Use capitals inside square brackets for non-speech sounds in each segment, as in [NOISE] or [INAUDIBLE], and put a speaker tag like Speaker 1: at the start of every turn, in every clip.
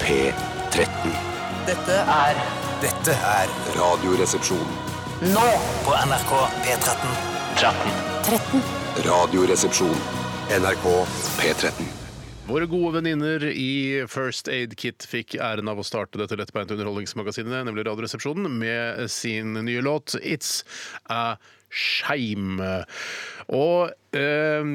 Speaker 1: P13.
Speaker 2: Dette er
Speaker 3: Dette er
Speaker 1: Radioresepsjon.
Speaker 2: nå
Speaker 3: på NRK P13.
Speaker 2: 13.
Speaker 1: Radioresepsjon. NRK P13.
Speaker 4: Våre gode venninner i First Aid Kit fikk æren av å starte dette lettbeinte underholdningsmagasinet, nemlig Radioresepsjonen, med sin nye låt It's a Shame. Og eh,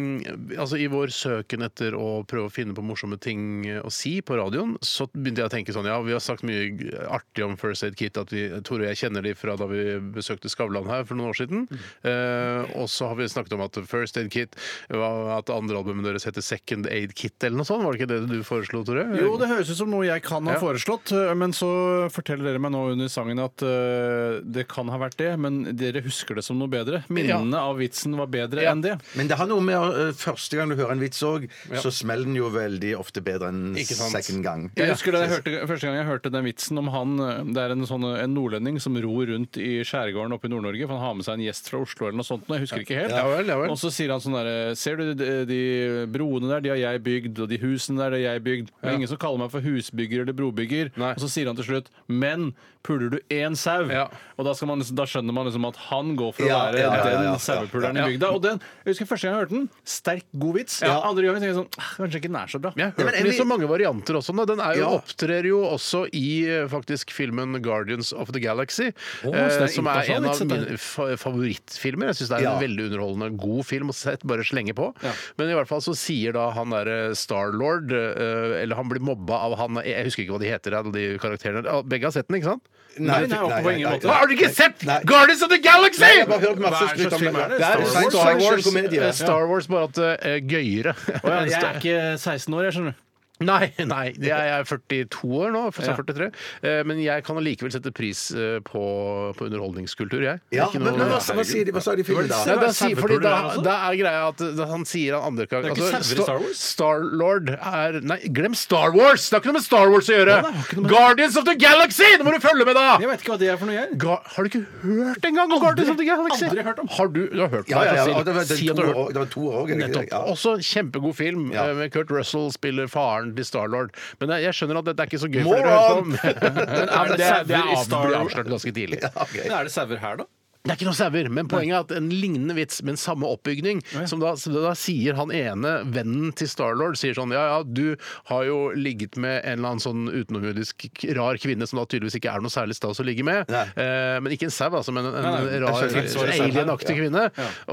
Speaker 4: altså i vår søken etter å prøve å finne på morsomme ting å si på radioen, så begynte jeg å tenke sånn Ja, vi har sagt mye artig om First Aid Kit, at vi, Tore og jeg kjenner de fra da vi besøkte Skavlan her for noen år siden. Eh, og så har vi snakket om at First Aid Kit var- At andre albumet deres heter Second Aid Kit eller noe sånt. Var det ikke det du foreslo, Tore?
Speaker 5: Jo, det høres ut som noe jeg kan ha
Speaker 4: Ja.
Speaker 5: foreslått, eh, men så forteller dere meg nå under sangen at eh, det kan ha vært det, men dere husker det som noe bedre. Minnene av vitsen var bedre
Speaker 4: Ja.
Speaker 5: enn det.
Speaker 6: Men det har noe med å, eh, første gang du hører en vits òg, så smeller den jo veldig ofte bedre enn
Speaker 4: Ikke sant?
Speaker 6: second gang.
Speaker 5: Jeg husker det jeg hørte, Første gang jeg hørte den vitsen om han eh, Det er en, sånn, eh, en nordlending som ror rundt i skjærgården oppe i Nord-Norge, for han har med seg en gjest fra Oslo eller noe sånt. nå, Jeg husker ikke helt.
Speaker 4: Ja vel, ja vel.
Speaker 5: Og så sier han sånn derre Ser du de, de broene der, de har jeg bygd, og de husene der, det har jeg bygd. Det er ingen som kaller meg for husbygger eller brobygger.
Speaker 4: Nei.
Speaker 5: Og så sier han til slutt Men puler du én sau?
Speaker 4: Ja.
Speaker 5: Og da, skal man, liksom- da skjønner man liksom at han går for å
Speaker 6: Ja,
Speaker 5: være
Speaker 6: ja, ja,
Speaker 5: den
Speaker 6: ja, ja.
Speaker 5: sauepuleren
Speaker 4: Ja.
Speaker 5: i bygda. Og den, jeg husker første gang jeg hørte den. Sterk, god vits. Andre gangen tenker jeg sånn «Ah, Kanskje ikke den er så bra.
Speaker 4: Jeg har
Speaker 6: Nei, men
Speaker 4: hørt den i
Speaker 6: Emil-
Speaker 4: så mange varianter også. nå. Den er jo,
Speaker 6: Ja.
Speaker 4: opptrer jo også i eh, faktisk filmen 'Guardians of the Galaxy',
Speaker 5: Å, så det er
Speaker 4: eh, som er
Speaker 5: internasjonal
Speaker 4: en av
Speaker 5: vits, dette.
Speaker 4: mine fa- favorittfilmer. Jeg syns det er
Speaker 6: Ja.
Speaker 4: en veldig underholdende, god film å sett, bare slenge på.
Speaker 5: Ja.
Speaker 4: Men i hvert fall så sier da han derre Star-Lord, eh, eller han blir mobba av han Jeg husker ikke hva de heter, alle de karakterene. Ah, Begge har sett den, ikke sant?
Speaker 5: Nei, nei, nei, på ingen måte.
Speaker 4: Hva, har du ikke sett
Speaker 6: Nei.
Speaker 4: Guardians of the Galaxy?!
Speaker 6: Nei, jeg har bare hørt masse
Speaker 5: Hva er det
Speaker 6: skryt
Speaker 5: slags
Speaker 6: om det.
Speaker 5: film er det?
Speaker 6: Det
Speaker 5: Star
Speaker 6: er
Speaker 5: Wars?
Speaker 6: science
Speaker 4: Star Wars,
Speaker 6: fiction komedie.
Speaker 4: eh, Star Wars bare at eh, gøyere. [LAUGHS]
Speaker 5: Å ja, jeg er ikke 16 år, jeg skjønner.
Speaker 4: Nei, nei, [LAUGHS] jeg er 42 år nå, for- så
Speaker 5: Ja.
Speaker 4: 43. Eh, Men jeg kan allikevel sette pris eh, på, på underholdningskultur, jeg. Det er
Speaker 6: Ja,
Speaker 4: ikke
Speaker 6: men,
Speaker 4: noe-
Speaker 6: men hva, hva sier de, hva sa de i filmen da?
Speaker 4: Nei, da, sier,
Speaker 5: Sauepuler
Speaker 4: fordi da,
Speaker 5: der også?
Speaker 4: da er greia at da, han sier han andre kar-
Speaker 5: Det er ikke sauer i
Speaker 4: Sta-
Speaker 5: Star Wars?
Speaker 4: Star-Lord er Nei, glem Star Wars! Det har ikke noe med Star Wars å gjøre!
Speaker 5: Ja, det har ikke noe med-
Speaker 4: Guardians of the Galaxy! Nå må du følge med, da!
Speaker 5: Jeg vet ikke hva det er for noe, jeg.
Speaker 4: Ga har du ikke hørt engang om Guardians of the Galaxy?
Speaker 5: aldri hørt om.
Speaker 4: Har du, du har hørt om
Speaker 6: Ja, ja, ja,
Speaker 4: det,
Speaker 6: og det, var, det,
Speaker 4: si, si at du har hørt
Speaker 6: var, det var to år òg.
Speaker 4: Nettopp.
Speaker 6: [LAUGHS]
Speaker 4: Også kjempegod film.
Speaker 6: Ja.
Speaker 4: eh, Med Kurt Russell spiller faren til Starlord. Men eh, jeg, jeg skjønner at dette er ikke så gøy for
Speaker 6: Moron!
Speaker 4: dere å høre på. [LAUGHS] Men, eh,
Speaker 5: er det sauer i
Speaker 4: av-
Speaker 5: Star
Speaker 4: blir
Speaker 5: Lord?
Speaker 4: avslørt ganske tidlig.
Speaker 5: Men er det sauer her, da?
Speaker 4: Det er ikke noen sauer, men poenget er at en lignende vits med en samme oppbygning, som da, som da sier han ene vennen til Starlord sier sånn Ja, ja, du har jo ligget med en eller annen sånn utenomjordisk k- rar kvinne som da tydeligvis ikke er noe særlig stas å ligge med.
Speaker 6: Nei.
Speaker 4: Eh, men ikke en sau, altså, men en, en
Speaker 5: Nei, nei,
Speaker 4: rar
Speaker 5: jeg skjønner.
Speaker 4: eh, alienaktig
Speaker 6: Ja.
Speaker 4: kvinne.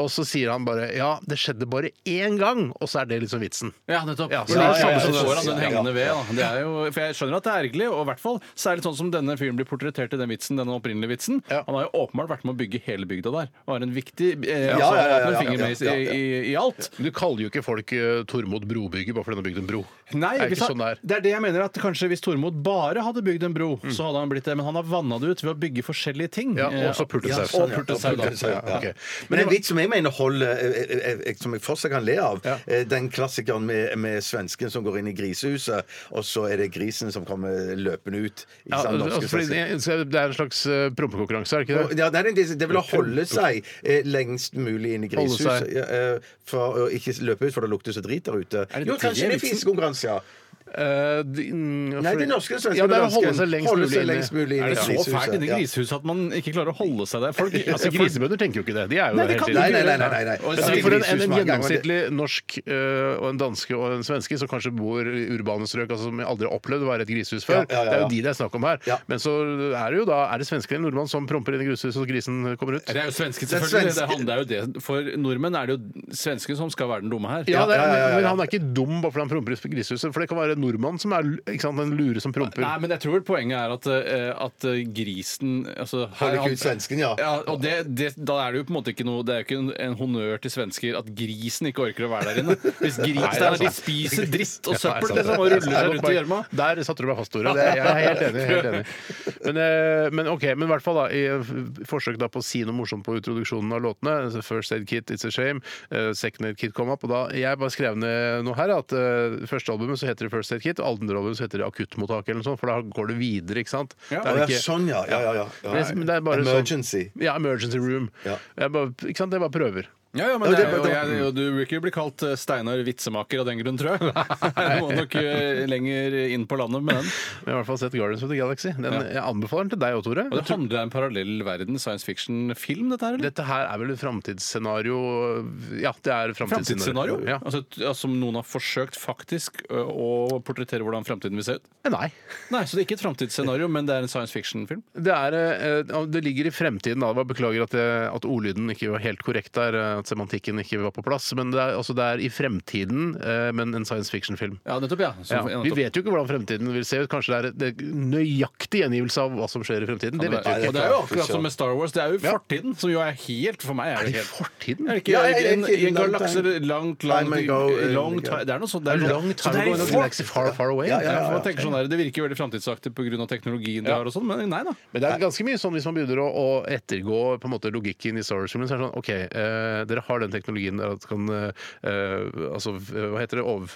Speaker 4: Og så sier han bare Ja, det skjedde bare én gang, og så er det liksom vitsen.
Speaker 5: Ja, nettopp.
Speaker 4: Ja,
Speaker 5: så
Speaker 4: ja,
Speaker 5: det er
Speaker 4: ja,
Speaker 5: samme
Speaker 4: ja,
Speaker 5: som
Speaker 4: ja,
Speaker 5: får han den
Speaker 6: ja, ja.
Speaker 5: hengende ved. Da. Det er jo, for jeg skjønner at det er ergerlig, og i hvert fall særlig sånn som denne fyren blir portrettert i den vitsen, denne opprinnelige vitsen.
Speaker 4: Ja.
Speaker 5: Han har jo åpenbart vært med å bygge hele bygda der, og har en viktig eh,
Speaker 6: Ja,
Speaker 5: altså,
Speaker 6: ja, ja, ja,
Speaker 5: en
Speaker 6: ja,
Speaker 5: finger
Speaker 6: ja,
Speaker 5: med i,
Speaker 6: ja, ja.
Speaker 5: i, i alt.
Speaker 4: Du kaller jo ikke folk eh, Tormod brobygger bare fordi han har bygd en bro.
Speaker 5: Nei,
Speaker 4: det er
Speaker 5: ikke sant?
Speaker 4: sånn det er.
Speaker 5: det er Mm. det jeg mener at kanskje hvis Tormod bare hadde bygd en bro, så hadde han blitt det. Men han har vanna det ut ved å bygge forskjellige ting.
Speaker 4: Ja,
Speaker 5: Eh,
Speaker 4: og så
Speaker 6: Ja,
Speaker 4: pultesaus.
Speaker 6: sånn, ja.
Speaker 4: Og pultesaus, da.
Speaker 6: Pultesaus, ja.
Speaker 4: Ja, ok.
Speaker 6: Men en vits som jeg mener holder eh, eh, eh, eh, Som jeg fortsatt kan le av,
Speaker 4: Ja.
Speaker 6: eh, den klassikeren med, med svensken som går inn i grisehuset, og så er det grisen som kommer løpende ut. Ikke
Speaker 4: Ja,
Speaker 6: sant, norske
Speaker 4: altså, fordi
Speaker 6: svensken.
Speaker 4: det det er en slags eh, prompekonkurranse, er det ikke det?
Speaker 6: Ja, nei, det, er- det vil holde seg eh, lengst mulig inn i
Speaker 4: Holde seg.
Speaker 6: grisehuset. Ja, eh, for å ikke løpe ut, for det lukter så drit der ute.
Speaker 5: det
Speaker 6: Jo,
Speaker 5: det
Speaker 6: kanskje
Speaker 5: vitsen?
Speaker 6: det er fiskekonkurranse, ja.
Speaker 4: Eh, de, mm,
Speaker 6: Nei,
Speaker 4: fordi-
Speaker 6: de norske svenskene
Speaker 4: Ja, det er å
Speaker 6: og
Speaker 4: holde seg
Speaker 6: dansken.
Speaker 4: lengst
Speaker 6: Holde
Speaker 4: mulig
Speaker 6: seg
Speaker 4: inne.
Speaker 6: lengst mulig
Speaker 4: Er det
Speaker 6: inne i
Speaker 4: så-
Speaker 5: Så
Speaker 6: grisehuset?
Speaker 5: fælt inni
Speaker 6: ja.
Speaker 5: grisehuset at man ikke klarer å holde seg der.
Speaker 4: [LAUGHS]
Speaker 5: Folk,
Speaker 4: Altså,
Speaker 5: altså, folk
Speaker 4: Grisebønder tenker jo ikke det. De er jo
Speaker 5: Nei, det kan de
Speaker 6: Nei,
Speaker 4: helt
Speaker 6: nei, nei. nei, nei, nei.
Speaker 5: Og
Speaker 4: Men
Speaker 5: så
Speaker 4: si for en, en, en
Speaker 6: Grisehuset mange ganger, det-
Speaker 4: gjennomsnittlig norsk eh, og en danske og en svenske som kanskje bor i urbane strøk, altså som aldri har opplevd å være i et grisehus før,
Speaker 6: Ja, ja, ja,
Speaker 4: det er jo
Speaker 6: ja.
Speaker 4: de det er snakk om her.
Speaker 6: Ja.
Speaker 4: Men så er det jo da er det svensker eller nordmann som promper inn i grisehuset så grisen kommer ut.
Speaker 5: Det er jo svensken,
Speaker 6: Det er
Speaker 5: selvfølgelig. Det,
Speaker 6: svenske-
Speaker 5: handler jo det. For nordmenn er det jo svensken som skal være den dumme her.
Speaker 4: Ja, det er,
Speaker 6: ja, ja, ja.
Speaker 4: Men han er ikke dum bare fordi han promper i grisehuset, for det kan være en nordmann som er ikke sant, en lure som promper.
Speaker 5: Nei, men jeg tror vel poenget er at, eh, at eh, grisen altså,
Speaker 6: Holder ikke ut svensken, ja.
Speaker 5: ja og det, det, da er det jo på en måte ikke noe Det er jo ikke en, en honnør til svensker at grisen ikke orker å være der inne. Hvis grisen
Speaker 4: Nei, det er
Speaker 5: er der, de
Speaker 4: sant.
Speaker 5: spiser dritt og
Speaker 4: Nei,
Speaker 5: søppel
Speaker 4: sant.
Speaker 5: liksom, og ruller seg rundt i gjørma.
Speaker 4: Der satte du meg fast, Tore. Det- Jeg er helt enig. Helt enig. Men, eh, men ok, men i hvert fall da, i f- forsøk da på å si noe morsomt på introduksjonen av låtene. altså First Aid Kit, It's a Shame. eh, Second Aid Kit kom opp. Og da, jeg bare skrev ned noe her. At eh, første albumet så heter det First Aid Kit, og andre albumet så heter det Akuttmottak eller noe sånt, for da går det videre, ikke sant? Det
Speaker 5: Ja.
Speaker 4: er
Speaker 6: Å, ja,
Speaker 4: ikke-
Speaker 6: sånn, ja. ja, ja, ja.
Speaker 4: Men det- men det er bare sånn-
Speaker 6: Emergency.
Speaker 4: ja, emergency room.
Speaker 6: Ja.
Speaker 4: Jeg bare, ikke sant? Jeg bare prøver.
Speaker 5: Ja, ja, men det er jo, jeg, og Du vil ikke bli kalt eh, Steinar Vitsemaker av den grunn, tror jeg. [LAUGHS] Du må nok eh, lenger inn på landet med den.
Speaker 4: Vi har i hvert fall sett Guardians of the Galaxy. Den, Jeg anbefaler den til deg òg, Tore.
Speaker 5: Og Det handler om en parallell verden, science fiction-film, dette her? eller?
Speaker 4: Dette her er vel et framtidsscenario Ja, det er framtidsscenario.
Speaker 5: Framtidsscenario?
Speaker 4: Ja.
Speaker 5: Altså, t- ja, som noen har forsøkt faktisk ø, å portrettere hvordan framtiden vil se ut?
Speaker 4: Eh, Nei.
Speaker 5: Nei, så det er ikke et framtidsscenario, men det er en science fiction-film?
Speaker 4: Det, er, eh, det ligger i fremtiden. Da. Jeg bare beklager at, jeg, at ordlyden ikke var helt korrekt der. eh, At semantikken ikke var på plass. Men det er, altså, det er i fremtiden, eh, men en science fiction-film.
Speaker 5: Ja, nettopp, ja. Så,
Speaker 4: Ja,
Speaker 5: ja,
Speaker 4: vi
Speaker 5: nettopp.
Speaker 4: vet jo ikke hvordan fremtiden vil se ut. Kanskje det er det er nøyaktig gjengivelse av hva som skjer i fremtiden. Det vet vi
Speaker 5: Og
Speaker 4: ikke.
Speaker 5: det er jo akkurat som med Star Wars. Det er jo
Speaker 4: Ja.
Speaker 5: fortiden, som jo er helt For meg er
Speaker 4: Er
Speaker 5: det
Speaker 4: det i
Speaker 5: helt
Speaker 4: fortiden?
Speaker 5: Er det ikke
Speaker 6: Ja, jeg- jeg-
Speaker 5: en, i en galakse langt, langt,
Speaker 6: Time ago, eh,
Speaker 5: long
Speaker 6: ja.
Speaker 5: time Det er noe sånt.
Speaker 4: Det
Speaker 5: Det
Speaker 4: er
Speaker 5: er
Speaker 4: long
Speaker 5: Så
Speaker 4: time
Speaker 5: det er
Speaker 4: ago in a
Speaker 5: i
Speaker 4: galaxy far, far away.
Speaker 6: Ja, ja,
Speaker 5: Ja,
Speaker 6: ja.
Speaker 5: for man tenker sånn der, Det virker veldig framtidsaktig pga. teknologien de har, og sånn, men nei da.
Speaker 4: Men det er ganske mye sånn hvis man begynner å, å ettergå på en måte logikken i Star Wars-filmen. Så er det sånn OK, eh, dere har den teknologien der at kan eh, eh, Altså, eh, hva heter det over,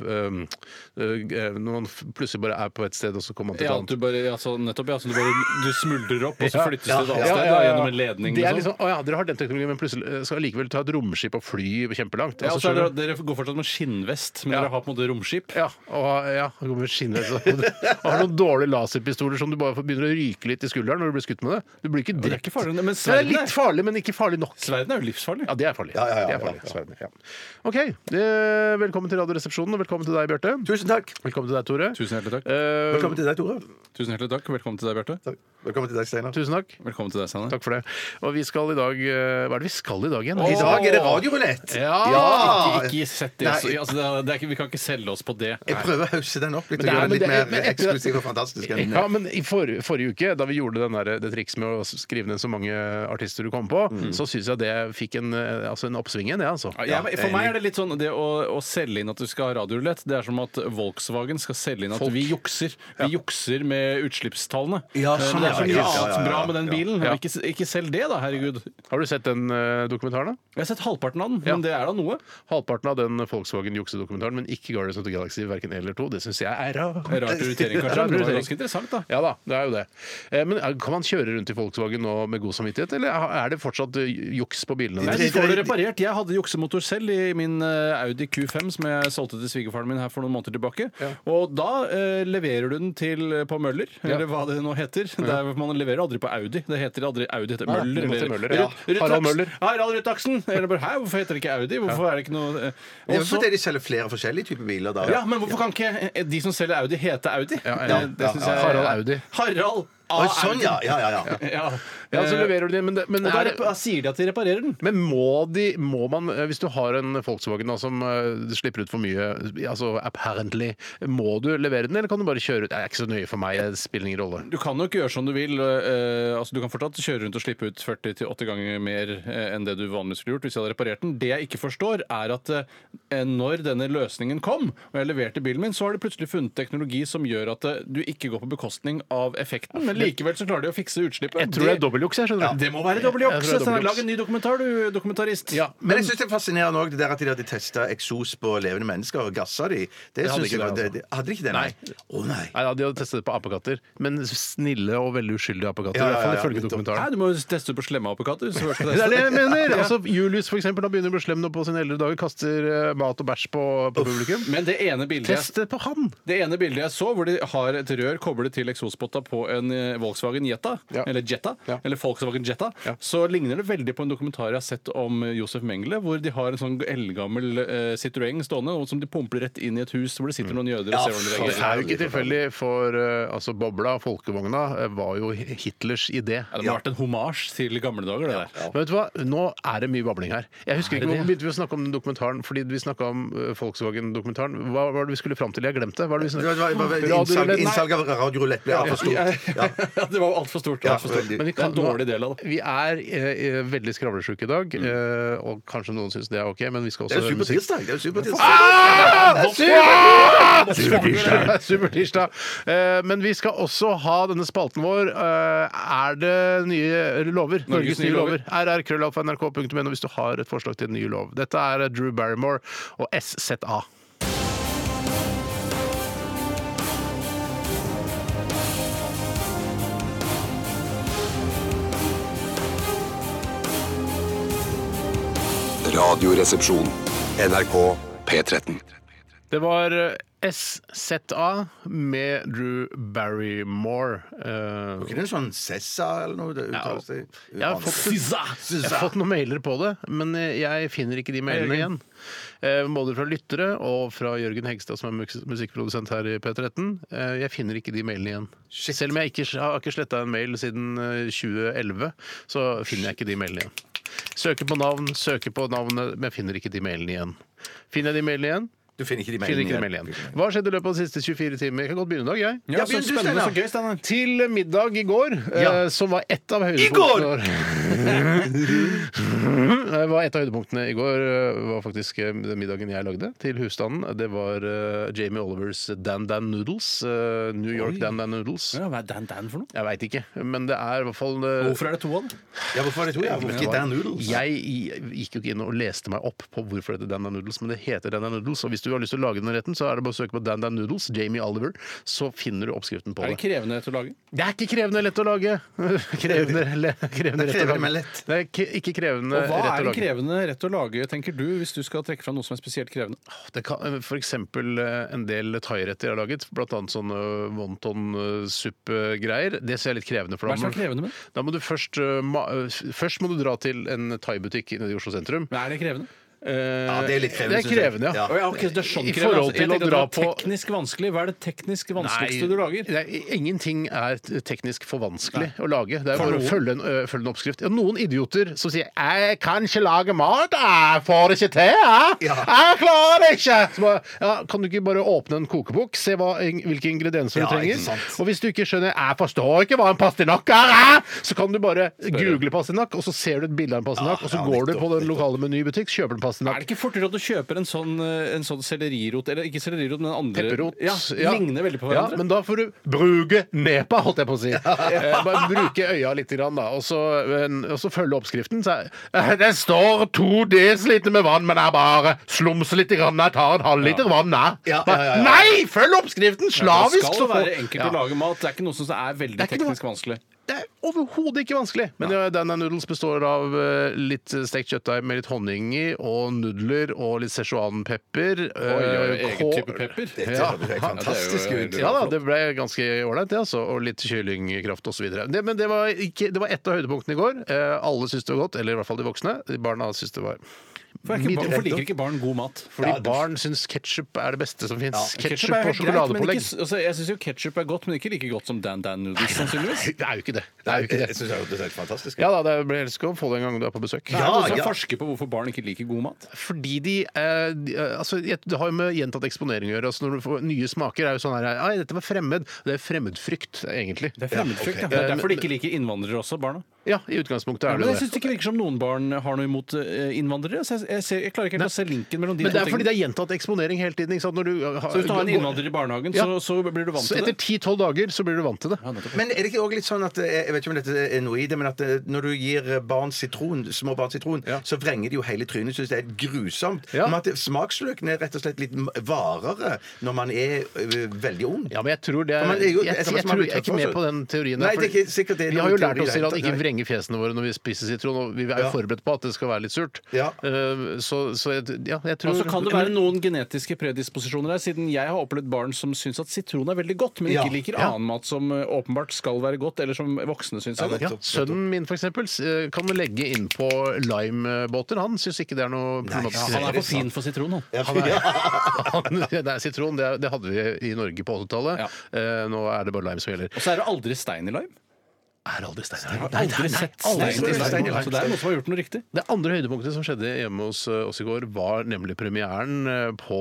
Speaker 4: eh, eh, Når man f- plutselig bare er på et sted, og så kommer man til et
Speaker 5: Ja,
Speaker 4: annet.
Speaker 5: du bare, ja, så nettopp, ja, så du bare du smuldrer opp, og så flyttes det et annet
Speaker 4: Ja,
Speaker 5: sted
Speaker 4: ja,
Speaker 5: da,
Speaker 4: ja.
Speaker 5: gjennom en ledning.
Speaker 4: Det er
Speaker 5: og sånn.
Speaker 4: liksom, å ja, dere har den teknologien, men plutselig eh, skal likevel ta et romskip og fly kjempelangt.
Speaker 5: ja, og
Speaker 4: Altså,
Speaker 5: så er det,
Speaker 4: skjønner du?
Speaker 5: dere går fortsatt med skinnvest, men
Speaker 4: Ja.
Speaker 5: dere har på en måte romskip.
Speaker 4: ja, og ja, det kommer skinner, så, og du har noen dårlige laserpistoler som du bare får- begynner å ryke litt i skulderen når du blir skutt med det. Du blir ikke
Speaker 5: det er
Speaker 4: drept.
Speaker 5: ikke farlig, men
Speaker 4: Nei, det er
Speaker 5: sverden er-
Speaker 4: litt farlig, men ikke farlig nok.
Speaker 5: Sverden er jo livsfarlig.
Speaker 4: Ja, det er farlig.
Speaker 6: Ja, ja, ja,
Speaker 4: det er farlig.
Speaker 6: ja, ja.
Speaker 4: Sverden, ja. OK. eh, Velkommen til Radioresepsjonen, og velkommen til deg, Bjarte.
Speaker 6: Tusen takk.
Speaker 4: Velkommen til deg, Tore.
Speaker 5: Tusen hjertelig takk.
Speaker 4: Eh,
Speaker 6: Velkommen til deg, Tore.
Speaker 5: Tusen hjertelig takk. Velkommen til deg, Bjarte.
Speaker 6: Takk. Velkommen til deg, Steinar.
Speaker 4: tusen takk.
Speaker 5: Velkommen til deg, Sanne.
Speaker 4: Takk for det. Og vi skal i dag eh, Hva er det vi skal i dag igjen?
Speaker 6: I dag er det radiorulett.
Speaker 4: Ja!
Speaker 5: Ikke, ikke sett det,
Speaker 6: Nei.
Speaker 5: så, altså, det, er, det er ikke, Vi kan ikke selge oss på det.
Speaker 6: Jeg prøver å hause den opp litt
Speaker 4: Men det
Speaker 6: og
Speaker 4: er-
Speaker 6: gjøre den litt
Speaker 4: men det er- men
Speaker 6: mer
Speaker 4: etter-
Speaker 6: eksklusiv og fantastisk. enn-
Speaker 4: Ja, men I for, forrige uke, da vi gjorde den der, eh, det trikset med å skrive ned så mange artister du kom på,
Speaker 6: Mm.
Speaker 4: så syns jeg det fikk en, eh, altså en oppsving igjen, det, altså.
Speaker 5: Ja, men for meg er det litt sånn Det å, å selge inn at du skal ha radiorulett, det er som at Volkswagen skal selge inn at vi jukser. Vi jukser med utslippstallene.
Speaker 6: Ja,
Speaker 5: Eh,
Speaker 6: sånn
Speaker 5: men det er
Speaker 6: er
Speaker 5: så
Speaker 6: det.
Speaker 5: mye
Speaker 6: Ja, ja, ja,
Speaker 5: annet bra
Speaker 6: ja.
Speaker 5: med den
Speaker 6: Ja.
Speaker 5: bilen.
Speaker 4: Ja.
Speaker 5: Men Ikke, ikke selg det, da. Herregud.
Speaker 4: Har du sett den eh, dokumentaren, da?
Speaker 5: Jeg har sett halvparten av den,
Speaker 4: Ja.
Speaker 5: men det er da noe.
Speaker 4: Halvparten av den Volkswagen juksedokumentaren, men ikke Guardians of the Galaxy, verken én eller to. Det syns jeg er rart.
Speaker 5: Rar prioritering, kanskje.
Speaker 4: Rar
Speaker 5: Men det var
Speaker 4: prioritering.
Speaker 5: ganske interessant, da.
Speaker 4: Ja da, det er jo det. Eh, Men er- kan man kjøre rundt i Volkswagen nå med god samvittighet, eller er det fortsatt eh, juks på bilene?
Speaker 5: Nei,
Speaker 4: deres?
Speaker 5: de får det reparert. Jeg hadde juksemotor selv i min eh, Audi Q5, som jeg solgte til svigerfaren min her for noen måneder tilbake. Og da eh, leverer du den til eh, på Møller, eller hva det nå heter. Det er, man leverer aldri på Audi. Det heter aldri Audi, det heter
Speaker 4: Nei,
Speaker 5: Møller.
Speaker 4: det måtte
Speaker 5: eller-
Speaker 4: Møller, ja.
Speaker 5: Ruth- Ruth
Speaker 4: Harald
Speaker 5: Aksen.
Speaker 4: Møller.
Speaker 5: Ja, Harald Rødt-Aksen. Eller bare, hæ, hvorfor heter det ikke Audi? Hvorfor er det ikke noe eh,
Speaker 6: Ja,
Speaker 5: også-
Speaker 6: Fordi de selger flere forskjellige typer biler da.
Speaker 5: ja, men hvorfor kan ikke eh, de som selger Audi, hete Audi?
Speaker 4: Ja,
Speaker 5: Eh,
Speaker 4: ja,
Speaker 5: det synes
Speaker 6: ja,
Speaker 5: jeg-
Speaker 4: Harald Audi.
Speaker 5: Harald A.
Speaker 6: Oi, sånn, ja. Ja, ja, ja.
Speaker 5: Audi. Ja.
Speaker 4: Ja, så
Speaker 5: Eh,
Speaker 4: leverer du det, men, det- men,
Speaker 5: og da
Speaker 4: er,
Speaker 5: rep- sier de at de reparerer den.
Speaker 4: men må, de, må man, eh, hvis du har en Volkswagen da, som eh, slipper ut for mye, altså apparently, må du levere den, eller kan du bare kjøre ut? Det er ikke så nøye for meg, det spiller ingen rolle.
Speaker 5: Du kan nok gjøre som du vil. eh, altså Du kan fortsatt kjøre rundt og slippe ut 40-80 ganger mer eh, enn det du vanligvis ville gjort hvis jeg hadde reparert den. Det jeg ikke forstår, er at eh, når denne løsningen kom, og jeg leverte bilen min, så har de plutselig funnet teknologi som gjør at eh, du ikke går på bekostning av effekten, men likevel så klarer de å fikse utslippet.
Speaker 4: Jeg tror det er dobbeltjuks, jeg, skjønner du.
Speaker 5: Det må være dobbel
Speaker 4: Jeg
Speaker 5: juks!
Speaker 4: tror det er
Speaker 5: Steinar.
Speaker 4: dobbeltjuks.
Speaker 5: Lag en ny dokumentar, du dokumentarist.
Speaker 4: Ja,
Speaker 6: Men jeg syns det er fascinerende òg at de hadde testa eksos på levende mennesker og gassa de. Det
Speaker 4: hadde
Speaker 6: synes
Speaker 4: ikke
Speaker 6: jeg var-
Speaker 4: det, altså.
Speaker 6: det, det, hadde de ikke det? Nei. Å nei.
Speaker 4: Nei, ja, De hadde testet det på apekatter, men snille og veldig uskyldige apekatter.
Speaker 6: Ja,
Speaker 4: I
Speaker 6: ja,
Speaker 4: hvert fall
Speaker 6: ja,
Speaker 4: ifølge
Speaker 6: nettopp.
Speaker 4: dokumentaren.
Speaker 5: Nei, du må jo teste ut på slemme apekatter. hvis du først skal
Speaker 4: [LAUGHS] Det
Speaker 5: teste.
Speaker 4: er det jeg mener! Altså, Julius for eksempel, han begynner å bli slem nå på sine eldre dager. Kaster eh, mat og bæsj på, på publikum.
Speaker 5: Men det ene bildet jeg
Speaker 4: Test det på han!
Speaker 5: Det ene bildet jeg så, hvor de har et rør koblet til eksospotta på en eh, Volkswagen Jetta,
Speaker 4: Ja.
Speaker 5: eller Jetta,
Speaker 4: Ja.
Speaker 5: eller Volkswagen Jetta,
Speaker 4: Ja.
Speaker 5: så ligner det veldig på en dokumentar jeg har sett om eh, Josef Mengele, hvor de har en sånn eldgammel eh, Citroën stående, og som de pumper rett inn i et hus hvor det sitter noen jøder og ser hvordan de
Speaker 4: Det
Speaker 5: reagerer.
Speaker 4: er jo ikke tilfeldig, for eh, altså, bobla, folkevogna, eh, var jo Hitlers idé.
Speaker 5: Ja, det må ha vært en homasj til gamle dager, det der.
Speaker 4: Men vet du hva? Nå er det mye babling her. Jeg husker ikke, Hvorfor begynte vi å snakke om den dokumentaren? Fordi vi snakka om eh, Volkswagen-dokumentaren. Hva var det vi skulle fram til? Jeg glemte. Hva er det vi
Speaker 6: Det
Speaker 4: snakket-
Speaker 6: var- det var-
Speaker 4: Radio
Speaker 6: Innsalg,
Speaker 4: Roulette? Nei.
Speaker 6: innsalg av radiorulett ble altfor stort. Ja.
Speaker 5: [LAUGHS] det var altfor stort.
Speaker 6: Ja,
Speaker 5: alt for stort.
Speaker 6: veldig.
Speaker 5: Men vi kan, det er en dårlig del av det.
Speaker 4: Vi er eh, veldig skravlesjuke i dag, eh, og kanskje noen syns det er OK, men vi skal
Speaker 6: Det
Speaker 4: også
Speaker 6: er jo
Speaker 4: høre musikk.
Speaker 6: supertirsdag! Det er jo supertirsdag.
Speaker 4: Supertirsdag! [LAUGHS] Supertirsdag. Eh, Men vi skal også ha denne spalten vår. eh, Er det nye lover? Norges, nye lover. rrkrøllalfa.nrk.no hvis du har et forslag til en ny lov. Dette er Drew Barrymore og SZA.
Speaker 1: Radioresepsjon. NRK P13.
Speaker 4: Det var eh, SZA med Drew Barrymore. Eh,
Speaker 6: Ikke noe sånn Sessa eller noe? Det uttales det.
Speaker 4: jeg har, fått, jeg har fått noen mailer på det, men eh, jeg finner ikke de mailene igjen. Eh, Både fra lyttere og fra Jørgen Hegstad, som er mus- musikkprodusent her i P13. Eh, Jeg finner ikke de mailene igjen. Selv om jeg ikke, jeg har ikke sletta en mail siden eh, 2011, så finner jeg ikke de mailene igjen. Søker på navn, søker på navnet, men jeg finner ikke de mailene igjen. Finner jeg de mailene igjen?
Speaker 6: Du finner ikke de
Speaker 4: Finner ikke de
Speaker 6: mailene
Speaker 4: mailene igjen. Hva har skjedd i løpet av de siste 24 timer? Jeg kan godt begynne i dag, jeg.
Speaker 5: Ja, så
Speaker 6: begynn du,
Speaker 5: spennende,
Speaker 6: Steinar.
Speaker 5: så gøy, Steinar.
Speaker 4: Til middag i går,
Speaker 5: Ja.
Speaker 4: eh, som var ett av
Speaker 6: går!
Speaker 4: høydepunktene [LAUGHS] Det var Eh, et av høydepunktene i går eh, var faktisk eh, middagen jeg lagde til husstanden. Det var eh, Jamie Olivers Dan Dan Noodles. eh, New York Dan Dan Noodles.
Speaker 5: Ja, hva er Dan Dan for noe?
Speaker 4: Jeg veit ikke, men det er i hvert fall eh,
Speaker 5: Hvorfor er det to av dem?
Speaker 6: Ja, hvorfor er det to? Ja, hvorfor ikke Dan Noodles?
Speaker 4: Jeg i- gikk jo ikke inn og leste meg opp på hvorfor det heter Dan Dan Noodles, men det heter Dan Dan Noodles. Og hvis du har lyst til å lage den retten, så er det bare å søke på Dan Dan Noodles, Jamie Oliver, så finner du oppskriften på
Speaker 5: Er
Speaker 4: det.
Speaker 5: det krevende til å lage?
Speaker 4: Det er ikke krevende lett å lage. [LAUGHS] Krevende, le, krevende
Speaker 6: Det er
Speaker 4: lett å
Speaker 6: krevende,
Speaker 4: lage.
Speaker 6: men lett.
Speaker 4: Det er ikke- ikke krevende
Speaker 5: Og hva
Speaker 4: rett å
Speaker 5: er det
Speaker 4: lage.
Speaker 5: krevende rett å lage, tenker du, hvis du skal trekke fram noe som er spesielt krevende?
Speaker 4: Det kan, for eksempel eh, en del thairetter jeg har laget, blant annet sånne wonton-suppe-greier. Det ser jeg litt krevende for
Speaker 5: Hva
Speaker 4: da
Speaker 5: er det som er
Speaker 4: må-
Speaker 5: krevende med det?
Speaker 4: Da må du først, eh, ma- eh, f- først må du dra til en thaibutikk nede i Oslo sentrum.
Speaker 5: Men Er det krevende?
Speaker 4: Ja,
Speaker 6: det er litt krevende,
Speaker 4: Det er
Speaker 6: synes jeg.
Speaker 4: krevende, ja.
Speaker 6: Ja.
Speaker 5: Å ja, ok, det er sånn
Speaker 4: I forhold
Speaker 5: krevende, altså. Jeg
Speaker 4: til å
Speaker 5: tenkte at
Speaker 4: dra
Speaker 5: det var
Speaker 4: på-
Speaker 5: teknisk vanskelig. Hva er det teknisk vanskeligste du lager?
Speaker 4: det er- ingenting er t- teknisk for vanskelig å lage. Det er
Speaker 5: For
Speaker 4: bare å
Speaker 5: noen.
Speaker 4: følge en, ø, følge en oppskrift. Ja, noen idioter som sier 'jeg kan ikke lage mat, jeg får det ikke til', jeg,
Speaker 6: Ja.
Speaker 4: jeg klarer det ikke'. Så bare, ja, kan du ikke bare åpne en kokebok, se hva, ing- hvilke ingredienser
Speaker 6: Ja,
Speaker 4: du trenger?
Speaker 6: ikke sant.
Speaker 4: Og hvis du ikke skjønner 'jeg forstår ikke hva en pastinakk er', jeg», så kan du bare google pastinakk, og så ser du et bilde av en pastinakk,
Speaker 6: Ja,
Speaker 4: og så
Speaker 6: Ah, ja,
Speaker 4: går du
Speaker 6: nettopp,
Speaker 4: på den lokale menybutikk, kjøper en
Speaker 5: Er
Speaker 4: pastinakk.
Speaker 5: det ikke fortere at du kjøper en sånn, eh, en sånn sellerirot, eller ikke sellerirot, men andre
Speaker 4: Pepperrot.
Speaker 5: Ja, Ligner veldig på
Speaker 4: Ja,
Speaker 5: hverandre.
Speaker 4: men da får du bruke nepa, holdt jeg på å
Speaker 5: [LAUGHS]
Speaker 4: si. Eh, bare bruke øya litt, grann, da, og, så, men- og så følge oppskriften. Så er, eh, det står to desiliter med vann, men jeg bare slumser litt. Grann, jeg tar en halvliter vann, jeg.
Speaker 6: Ja, ja, ja, ja.
Speaker 4: Nei, følg oppskriften!
Speaker 5: det
Speaker 4: Slavisk!
Speaker 5: skal
Speaker 4: så får-
Speaker 5: være enkelt
Speaker 4: Ja.
Speaker 5: å lage mat. Det er ikke noe som er veldig
Speaker 4: Det er ikke noe-
Speaker 5: teknisk vanskelig.
Speaker 4: Det er overhodet ikke vanskelig. Men ja, denne noodles består av eh, litt stekt kjøttdeig med litt honning i, og nudler og litt szechuanpepper.
Speaker 5: Oi, oi,
Speaker 4: eh,
Speaker 5: egen
Speaker 4: kål-
Speaker 5: type pepper.
Speaker 6: Dette
Speaker 4: Ja.
Speaker 6: høres helt fantastisk
Speaker 5: Ja, det er jo-
Speaker 6: ut.
Speaker 4: Ja da, det ble ganske ålreit, det, altså. Og litt kyllingkraft osv. Det, men det var, ikke, det var ett av høydepunktene i går. Eh, alle syntes det var godt, eller i hvert fall de voksne. De Barna syntes det var
Speaker 5: For er ikke barn- Hvorfor liker ikke barn god mat?
Speaker 4: Fordi
Speaker 6: Ja, det-
Speaker 4: barn syns ketsjup er det beste som fins.
Speaker 5: Ketchup
Speaker 4: Ketchup
Speaker 5: er
Speaker 4: og
Speaker 5: helt greit, men
Speaker 4: sjokoladepålegg.
Speaker 5: ikke- altså, jeg syns jo ketsjup er godt, men ikke like godt som Dan Dan Noodles, sannsynligvis.
Speaker 4: Det er jo ikke det. det,
Speaker 6: Nei,
Speaker 4: er jo ikke
Speaker 6: jeg
Speaker 4: det.
Speaker 6: syns det hørtes helt fantastisk ut.
Speaker 4: Ja da, det blir helst å få det en gang du er på besøk.
Speaker 5: Det er noen som
Speaker 6: ja.
Speaker 5: forsker på hvorfor barn ikke liker god mat.
Speaker 4: Fordi de, eh, de eh, altså, Det har jo med gjentatt eksponering å gjøre. Altså, når du får nye smaker, er jo sånn her Ai, dette var fremmed. Det er fremmedfrykt, egentlig.
Speaker 5: Det er fremmedfrykt.
Speaker 6: Ja,
Speaker 5: ja.
Speaker 6: ok.
Speaker 5: Det er derfor de ikke liker innvandrere også, barna.
Speaker 4: Eh, Ja, i utgangspunktet er
Speaker 5: Men
Speaker 4: det jo
Speaker 5: jeg
Speaker 4: det.
Speaker 5: syns det ikke virker som noen barn har noe imot eh, innvandrere. Så jeg, jeg, ser, jeg klarer ikke helt å se linken mellom de
Speaker 4: Men det er fordi det
Speaker 5: tingene.
Speaker 4: er gjentatt eksponering hele tiden. Ikke sant? Når du har,
Speaker 5: Så hvis du har en innvandrer i barnehagen, så,
Speaker 4: Ja.
Speaker 5: så blir du vant
Speaker 4: Så
Speaker 5: til
Speaker 4: etter
Speaker 5: det.
Speaker 4: 10-12 dager så blir du vant til det.
Speaker 6: Men er det ikke også litt sånn at eh, jeg vet ikke om dette er noe i det, men at eh, når du gir barn sitron, små barn sitron,
Speaker 4: Ja.
Speaker 6: så vrenger de jo hele trynet. Syns det er grusomt.
Speaker 4: Ja.
Speaker 6: Men at det- smaksløkene er rett og slett litt m- varere når man er ø, veldig ung.
Speaker 4: Ja, men jeg tror det er,
Speaker 6: Men det er
Speaker 4: jeg,
Speaker 6: jo-
Speaker 4: jeg,
Speaker 6: jeg tror man
Speaker 4: tror
Speaker 6: blir
Speaker 4: jeg er ikke
Speaker 6: tøff
Speaker 4: med
Speaker 6: også.
Speaker 4: på den teorien. der,
Speaker 6: Nei, det er
Speaker 4: fordi
Speaker 6: ikke sikkert det er
Speaker 4: vi
Speaker 6: noen
Speaker 4: har jo
Speaker 6: teori
Speaker 4: lært oss
Speaker 6: i det
Speaker 4: til
Speaker 6: hele
Speaker 4: at
Speaker 6: tatt,
Speaker 4: ikke
Speaker 6: nei.
Speaker 4: vrenge fjesene våre når vi spiser sitron. Og vi er jo
Speaker 6: Ja.
Speaker 4: forberedt på at det skal være litt surt.
Speaker 6: Ja.
Speaker 4: Eh, Så, så jeg, ja, jeg tror
Speaker 5: Og så kan det være noen genetiske predisposisjoner her, siden jeg har opplevd barn som syns at sitron er veldig godt, men
Speaker 6: Ja.
Speaker 5: ikke liker annen mat som eh, åpenbart skal være godt, eller som voksne syns er godt.
Speaker 4: ja, Sønnen min for eksempel, s- eh, kan legge innpå limebåter. Han syns ikke det er noe problematisk.
Speaker 5: Han er for fin for sitron, han.
Speaker 4: Han er, [LAUGHS] han, det er sitron. Det, er, det hadde vi i Norge på 80-tallet.
Speaker 5: Ja.
Speaker 4: Eh, nå er det bare lime som gjelder.
Speaker 5: Og så er det aldri stein i lime.
Speaker 4: Er aldri stein her.
Speaker 5: Nei, aldri sett stein i
Speaker 4: stein i lime.
Speaker 5: lime. Så det er noen som har gjort noe riktig.
Speaker 4: Det andre høydepunktet som skjedde hjemme hos eh, oss i går, var nemlig premieren eh, på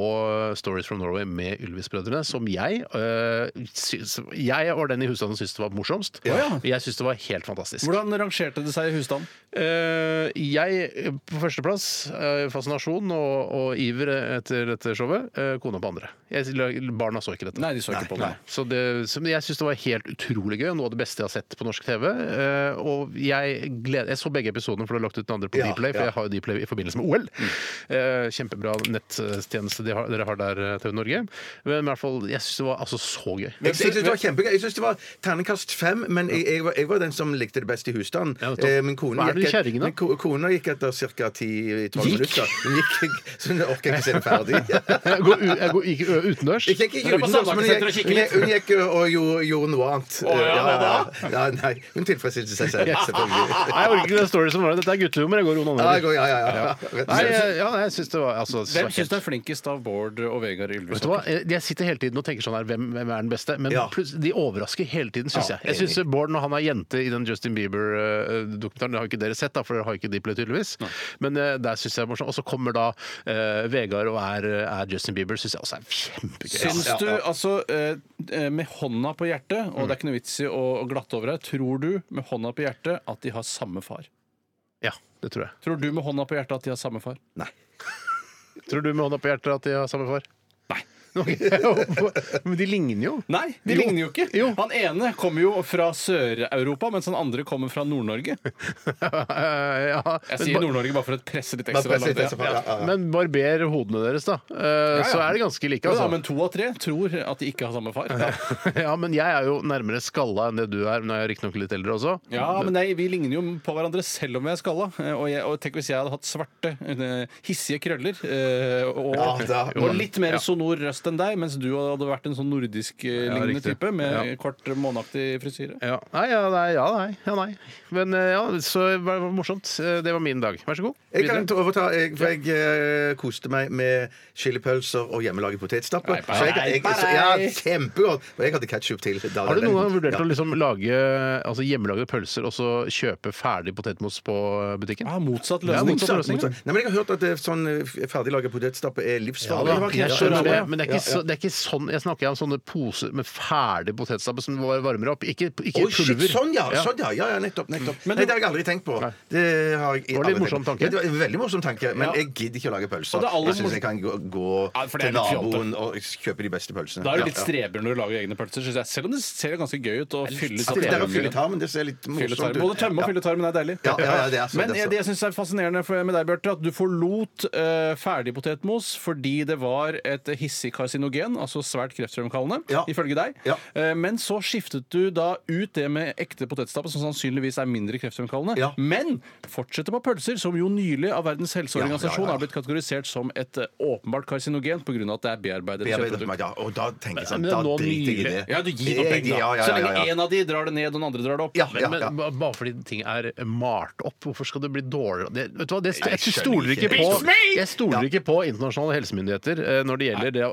Speaker 4: Stories from Norway med Ylvis-brødrene, som jeg eh, syns- Jeg var den i husstanden som syntes det var morsomst.
Speaker 5: Ja.
Speaker 4: Jeg syns det var helt fantastisk.
Speaker 5: Hvordan rangerte det seg i husstanden?
Speaker 4: Eh, jeg eh, på førsteplass, eh, fascinasjon og, og iver etter dette showet. eh, kona på andre. Jeg, barna så ikke dette.
Speaker 5: Nei, de så ikke på
Speaker 4: Nei.
Speaker 5: meg.
Speaker 4: Så det, så jeg syns det var helt utrolig gøy, og noe av det beste jeg har sett på norsk TV. TV. eh, Og jeg, gleder, jeg så begge episodene, for det er lagt ut den andre på
Speaker 6: Ja,
Speaker 4: Dplay. For
Speaker 6: ja. Mm.
Speaker 4: jeg har jo Dplay i forbindelse med OL. Eh, Kjempebra nettjeneste de har, dere har der, eh, TV Norge. Men i hvert fall, jeg syns det var altså så gøy.
Speaker 6: [LAUGHS] Jeg, jeg synes det var kjempegøy. Jeg synes det var terningkast fem, men jeg, jeg, var, jeg var den som likte det best i husstanden.
Speaker 4: Ja, nettopp.
Speaker 6: Eh, Min kone
Speaker 4: Hva er det
Speaker 6: gikk,
Speaker 4: med kjerringen, da?
Speaker 6: min ko- kona gikk etter ca. 10-12
Speaker 4: Gikk?
Speaker 6: minutter. Hun gikk, [LAUGHS] så hun orker ikke se det ferdig.
Speaker 4: [LAUGHS] Jeg går, u- jeg går ikke ø- utendørs.
Speaker 6: Ikke, ikke
Speaker 5: Dere er på
Speaker 6: utendørs, men hun
Speaker 5: Sandbakkesenteret og
Speaker 6: gikk,
Speaker 5: kikker
Speaker 6: hun
Speaker 5: litt.
Speaker 6: gikk, hun gikk og gjorde, gjorde noe annet. ja, ja. nei, hun tilfredsstilte seg selv, selvfølgelig.
Speaker 4: Nei, jeg orker ikke den storyen som var der. Dette er guttehumor. Jeg går roen
Speaker 6: Ja, jeg
Speaker 4: andre.
Speaker 6: går- ja, ja, ja. Rett og
Speaker 4: Nei, eh,
Speaker 6: slett.
Speaker 4: jeg, ja, nei, jeg syns det var altså,
Speaker 5: Hvem syns
Speaker 4: helt-
Speaker 5: du er flinkest av Bård og Vegard Ylvis?
Speaker 4: Vet du hva? Jeg sitter hele tiden og tenker sånn her, hvem, hvem er den beste? Men
Speaker 6: Ja.
Speaker 4: plutselig- de overrasker hele tiden, syns
Speaker 6: Ja,
Speaker 4: jeg. Jeg synes eh, Bård, når han er jente i den Justin Bieber-dokumentaren, det har jo ikke dere sett, da, for dere har jo ikke Diplo, tydeligvis, men eh, der syns jeg det er morsomt. Og så kommer da eh, Vegard og er, eh, er Justin Bieber, syns jeg også er kjempegøy.
Speaker 5: Syns
Speaker 6: Ja, ja,
Speaker 5: du,
Speaker 6: ja.
Speaker 5: altså eh, eh, med hånda på hjertet,
Speaker 4: Mm.
Speaker 5: og det er ikke noe vits i å å glatte over her, tror du med hånda på hjertet at de har samme far?
Speaker 4: Ja, det tror jeg.
Speaker 5: Tror du med hånda på hjertet at de har samme far?
Speaker 6: Nei.
Speaker 4: [LAUGHS] Tror du med hånda på hjertet at de har samme far? [LAUGHS] Nei. Men de ligner jo. [LAUGHS]
Speaker 5: Nei, de
Speaker 4: Jo.
Speaker 5: ligner jo ikke.
Speaker 4: Jo.
Speaker 5: Han ene kommer jo fra Sør-Europa, mens han andre kommer fra Nord-Norge.
Speaker 4: ja,
Speaker 5: Jeg
Speaker 4: men
Speaker 5: sier
Speaker 4: ba-
Speaker 5: Nord-Norge bare for å presse litt
Speaker 6: Bare
Speaker 5: ekstra.
Speaker 6: presse litt
Speaker 5: langt, ja.
Speaker 6: etterpå, ja, ja, ja.
Speaker 4: Men barber hodene deres, da. Eh, Så er det ganske like.
Speaker 5: Ja,
Speaker 4: Altså.
Speaker 5: da, men to av tre tror at de ikke har samme far. Ja,
Speaker 4: [LAUGHS] Ja, men jeg er jo nærmere skalla enn det du er. Nå er jeg riktignok litt eldre også.
Speaker 5: men nei, Vi ligner jo på hverandre selv om jeg er skalla. Eh, Og, jeg, og tenk hvis jeg hadde hatt svarte, eh, hissige krøller eh, og,
Speaker 6: Ja, da-
Speaker 5: og litt mer sonor røst enn deg, mens du hadde vært en sånn nordisk-lignende
Speaker 4: riktig.
Speaker 5: type med
Speaker 4: Ja.
Speaker 5: kort, måneaktig frisyre.
Speaker 4: Ja. Nei, ja, nei, ja, nei. Ja, nei. Men eh, ja, så det var morsomt. Eh, Det var min dag. Vær så god.
Speaker 6: Jeg kan overta, jeg, for jeg eh, koste meg med chilipølser og hjemmelaget potetstappe. Så jeg, jeg, så, ja, kjempegodt! Og jeg hadde ketsjup til. da
Speaker 4: Har du
Speaker 6: den-
Speaker 4: noen gang vurdert
Speaker 6: Ja.
Speaker 4: å liksom lage altså hjemmelagde pølser og så kjøpe ferdig potetmos på eh, butikken?
Speaker 5: Ja, motsatt
Speaker 4: Ja,
Speaker 5: løsning.
Speaker 4: motsatt løsning.
Speaker 6: Motsatt. Nei, men jeg har hørt at det er sånn eh, ferdiglaget potetstappe er
Speaker 4: Ja,
Speaker 6: livsfarlig.
Speaker 4: da. Jeg skjønner det, men det er,
Speaker 6: Ja,
Speaker 4: ikke så, det er ikke sånn Jeg snakker om sånne poser med ferdig potetstappe som var- varmer opp. Ikke, ikke
Speaker 6: Oi, shit,
Speaker 4: pulver.
Speaker 6: sånn, ja! Sånn, ja, ja, ja nettopp. nettopp.
Speaker 5: Men
Speaker 6: Nei,
Speaker 5: det-
Speaker 6: det har jeg aldri tenkt på. Det har jeg
Speaker 4: var
Speaker 6: aldri
Speaker 4: litt morsom
Speaker 6: tenkt på.
Speaker 4: tanke.
Speaker 6: Ja, det var en veldig morsom tanke, men
Speaker 5: Ja.
Speaker 6: jeg gidder ikke å lage
Speaker 5: Og
Speaker 6: pølser.
Speaker 5: det aller
Speaker 6: Jeg syns
Speaker 5: morsom-
Speaker 6: jeg kan gå, gå
Speaker 5: Ja, for det er
Speaker 6: til
Speaker 5: litt fjolte.
Speaker 6: naboen og kjøpe de beste pølsene.
Speaker 5: Da er du
Speaker 6: Ja,
Speaker 5: litt
Speaker 6: ja.
Speaker 5: streber når du lager egne pølser, synes jeg. Selv om det ser jo ganske gøy ut å fylle
Speaker 6: At det der å
Speaker 5: tarmen.
Speaker 6: fylle tarmen, det ser litt
Speaker 5: Fylle
Speaker 6: morsomt
Speaker 5: tarmen.
Speaker 6: ut.
Speaker 5: Både tømme og fylle tarmen er deilig.
Speaker 6: Ja, ja, ja, det er så,
Speaker 5: Men
Speaker 6: det er
Speaker 5: jeg,
Speaker 6: så.
Speaker 5: det jeg syns er fascinerende for- med deg, Bjarte, at du forlot eh, ferdigpotetmos fordi det var et hissig karsinogen, altså svært kreftfremkallende,
Speaker 6: Ja.
Speaker 5: ifølge deg.
Speaker 6: Ja.
Speaker 5: Eh, men så skiftet du da ut det med ekte potetstappe, som sannsynligvis er mindre kreftfremkallende.
Speaker 6: Ja.
Speaker 5: Men fortsette på pølser, som jo nylig av Verdens helseorganisasjon
Speaker 6: Ja, ja, ja.
Speaker 5: er blitt kategorisert som et eh, åpenbart karsinogen pga. at det er bearbeidet
Speaker 6: Bearbeidet
Speaker 5: kjøttprodukt.
Speaker 6: meg, ja. Og da tenker jeg sånn,
Speaker 4: Men
Speaker 6: da
Speaker 4: nå
Speaker 6: driter jeg i
Speaker 4: nylig.
Speaker 6: det.
Speaker 5: Ja, du gir
Speaker 6: Det-
Speaker 5: opp penger, da.
Speaker 6: ja, ja,
Speaker 5: Så
Speaker 6: ja, ja.
Speaker 5: lenge en av de drar det ned, og den andre drar det opp.
Speaker 6: Ja,
Speaker 4: Men,
Speaker 6: ja,
Speaker 4: men
Speaker 6: ja.
Speaker 4: ba- bare fordi ting er malt opp, hvorfor skal det bli dårligere? Det, vet du hva, det,
Speaker 6: Nei,
Speaker 4: jeg,
Speaker 6: jeg
Speaker 4: stoler
Speaker 6: skjønner
Speaker 4: ikke
Speaker 6: ikke.
Speaker 4: på,
Speaker 6: It's me!
Speaker 4: jeg stoler
Speaker 6: Ja.
Speaker 4: ikke på internasjonale helsemyndigheter eh, når det gjelder det.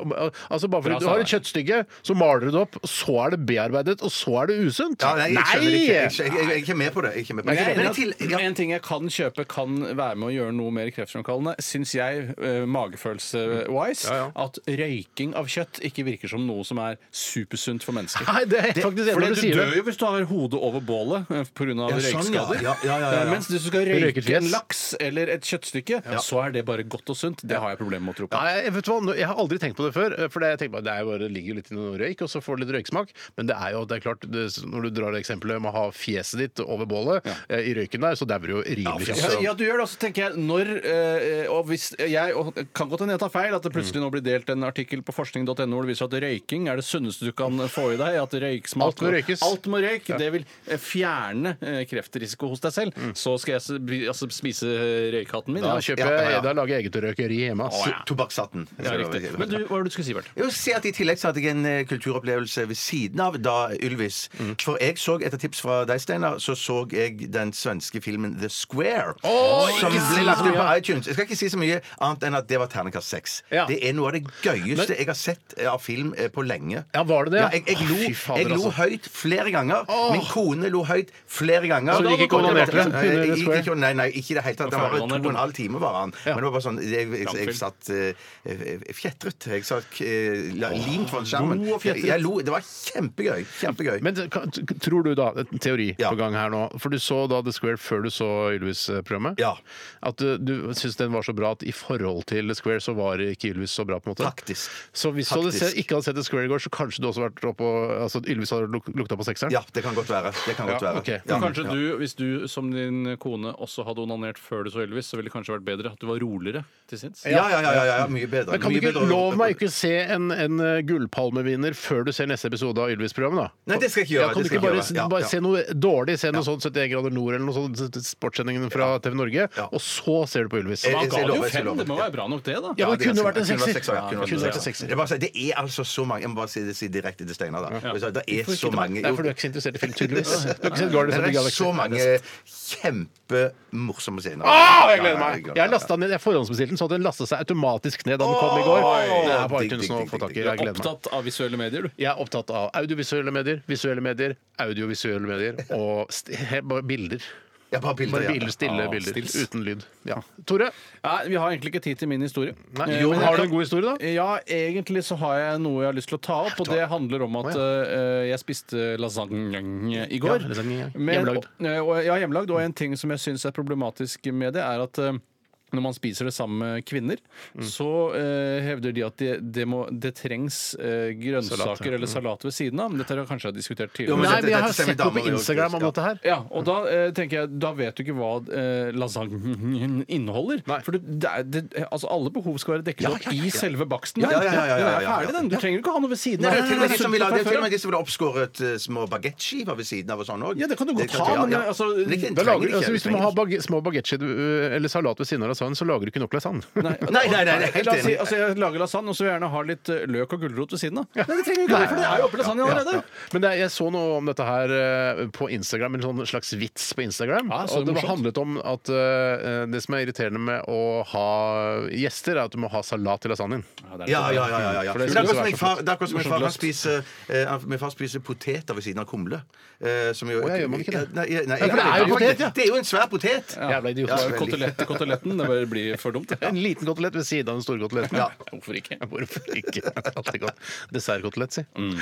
Speaker 4: Altså Bare
Speaker 5: Bra
Speaker 4: fordi du har
Speaker 5: sagt.
Speaker 4: et kjøttstykke, så maler du det opp, så er det bearbeidet, og så er det usunt.
Speaker 6: Ja, nei, jeg skjønner ikke. Jeg, skjønner- jeg, jeg, jeg er ikke med på det. Jeg er ikke med på det.
Speaker 5: Men jeg er
Speaker 6: Men
Speaker 5: enig
Speaker 6: til,
Speaker 5: i
Speaker 6: ja.
Speaker 5: at En ting jeg kan kjøpe, kan være med å gjøre noe mer kreftfremkallende, syns jeg, eh, magefølelse-wise,
Speaker 4: Ja, ja.
Speaker 5: at røyking av kjøtt ikke virker som noe som er supersunt for mennesker.
Speaker 4: Nei, det er jeg faktisk enig
Speaker 5: Fordi
Speaker 4: når du
Speaker 5: du
Speaker 4: sier
Speaker 5: dør
Speaker 4: det.
Speaker 5: jo hvis du har hodet over bålet pga. av
Speaker 6: Ja, sånn, ja.
Speaker 5: røykskader.
Speaker 6: Ja, ja, ja, ja.
Speaker 5: Eh, Mens hvis du skal
Speaker 4: Røyket
Speaker 5: røyke en
Speaker 4: fjes.
Speaker 5: laks eller et kjøttstykke, så er det bare godt og sunt. Det har jeg problemer med å tro på.
Speaker 4: Nei, jeg, vet du hva? Nå- jeg har aldri tenkt på det før. eh, For det, jeg tenker bare, det er jo bare, det ligger jo litt i noe røyk, og så får du litt røyksmak. Men det er jo det er klart, det, når du drar det eksempelet med å ha fjeset ditt over bålet eh, i røyken der, så dauer du jo rimelig
Speaker 5: Ja,
Speaker 4: kjapt.
Speaker 5: ja, du gjør det. Og så tenker jeg når eh, Og hvis jeg og det kan godt hende jeg tar feil, at det plutselig
Speaker 4: Mm.
Speaker 5: nå blir delt en artikkel på forskning.no hvor det viser at røyking er det sunneste du kan få i deg. At røyksmak
Speaker 4: Alt må røykes.
Speaker 5: Alt må røyk. Det vil eh, fjerne eh, kreftrisiko hos deg selv. Så skal jeg s- bli- altså, spise røykhatten min.
Speaker 4: Mm. Da
Speaker 5: ja.
Speaker 4: kjøper
Speaker 6: Ja, ja, ja.
Speaker 4: jeg, da lager jeg eget røykeri hjemme. ass.
Speaker 6: To- Tobakkshatten.
Speaker 5: Ja, riktig. Men du, hva var det du skulle si, Bert?
Speaker 6: Jeg vil si at I tillegg så hadde jeg en eh, kulturopplevelse ved siden av da Ylvis.
Speaker 4: Mm.
Speaker 6: For jeg så, etter tips fra deg, Steinar, så så jeg den svenske filmen The Square. som ble lagt ut på iTunes. Jeg skal ikke si så mye annet enn at det var terningkast seks.
Speaker 4: Ja.
Speaker 6: Det er noe av det gøyeste jeg har sett eh, av film eh, på lenge.
Speaker 4: Ja, var det det, ja?
Speaker 6: Ja, jeg, jeg,
Speaker 4: Å,
Speaker 6: lo,
Speaker 4: fy fader,
Speaker 6: jeg lo
Speaker 4: altså.
Speaker 6: høyt flere ganger. Min kone lo høyt flere ganger.
Speaker 4: Så Altså, du gikk ikke og onanerte?
Speaker 6: Nei, jeg gikk ikke og- Nei, nei, ikke i det hele tatt. Den var
Speaker 5: Ferdig
Speaker 6: to og en halv time, var han. Men det var bare sånn Jeg, jeg, jeg,
Speaker 5: Langfilm.
Speaker 6: satt eh, eh, fjetret. Jeg sa eh, la- limt folk sammen.
Speaker 5: Lo og fjetret.
Speaker 6: Jeg, jeg lo, det var kjempegøy. Kjempegøy.
Speaker 4: Men det- kan- tror du da, en teori
Speaker 6: Ja.
Speaker 4: på gang her nå, for du så da The Square før du så Ylvis-programmet,
Speaker 6: Ja.
Speaker 4: at du, du syns den var så bra at i forhold til The Square så var ikke Ylvis så bra på en måte?
Speaker 6: Taktisk.
Speaker 4: Så hvis du hadde
Speaker 6: Taktisk.
Speaker 4: se- ikke hadde sett The Square i går, så kanskje du også vært oppe og, altså at Ylvis hadde luk- lukta på sekseren?
Speaker 6: ja, det kan godt være. Det kan godt
Speaker 4: Ja,
Speaker 6: være.
Speaker 4: ok.
Speaker 6: Ja,
Speaker 5: kanskje
Speaker 6: ja.
Speaker 5: du, Hvis du som din kone også hadde onanert før du så Elvis, så ville det kanskje vært bedre at du var roligere til sinns?
Speaker 6: Ja, ja, ja, ja, ja, ja, mye bedre.
Speaker 4: Men kan du
Speaker 6: mye
Speaker 4: ikke
Speaker 6: bedre-
Speaker 4: lov meg ikke se en, en eh, gullpalmevinner før du ser neste episode av Ylvis-programmet, da?
Speaker 6: Nei, det skal jeg ikke gjøre,
Speaker 4: Ja, kan
Speaker 6: det
Speaker 4: du
Speaker 6: skal
Speaker 4: ikke
Speaker 6: jeg
Speaker 4: bare,
Speaker 6: ikke gjøre. Ja,
Speaker 4: bare
Speaker 6: ja.
Speaker 4: se noe dårlig, se noe sånn 71 grader nord eller noe sånt, s- s- sportssendingen fra TV Norge,
Speaker 6: Ja. Eh,
Speaker 4: og så ser du på Ylvis?
Speaker 6: Jeg-
Speaker 5: Han
Speaker 6: jeg
Speaker 5: ga
Speaker 6: sier
Speaker 5: det
Speaker 6: lov,
Speaker 5: jo
Speaker 6: jeg sier
Speaker 5: fem,
Speaker 6: lov.
Speaker 5: det må være bra nok, det, da.
Speaker 4: Ja,
Speaker 6: Ja,
Speaker 4: det kunne vært en
Speaker 6: kunne
Speaker 4: sekser.
Speaker 6: sekser, ja, kunne vært
Speaker 4: Kunne
Speaker 6: en
Speaker 4: vært en
Speaker 6: sekser.
Speaker 4: sekser.
Speaker 6: Jeg bare sier, Det er altså så mange Jeg må bare si det si direkte til Steinar. da. Jeg sa, Det er så mange
Speaker 4: Det
Speaker 6: jo,
Speaker 4: er fordi du er ikke så interessert i film, tydeligvis. [LAUGHS] Du har ikke sett
Speaker 6: Det
Speaker 4: Guardians of the
Speaker 6: er
Speaker 4: Galaxy.
Speaker 6: så mange kjempemorsomme scener.
Speaker 4: Åh, Ah, jeg gleder
Speaker 6: Ja,
Speaker 4: meg!
Speaker 6: ja, ja.
Speaker 4: Jeg lastet den ned, jeg forhåndsbestilte den, så den lastet seg automatisk ned da den kom i går. Det er på iTunes nå å få tak i. Jeg gleder meg.
Speaker 5: Opptatt av visuelle medier, du.
Speaker 4: Jeg er opptatt av audiovisuelle medier, visuelle medier, audiovisuelle medier og st he- bare bilder.
Speaker 6: Ja, bare bilder,
Speaker 4: Bare
Speaker 6: ja.
Speaker 4: bilder, stille
Speaker 5: Ah,
Speaker 4: bilder,
Speaker 5: stills.
Speaker 4: uten lyd. Ja. Tore,
Speaker 5: Nei, vi har egentlig ikke tid til min historie. Eh,
Speaker 4: jo,
Speaker 5: men jeg
Speaker 4: har du
Speaker 5: kan-
Speaker 4: en god historie, da?
Speaker 5: Ja, egentlig så har jeg noe jeg har lyst til å ta opp, og det handler om at eh, jeg spiste lasagne i går.
Speaker 4: Ja, lasagne, ja.
Speaker 5: Men-
Speaker 4: Hjemmelagd.
Speaker 5: eh, Og, ja, hjemmelagd. Og en ting som jeg syns er problematisk med det, er at eh, når man spiser det sammen med kvinner,
Speaker 4: Mm.
Speaker 5: så eh, hevder de at det, det, må, det trengs eh, grønnsaker
Speaker 4: Salat, ja.
Speaker 5: eller salat ved siden av. Men Dette har jeg kanskje diskutert
Speaker 6: Jo,
Speaker 5: tidligere.
Speaker 6: men
Speaker 4: Nei,
Speaker 6: dette-
Speaker 4: men jeg
Speaker 6: dette
Speaker 4: har
Speaker 6: ser vi
Speaker 4: sett noe på
Speaker 6: damer gjør,
Speaker 4: Instagram om
Speaker 6: ja.
Speaker 4: dette her.
Speaker 5: Ja, og da eh, tenker jeg Da vet du ikke hva eh, lasagnen [LAUGHS] inneholder.
Speaker 4: Nei.
Speaker 5: For du- det er, det, altså, alle behov skal være dekket
Speaker 6: Ja,
Speaker 5: opp
Speaker 6: ja, ja, ja.
Speaker 5: i selve baksten.
Speaker 6: Ja, ja, ja, ja,
Speaker 5: Den er
Speaker 6: ja, ja, ja.
Speaker 5: ferdig, den. Du trenger ikke ha noe ved siden
Speaker 6: Nei,
Speaker 5: av.
Speaker 6: det er til og med de som vil ha- det er til og med
Speaker 5: det.
Speaker 6: de som vil ha oppskåret eh, små bagettskiver ved siden av og sånn òg.
Speaker 5: Ja, det kan du godt ha, men det- altså,
Speaker 4: Da lager, altså, hvis du må ha bag små bagettskiver eller salat ved siden av lasagne, så lager du ikke nok lasagne. [LAUGHS]
Speaker 6: Nei, nei, nei, nei, helt
Speaker 5: La oss si,
Speaker 6: enig.
Speaker 5: altså, jeg lager lasagne, og så vil jeg gjerne ha litt eh, løk og gulrot ved siden av. Nei, det trenger du ikke ha, for det er jo oppi lasagnen allerede.
Speaker 4: Men det, er- jeg så noe om dette her eh, på Instagram, en sånn slags vits på Instagram.
Speaker 5: Ja, Ah, så
Speaker 4: og det
Speaker 5: morsomt.
Speaker 4: handlet om at eh, det som er irriterende med å ha gjester, er at du må ha salat til lasagnen.
Speaker 6: Ja, ja, ja. ja, ja, ja.
Speaker 4: For
Speaker 6: Men
Speaker 4: det
Speaker 6: Det
Speaker 4: skulle
Speaker 6: er akkurat som
Speaker 4: være
Speaker 6: min
Speaker 4: så
Speaker 6: far,
Speaker 4: flott.
Speaker 6: det er akkurat som min
Speaker 4: Morsomt
Speaker 6: far han
Speaker 4: løst.
Speaker 6: spiser, eh, han- min far spiser poteter ved siden av kumle. eh, som jo-
Speaker 4: Å, ja, gjør man ikke det?
Speaker 6: Nei, nei,
Speaker 4: Ja, for det er jo potet, ja.
Speaker 6: Det er jo en svær potet!
Speaker 4: Jævla idiot.
Speaker 5: Det er jo Kotelett til koteletten. Det bare blir for dumt.
Speaker 4: En liten kotelett ved siden av den store koteletten.
Speaker 6: Ja.
Speaker 5: Hvorfor ikke?
Speaker 4: [LAUGHS] Hvorfor ikke? Alltid godt. Dessertkotelett, si.
Speaker 6: Mm.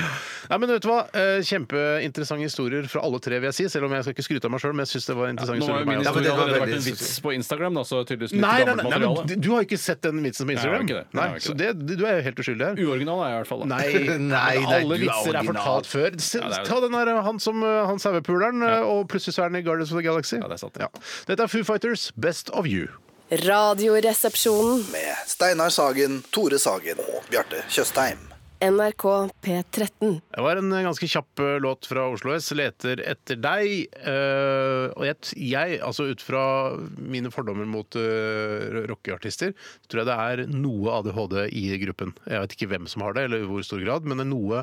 Speaker 4: Nei, men vet du hva? Eh, Kjempeinteressante historier fra alle tre, vil jeg si. Selv om jeg skal ikke skryte av meg sjøl, men jeg syns det var
Speaker 5: Nå
Speaker 4: interessante
Speaker 5: har
Speaker 4: historier.
Speaker 5: jo
Speaker 4: for meg også.
Speaker 5: min
Speaker 6: Ja, men det
Speaker 5: historie
Speaker 6: var
Speaker 5: allerede vært en
Speaker 6: veldig-
Speaker 5: vits på Instagram, da, så tydeligvis litt
Speaker 4: Nei, nei,
Speaker 5: gammelt
Speaker 4: nei, nei, men
Speaker 5: materiale.
Speaker 4: du- du har jo ikke sett den vitsen på Instagram.
Speaker 5: Nei, jeg har ikke det.
Speaker 4: Nei,
Speaker 5: Jeg har ikke
Speaker 4: så det, du er jo helt uskyldig her.
Speaker 5: Uoriginal er jeg i hvert fall. [LAUGHS] da.
Speaker 4: Nei,
Speaker 6: Nei, nei,
Speaker 4: alle
Speaker 6: du er
Speaker 4: vitser er
Speaker 6: original.
Speaker 4: fortalt før. Se,
Speaker 5: Ja, det er det.
Speaker 4: ta den der han som eh, han sauepuleren, eh, og plutselig så er han i Guardians of the Galaxy.
Speaker 5: det er sant.
Speaker 4: Dette er Foo Fighters, Best of You.
Speaker 7: Radioresepsjonen.
Speaker 8: med Steinar Sagen, Tore Sagen og Bjarte Tjøstheim.
Speaker 7: NRK P13.
Speaker 4: Det var en ganske kjapp eh, låt fra Oslo S. 'Leter etter deg'. Eh, og jeg, t- jeg, altså ut fra mine fordommer mot eh, rockeartister, tror jeg det er noe ADHD i gruppen. Jeg vet ikke hvem som har det, eller i hvor stor grad, men noe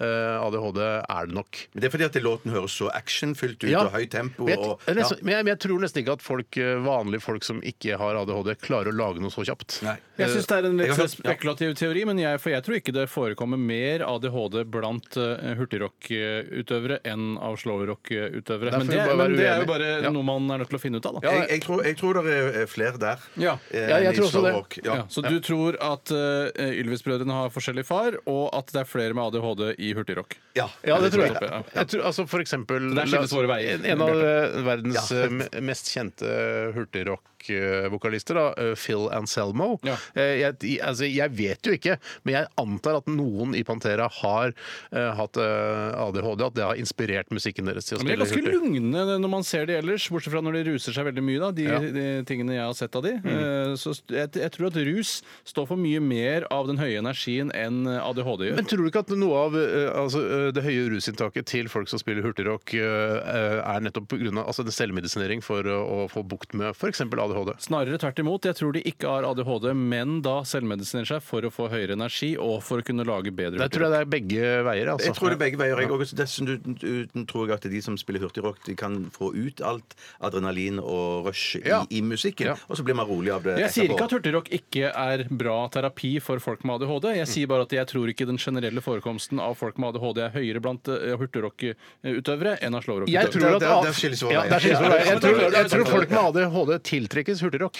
Speaker 4: eh, ADHD er det nok.
Speaker 6: Men Det er fordi at låten høres så actionfylt ut og høyt tempo.
Speaker 4: Men jeg,
Speaker 6: og,
Speaker 4: jeg, nesten, men jeg, men jeg tror nesten ikke at folk, eh, vanlige folk som ikke har ADHD, klarer å lage noe så kjapt.
Speaker 6: Nei. Eh,
Speaker 5: Jeg syns det er en
Speaker 6: Jeg
Speaker 5: litt sånn
Speaker 6: har hørt-
Speaker 5: spekulativ teori, men jeg, for jeg tror ikke det forekommer mer ADHD blant eh, hurtigrock-utøvere enn av slowrock-utøvere.
Speaker 4: Der får
Speaker 5: Men, det,
Speaker 4: vi bare
Speaker 5: men
Speaker 4: være
Speaker 5: det
Speaker 4: uenige.
Speaker 5: er jo bare
Speaker 4: Ja.
Speaker 5: noe man er nødt til å finne ut av, da.
Speaker 6: jeg, jeg, tror, jeg tror det er eh, flere der.
Speaker 5: Ja.
Speaker 6: eh,
Speaker 4: Ja, jeg
Speaker 6: enn i
Speaker 4: tror også
Speaker 6: slow
Speaker 4: det.
Speaker 6: rock.
Speaker 5: Ja,
Speaker 6: Ja.
Speaker 5: så du tror at eh, Ylvis-brødrene har forskjellig far, og at det er flere med ADHD i hurtigrock?
Speaker 6: Ja.
Speaker 4: Ja, det tror jeg.
Speaker 5: Ja.
Speaker 4: jeg tror, altså for eksempel
Speaker 5: Der skilles våre veier.
Speaker 4: En, en av eh, verdens
Speaker 6: Ja.
Speaker 4: eh, me- mest kjente eh, hurtigrock-vokalister, da, eh, Phil Anselmo.
Speaker 5: Ja.
Speaker 4: Eh, Jeg, i- altså, jeg vet jo ikke, men jeg antar at noen i Pantera har eh, hatt eh, ADHD, at det har inspirert musikken deres til å
Speaker 5: Men de er
Speaker 4: spille
Speaker 5: ganske
Speaker 4: hurtig.
Speaker 5: lugne når man ser de ellers, bortsett fra når de ruser seg veldig mye, da, de,
Speaker 4: Ja. Mm.
Speaker 5: de tingene jeg har sett av de. Eh, Så st- jeg, jeg tror at rus står for mye mer av den høye energien enn ADHD gjør.
Speaker 4: Men tror du ikke at noe av eh, altså, eh, det høye rusinntaket til folk som spiller hurtigrock, eh, eh, er nettopp pga. Altså, en selvmedisinering for å, å få bukt med f.eks. ADHD?
Speaker 5: Snarere tvert imot. Jeg tror de ikke har ADHD, men da selvmedisinerer seg for å få høyere energi og for å kunne lage bedre
Speaker 4: Der tror jeg det er begge veier. Altså.
Speaker 6: Jeg tror det er begge veier. Jeg også. Dessuten uten tror jeg at de som spiller hurtigrock, de kan få ut alt adrenalin og rush i,
Speaker 4: Ja.
Speaker 6: i musikken,
Speaker 4: Ja.
Speaker 6: og så blir man rolig av det.
Speaker 5: Jeg sier
Speaker 6: etterpå.
Speaker 5: ikke at hurtigrock ikke er bra terapi for folk med ADHD. Jeg
Speaker 4: Mm.
Speaker 5: sier bare at jeg tror ikke den generelle forekomsten av folk med ADHD er høyere blant eh, hurtigrock-utøvere enn av slowrock-utøvere.
Speaker 4: Jeg tror at
Speaker 6: Der- der- der skilles våre
Speaker 4: Ja,
Speaker 6: veier.
Speaker 4: der skilles våre veier.
Speaker 5: Ja,
Speaker 4: Jeg tror,
Speaker 5: men det er-
Speaker 4: jeg tror folk med ADHD tiltrekkes hurtigrock.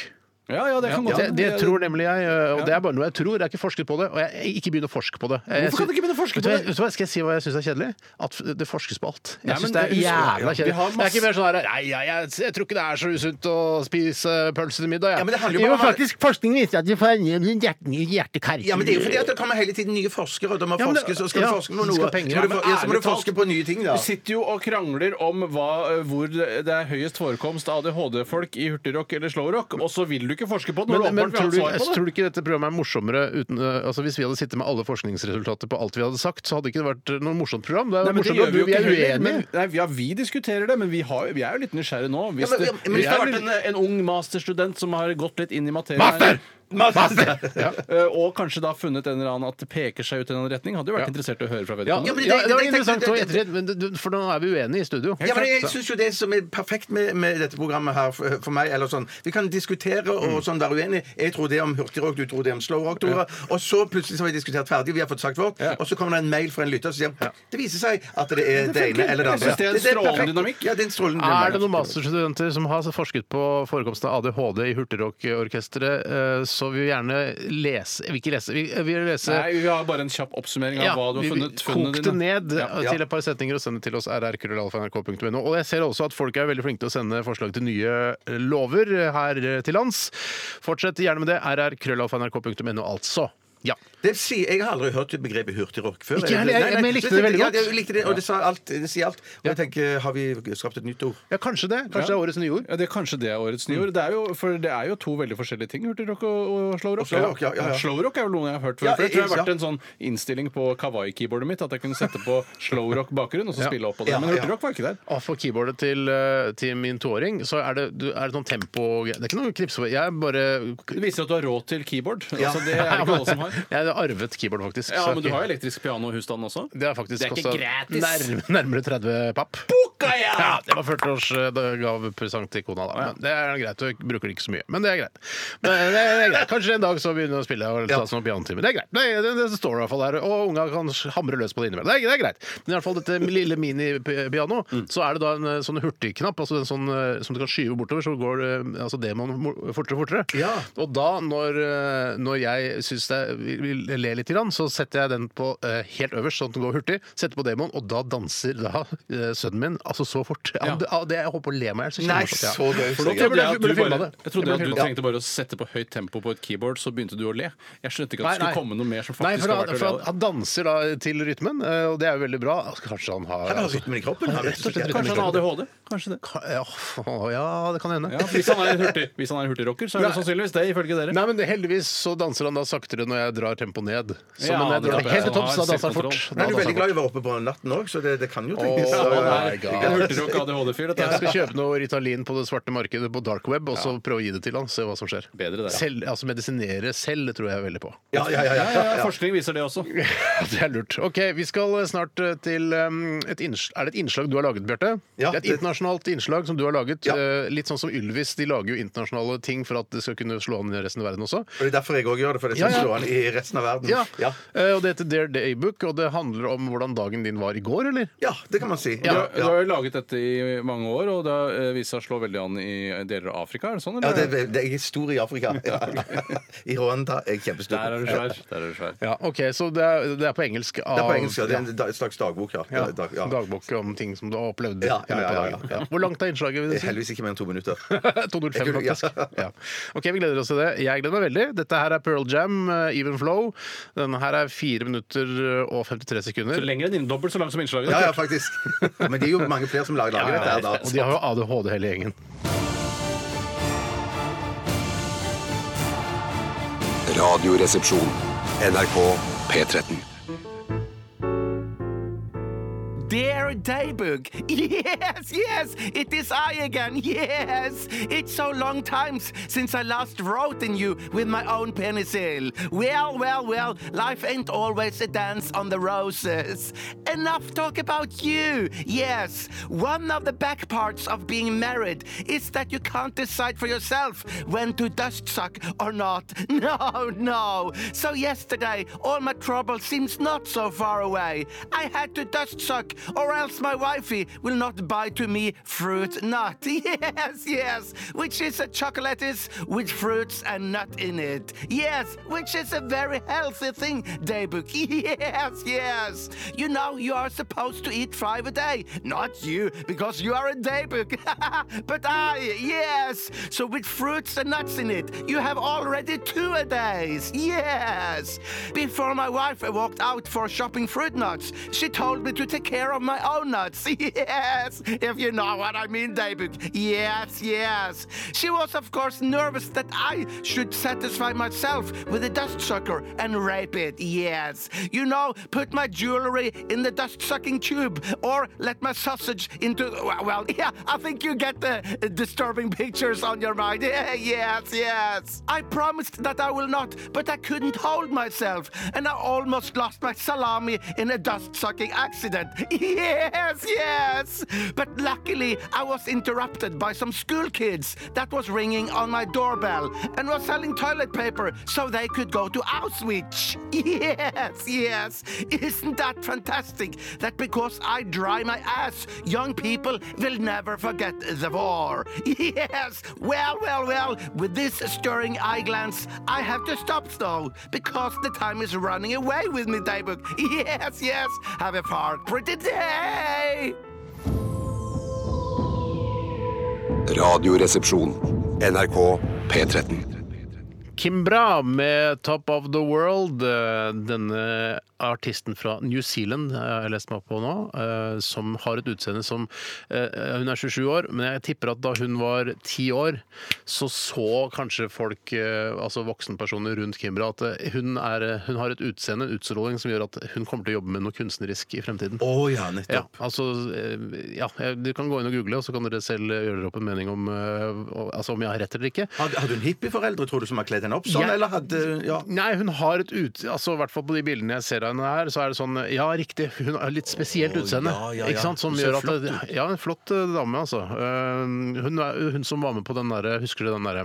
Speaker 5: Ja, ja, det kan godt
Speaker 4: Det, det tror nemlig jeg, eh, og det er bare noe jeg tror. Jeg har ikke forsket på det, og jeg ikke begynner å forske på det. Jeg
Speaker 5: Hvorfor kan du
Speaker 4: sy-
Speaker 5: ikke begynne å forske
Speaker 4: Vet
Speaker 5: på
Speaker 4: hva-
Speaker 5: det?
Speaker 4: Vet du hva, Skal jeg si hva jeg syns er kjedelig? At f- det forskes på alt.
Speaker 5: Nei,
Speaker 4: Jeg syns
Speaker 5: men
Speaker 4: det er
Speaker 5: det er us-
Speaker 4: jævla
Speaker 5: Vi
Speaker 4: kjedelig.
Speaker 5: har
Speaker 4: Det er
Speaker 5: masse-
Speaker 4: ikke mer sånn her Nei, jeg, jeg, jeg tror ikke det er så usunt å spise pølse til middag, jeg.
Speaker 6: Ja, men det handler jo bare om-
Speaker 4: faktisk, forskning viser at vi får en hjerte- hjertekar.
Speaker 6: Ja, men Det er jo fordi at det kommer hele tiden nye forskere, og da må
Speaker 4: Ja, men det-
Speaker 6: forskes, og skal du
Speaker 4: ja,
Speaker 6: forske på
Speaker 4: det
Speaker 6: noe.
Speaker 4: skal penger.
Speaker 6: så må
Speaker 4: Ja,
Speaker 6: du, for-
Speaker 4: men
Speaker 6: ja, så må du
Speaker 4: ærlig talt.
Speaker 6: forske på nye ting, da.
Speaker 5: Vi sitter jo og krangler om hva, eh, hvor det er høyest forekomst av ADHD-folk i hurtigrock eller slowrock, og så vil du ikke forske på det når
Speaker 4: Men, men
Speaker 5: du
Speaker 4: tror,
Speaker 5: åpenbart
Speaker 4: du,
Speaker 5: vil ha svar
Speaker 4: tror
Speaker 5: på det.
Speaker 4: du ikke dette programmet er morsommere uten, øh, altså Hvis vi hadde sittet med alle forskningsresultater på alt vi hadde sagt, så hadde ikke det vært eh, noe morsomt program. Det er jo
Speaker 5: Nei, men
Speaker 4: morsomt at du, vi er
Speaker 5: heller,
Speaker 4: [LAUGHS] uenige.
Speaker 5: men- Nei, ja, vi diskuterer det, men vi, har, vi er jo litt nysgjerrige nå. Hvis
Speaker 6: Ja, men-
Speaker 5: det,
Speaker 6: men
Speaker 5: hvis
Speaker 6: vi
Speaker 5: det
Speaker 6: har
Speaker 5: er
Speaker 6: vært
Speaker 5: en, eh, en ung masterstudent som har gått litt inn i materien
Speaker 4: Master!
Speaker 6: [LAUGHS]
Speaker 5: Master! Eh, Og kanskje da funnet en eller annen at det peker seg ut i en eller annen retning, hadde jo vært interessert i å høre fra
Speaker 4: Ja,
Speaker 5: vedkommende.
Speaker 4: ja,
Speaker 6: men
Speaker 4: det,
Speaker 6: det-
Speaker 4: var
Speaker 6: det- det-
Speaker 4: interessant
Speaker 6: det-
Speaker 4: å
Speaker 6: det-
Speaker 4: etter men du- du- for nå er vi uenige i studio.
Speaker 6: Ja, men jeg synes jo Det som er perfekt med, med dette programmet her for, for meg eller sånn, Vi kan diskutere og sånn være uenige. Jeg tror det om hurtigrock, du tror det om slowrock. Tore. Og så plutselig så har vi diskutert ferdig, vi har fått sagt vårt, og så kommer det en mail fra en lytter som sier det viser seg at det er det ene eller det andre.
Speaker 5: Jeg synes det er en strålende
Speaker 6: perfekt.
Speaker 5: dynamikk.
Speaker 6: Ja, det er en strålende
Speaker 4: Er det
Speaker 6: dynamikk.
Speaker 4: noen masterstudenter som har forsket på forekomsten av ADHD i Hurtigrockorkesteret, eh, så vil vi gjerne lese Vi ikke lese, vi vi vil lese
Speaker 5: Nei, vi har bare en kjapp oppsummering av
Speaker 4: Ja,
Speaker 5: hva du har
Speaker 4: vi-
Speaker 5: funnet.
Speaker 4: vi-
Speaker 5: funnene
Speaker 4: Kok det
Speaker 5: dine.
Speaker 4: ned
Speaker 5: Ja.
Speaker 4: eh, til et par setninger og send det til oss rrkrøllalfa.nrk.no. Og jeg ser også at folk er veldig flinke til å sende forslag til nye eh, lover her eh, til lands. Fortsett gjerne med det. rrkrøllalfa.nrk.no, altså. Ja.
Speaker 6: Det sier, jeg har aldri hørt begrepet hurtigrock før.
Speaker 4: Ikke heller, jeg-
Speaker 6: Nei, nei,
Speaker 4: men jeg likte det veldig godt.
Speaker 6: Ja, jeg likte det, og det, sa alt, det sier alt. Og jeg tenker, har vi skapt et nytt ord?
Speaker 4: ja, kanskje det. Kanskje det
Speaker 5: Ja.
Speaker 4: er årets nye ord.
Speaker 5: Ja, det, Kanskje det er årets nyord. Det, er jo, for det er jo to veldig forskjellige ting, hurtigrock og, og slowrock.
Speaker 6: Og slowrock, ja, ja, ja.
Speaker 5: Slowrock er jo noe jeg har hørt før.
Speaker 6: Ja,
Speaker 5: for jeg tror det har
Speaker 6: ja.
Speaker 5: vært en sånn innstilling på kawaii-keyboardet mitt at jeg kunne sette på slowrock-bakgrunn og så spille opp på det.
Speaker 6: Ja,
Speaker 5: Men
Speaker 6: ja.
Speaker 5: hurtigrock var ikke der.
Speaker 4: Og for keyboardet til, eh, til min toåring, så er det, du, er det sånn tempo Det er ikke noe knipse for. Jeg bare
Speaker 5: Det viser at du har råd til keyboard. Altså, det er ikke alle som har.
Speaker 4: [LAUGHS] Jeg har arvet keyboard, faktisk.
Speaker 5: Ja,
Speaker 4: så jeg
Speaker 5: Men du har
Speaker 4: ikke-
Speaker 5: jo elektrisk piano i husstanden også.
Speaker 4: det har faktisk
Speaker 5: Det er ikke
Speaker 4: kostet
Speaker 5: gratis.
Speaker 4: nærm- nærmere 30 papp. Ja, det var 40-årsgavepresang til kona, da. Men det er greit, du bruker det ikke så mye. Men det er greit. Men det er greit. Kanskje en dag så begynner du å spille og ta sånn pianotime. Det er greit. Det, det, det står i hvert fall der. Og unga kan hamre løs på det innimellom. Det, er- det er greit. Men i hvert fall dette lille minipiano, så er det da en eh, sånn hurtigknapp altså en sånn, eh, som du kan skyve bortover, så går eh, altså demoen mo- fortere og fortere.
Speaker 6: Ja.
Speaker 4: Og da, når, eh, når jeg syns jeg vil- vil le litt, grann, så setter jeg den på eh, helt øverst, sånn at den går hurtig. Setter på demoen, og da danser da eh, sønnen min altså så fort. Ja. det- ja, det, jeg holdt på å le meg i hjel.
Speaker 6: Nei, så gøy.
Speaker 4: For nå
Speaker 6: Jeg
Speaker 4: trodde
Speaker 5: trodde
Speaker 4: jeg
Speaker 5: at
Speaker 4: at
Speaker 5: du
Speaker 4: du
Speaker 5: bare-
Speaker 4: filma det.
Speaker 5: Jeg trodde at
Speaker 4: ble
Speaker 5: du
Speaker 4: filmet.
Speaker 5: tenkte bare å sette på høyt tempo på et keyboard, så begynte du å le. Jeg skjønte ikke
Speaker 4: Nei,
Speaker 5: at det skulle
Speaker 4: nei.
Speaker 5: komme noe mer som
Speaker 4: Nei,
Speaker 5: faktisk
Speaker 4: for,
Speaker 5: har
Speaker 4: han,
Speaker 5: vært
Speaker 4: for
Speaker 5: å
Speaker 4: han,
Speaker 5: le av.
Speaker 4: han danser da til rytmen, eh, og det er jo veldig bra. Kanskje han har
Speaker 6: Han har
Speaker 4: altså,
Speaker 6: rytmen i kroppen. Han,
Speaker 4: rett og slett rytmen i
Speaker 5: Kanskje han har
Speaker 4: kroppen.
Speaker 5: ADHD? Kanskje det.
Speaker 4: Ka- Ja, å, ja, det kan hende.
Speaker 5: Ja, hvis han er en hurtig, hvis han er en hurtigrocker, så er det
Speaker 4: Nei.
Speaker 5: sannsynligvis det, ifølge dere.
Speaker 4: Nei, men Heldigvis så danser han da saktere når jeg drar tempoet ned. Så
Speaker 5: Ja,
Speaker 4: når jeg drar
Speaker 5: nettopp,
Speaker 4: helt til
Speaker 5: ja.
Speaker 4: topps, da danser han fort. Da
Speaker 5: Selvkontroll.
Speaker 6: er jo
Speaker 4: danser
Speaker 6: veldig
Speaker 4: han fort.
Speaker 6: glad i å være oppe på natten òg, så det, det kan jo tenkes.
Speaker 4: Åh,
Speaker 6: Ja,
Speaker 5: oh
Speaker 6: ja.
Speaker 4: my God.
Speaker 5: En hurtigrock ADHD-fyr, dette
Speaker 4: Jeg
Speaker 5: er
Speaker 4: skal kjøpe noe Ritalin på det svarte markedet på dark web, og så prøve å gi det til han, se hva som skjer.
Speaker 5: Bedre det, ja.
Speaker 4: Selv, altså medisinere selv det tror jeg veldig på.
Speaker 6: [LAUGHS] Ja, ja, ja, ja,
Speaker 5: ja,
Speaker 6: ja,
Speaker 5: ja,
Speaker 6: ja.
Speaker 5: Forskning viser det også.
Speaker 4: Det er lurt. Ok, Vi skal snart eh, til um, et inns- Er det et innslag du har laget, Bjarte?
Speaker 6: Ja,
Speaker 4: det er et
Speaker 6: det-
Speaker 4: internasjonalt innslag som du har laget.
Speaker 6: Ja.
Speaker 4: eh, Litt sånn som Ylvis. De lager jo internasjonale ting for at det skal kunne slå an i resten av verden også.
Speaker 6: Og Det er derfor jeg òg gjør det, for det
Speaker 4: Ja,
Speaker 6: skal
Speaker 4: ja.
Speaker 6: slå an i resten av verden.
Speaker 4: Ja.
Speaker 6: Mm. Ja.
Speaker 4: Eh, Og det heter Dear Daybook, og det handler om hvordan dagen din var i går, eller?
Speaker 6: Ja, det kan man si.
Speaker 5: Du,
Speaker 6: Ja,
Speaker 5: har- du har jo laget dette i mange år, og det har eh, vist seg å slå veldig an i deler av Afrika. Er det sånn,
Speaker 6: Ja,
Speaker 5: eller?
Speaker 6: det, er- det, jeg er stor i Afrika. Ja. [LAUGHS] I Rwanda er jeg kjempestor.
Speaker 5: Der er du svær. Der er du svær.
Speaker 4: Ja, ok, Så det er, det er på engelsk av
Speaker 6: Det er på engelsk, ja. Det er en da- slags dagbok, ja.
Speaker 4: Ja,
Speaker 6: Dag- ja.
Speaker 4: Dagbok om ting som du har opplevd.
Speaker 6: Ja,
Speaker 4: i løpet
Speaker 6: ja,
Speaker 4: av
Speaker 6: ja,
Speaker 4: dagen.
Speaker 6: ja, ja.
Speaker 4: Hvor langt er innslaget? vil du si? [LAUGHS]
Speaker 6: Heldigvis ikke mer enn to minutter.
Speaker 4: 205,
Speaker 6: Jeg kunne- ja.
Speaker 4: faktisk. Ja. Ok, Vi gleder oss til det. Jeg gleder meg veldig. Dette her er Pearl Jam, eh, Even Flow. Denne her er 4 minutter eh, og 53
Speaker 5: Så
Speaker 4: sekunder.
Speaker 5: lenger enn innen- dobbelt så langt som innslaget.
Speaker 6: Ja, ja, faktisk. Men det er jo mange flere som lager lager dette her, da.
Speaker 4: Og de har jo ADHD, hele gjengen.
Speaker 1: Radioresepsjon. NRK P13.
Speaker 9: Dear Daybook, [LAUGHS] yes, yes, it is I again, yes. It's so long times since I last wrote in you with my own penicil. Well, well, well, life ain't always a dance on the roses. Enough talk about you, yes. One of the back parts of being married is that you can't decide for yourself when to dust suck or not. [LAUGHS] No, no. So yesterday, all my trouble seems not so far away. I had to dust suck or or else my wifey will not buy to me fruit nut. [LAUGHS] Yes, yes, which is a chocolates with fruits and nut in it. Yes, which is a very healthy thing, Daybook. [LAUGHS] Yes, yes. You know, you are supposed to eat five a day. Not you, because you are a Daybook. [LAUGHS] but I, yes. So with fruits and nuts in it, you have already two a days. Yes. Before my wife walked out for shopping fruit nuts, she told me to take care of my own nuts. [LAUGHS] Yes, if you know what I mean, David. Yes, yes. She was, of course, nervous that I should satisfy myself with a dust sucker and rape it. Yes. You know, put my jewelry in the dust sucking tube or let my sausage into. Well, [LAUGHS] yeah, I think you get the uh, disturbing pictures on your mind. [LAUGHS] yes, yes. I promised that I will not, but I couldn't hold myself, and I almost lost my salami in a dust sucking accident. [LAUGHS] Yes, yes. But luckily, I was interrupted by some school kids that was ringing on my doorbell and was selling toilet paper so they could go to Auschwitz. [LAUGHS] Yes, yes. Isn't that fantastic? That because I dry my ass, young people will never forget the war. [LAUGHS] Yes. Well, well, well. With this stirring eye glance, I have to stop though because the time is running away with me, Daybook. Yes, yes. Have a far pretty day.
Speaker 1: Radioresepsjon. NRK P13.
Speaker 4: Kimbra med 'Top of the World'. eh, Denne artisten fra New Zealand eh, har jeg lest meg opp på nå, eh, som har et utseende som eh, Hun er 27 år, men jeg tipper at da hun var 10 år, så så kanskje folk, eh, altså voksenpersoner rundt Kimbra, at eh, hun, er, eh, hun har et utseende, en utstråling, som gjør at hun kommer til å jobbe med noe kunstnerisk i fremtiden.
Speaker 6: Å ja, nettopp.
Speaker 4: Ja, altså, eh, ja, eh, Du kan gå inn og google, og så kan dere selv gjøre dere opp en mening om, eh, altså, om jeg har rett eller ikke.
Speaker 6: Hadde, hadde hun hippieforeldre, tror du, som har kledd henne opp sånn?
Speaker 4: Jeg-
Speaker 6: Eller hadde ja.
Speaker 4: Nei, hun har et ut... Altså, I hvert fall på de bildene jeg ser av henne her, så er det sånn Ja, riktig, hun har litt spesielt utseende.
Speaker 6: ja, ja, ja.
Speaker 4: Ikke sant? Som
Speaker 6: Hun ser
Speaker 4: gjør at
Speaker 6: flott
Speaker 4: det, Ja, en flott eh, dame, altså. Eh, Hun, er, hun som var med på den derre Husker du den derre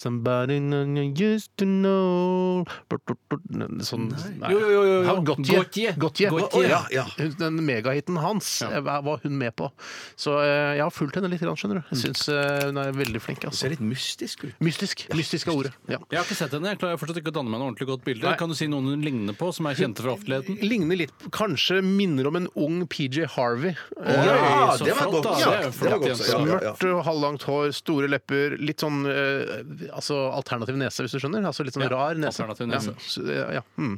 Speaker 4: Somebody I used to know Sånn nei.
Speaker 5: Jo, jo, jo, jo, jo.
Speaker 4: How Gotye.
Speaker 5: Gotye.
Speaker 4: Gotye.
Speaker 5: Gotye.
Speaker 4: Å, ja,
Speaker 6: ja.
Speaker 4: Hun- Den megahiten hans eh, var hun med på. Så eh, jeg har fulgt henne litt, grann, skjønner du. Jeg syns hun er veldig flink.
Speaker 6: Mm. Ser
Speaker 4: Altså.
Speaker 6: litt mystisk ut.
Speaker 4: Mystisk. Mystisk er ordet. Ja.
Speaker 5: Jeg har ikke sett henne. Jeg klarer fortsatt ikke å danne meg noe ordentlig godt bilde.
Speaker 4: Nei.
Speaker 5: Kan du si noen hun ligner på, som er kjente fra offentligheten?
Speaker 4: Ligner litt Kanskje minner om en ung PJ Harvey. Eh,
Speaker 6: Ja,
Speaker 5: så
Speaker 6: det var
Speaker 5: flott,
Speaker 6: godt
Speaker 5: da.
Speaker 6: sagt.
Speaker 5: Det er jo
Speaker 6: Det var
Speaker 5: flott
Speaker 6: godt
Speaker 5: jente.
Speaker 6: sagt, ja.
Speaker 4: Mørkt og halvlangt hår, store lepper, litt sånn eh, altså alternativ nese, hvis du skjønner? Altså litt sånn
Speaker 5: Ja,
Speaker 4: rar nese.
Speaker 5: alternativ nese.
Speaker 4: Ja, så, eh, ja. Hmm.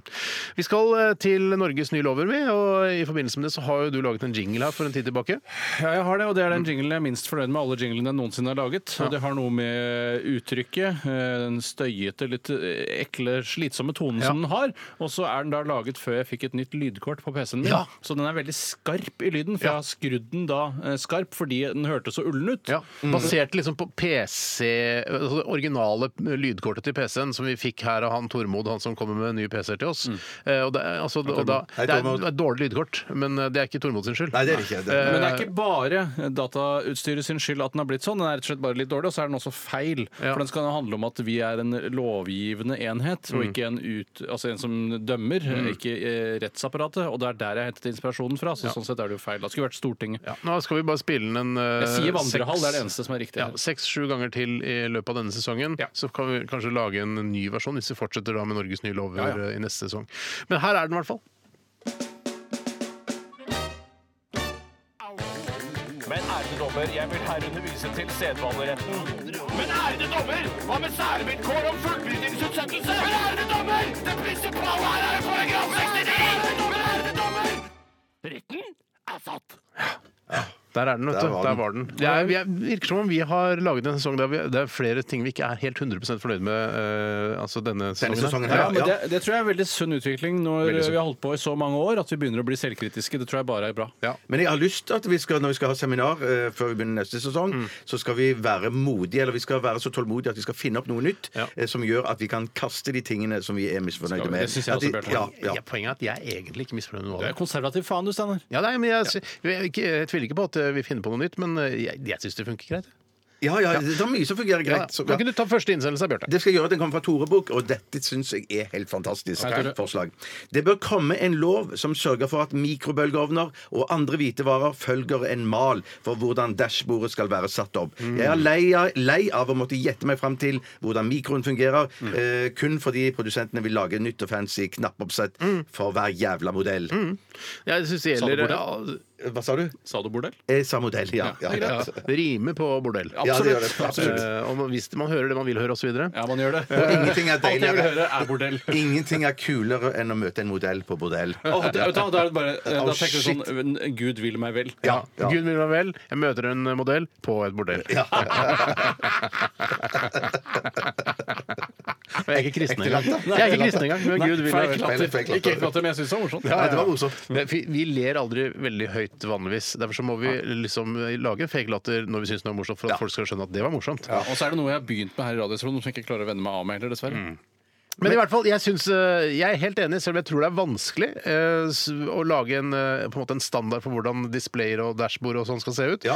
Speaker 4: Vi skal eh, til Norges nye lover, vi, og i forbindelse med det så har jo du laget en jingle her for en tid tilbake.
Speaker 5: Ja, jeg har det, og det er
Speaker 4: Mm.
Speaker 5: den jinglen jeg er minst fornøyd med alle jinglene jeg noensinne har laget. Og det har noe med uttrykket, eh, den støyete, litt eh, ekle, slitsomme tonen som den har. Og så er den da laget før jeg fikk et nytt lydkort på PC-en min.
Speaker 4: Ja.
Speaker 5: Så den er veldig skarp i lyden, for jeg har skrudd den da eh, skarp fordi den hørtes så ullen ut.
Speaker 4: Ja, Basert liksom på PC, altså det originale lydkortet til PC-en som vi fikk her av han Tormod, han som kommer med nye PC-er til oss. Eh, og det, er- altså, og da,
Speaker 6: Mm. Hei,
Speaker 4: det er
Speaker 6: Tormod.
Speaker 4: det er et dårlig lydkort, men eh, det er ikke Tormod sin skyld.
Speaker 6: Nei, det er det ikke. Det er...
Speaker 5: Men det er ikke bare datautstyret sin skyld at den har blitt sånn. Den er rett og slett bare litt dårlig, og så er den også feil.
Speaker 4: Ja.
Speaker 5: For den skal handle om at vi er en lovgivende enhet, og ikke en, ut, altså en som dømmer, ikke eh, rettsapparatet. Og det er der jeg hentet inspirasjonen fra, så sånn sett er det jo feil. Det skulle vært Stortinget.
Speaker 4: Ja, nå skal vi bare spille den en eh,
Speaker 5: Jeg sier vandrehall, det er det
Speaker 4: seks-
Speaker 5: eneste som er riktig.
Speaker 4: Ja, Seks-sju ganger til i løpet av denne sesongen.
Speaker 5: Ja.
Speaker 4: Så kan vi kanskje lage en ny versjon hvis vi fortsetter da med Norges nye lover
Speaker 5: Ja, ja.
Speaker 4: eh, i neste sesong. Men her er den i hvert fall.
Speaker 10: Men ærede dommer, jeg vil herunder vise til sedvaneretten. Men ærede dommer, hva med særvilkår om fullbyrdingsutsettelse? Men ærede dommer, det prinsipale her er paragraf 69! Men ærede dommer, retten er satt.
Speaker 4: Der er den, vet
Speaker 6: Der
Speaker 4: du.
Speaker 6: var
Speaker 4: Der
Speaker 6: den.
Speaker 4: var den. Det er, vi er, virker som om vi har laget en sesong der vi, det er flere ting vi ikke er helt 100 fornøyd med eh, altså denne sesongen. her.
Speaker 6: sesongen her,
Speaker 5: Ja,
Speaker 6: ja.
Speaker 5: men det, det tror jeg er en veldig sunn utvikling når
Speaker 4: Veldig sunn.
Speaker 5: vi har holdt på i så mange år at vi begynner å bli selvkritiske. Det tror jeg bare er bra.
Speaker 4: Ja.
Speaker 6: Men jeg har lyst til at vi skal, når vi skal ha seminar eh, før vi begynner neste sesong,
Speaker 5: Mm.
Speaker 6: så skal vi være modige, eller vi skal være så tålmodige at vi skal finne opp noe nytt
Speaker 4: Ja.
Speaker 6: eh, som gjør at vi kan kaste de tingene som vi er misfornøyde
Speaker 5: Skal vi?
Speaker 6: med.
Speaker 5: Det synes jeg
Speaker 6: At
Speaker 5: også,
Speaker 6: de-
Speaker 5: Bjarte.
Speaker 6: Ja,
Speaker 4: Ja,
Speaker 6: ja.
Speaker 4: poenget er at jeg er egentlig ikke misfornøyd med noe av
Speaker 5: Du
Speaker 4: det.
Speaker 5: er konservativ faen, du, Steinar.
Speaker 4: Ja, nei, men jeg, sy- jeg, jeg, jeg tviler ikke på at eh, vi finner på noe nytt, men eh, jeg, jeg syns det funker greit.
Speaker 6: Ja, ja, det er mye som fungerer
Speaker 4: Ja,
Speaker 6: greit.
Speaker 4: så
Speaker 6: Ja.
Speaker 4: kan ikke du ta første innsendelse av Bjarte?
Speaker 6: Det skal jeg gjøre. Den kommer fra Tore Bukk, og dette syns jeg er helt fantastisk.
Speaker 5: Hei, Tore.
Speaker 6: forslag. Det bør komme en lov som sørger for at mikrobølgeovner og andre hvitevarer følger en mal for hvordan dashbordet skal være satt opp. Jeg er lei av, lei av å måtte gjette meg fram til hvordan mikroen fungerer, eh, kun fordi produsentene vil lage nytt og fancy knappoppsett for hver jævla modell.
Speaker 4: Jeg synes det
Speaker 5: Sa du
Speaker 4: gjelder
Speaker 6: Mm. Hva sa du?
Speaker 5: Sa du bordell?
Speaker 6: Eh, sa modell, ja. ja,
Speaker 4: ja,
Speaker 6: ja.
Speaker 4: Det rimer på bordell.
Speaker 6: Ja, det gjør det. Absolutt.
Speaker 4: Eh, og man- hvis man hører det man vil høre, osv.
Speaker 5: Ja, man gjør det.
Speaker 6: Og ingenting er
Speaker 5: Alt jeg vil høre,
Speaker 6: deiligere
Speaker 5: er bordell.
Speaker 6: Ingenting er kulere enn å møte en modell på bordell.
Speaker 5: Åh, det- vet du hva, da, er det bare, eh, da
Speaker 6: Åh,
Speaker 5: tenker du
Speaker 6: shit.
Speaker 5: sånn eh, Gud vil meg vel.
Speaker 6: Ja, ja.
Speaker 4: Gud vil meg vel, jeg møter en eh, modell på et bordell.
Speaker 6: [LAUGHS]
Speaker 4: [LAUGHS] Og jeg er ikke kristen engang. Jeg er ikke kristen engang, men Gud vil meg
Speaker 5: Feil
Speaker 4: vel.
Speaker 5: klatter.
Speaker 6: Feil, feil klatter.
Speaker 5: Ikke helt klatter, men jeg syns det var morsomt.
Speaker 6: Nei, det var morsomt.
Speaker 4: Men Vi, vi ler aldri veldig høyt vanligvis. Derfor så må vi liksom lage en fake latter når vi syns noe er morsomt, for at folk skal skjønne at det var morsomt.
Speaker 5: Og så er det noe jeg har begynt med her i Radioresepsjonen som jeg ikke klarer å vende meg av med heller,
Speaker 6: Mm.
Speaker 5: dessverre.
Speaker 4: Men i hvert fall, jeg, synes, eh, jeg er helt enig, selv om jeg tror det er vanskelig eh, s- å lage en, eh, på en, måte en standard for hvordan displayer og dashbord og sånn skal se ut.
Speaker 6: Ja.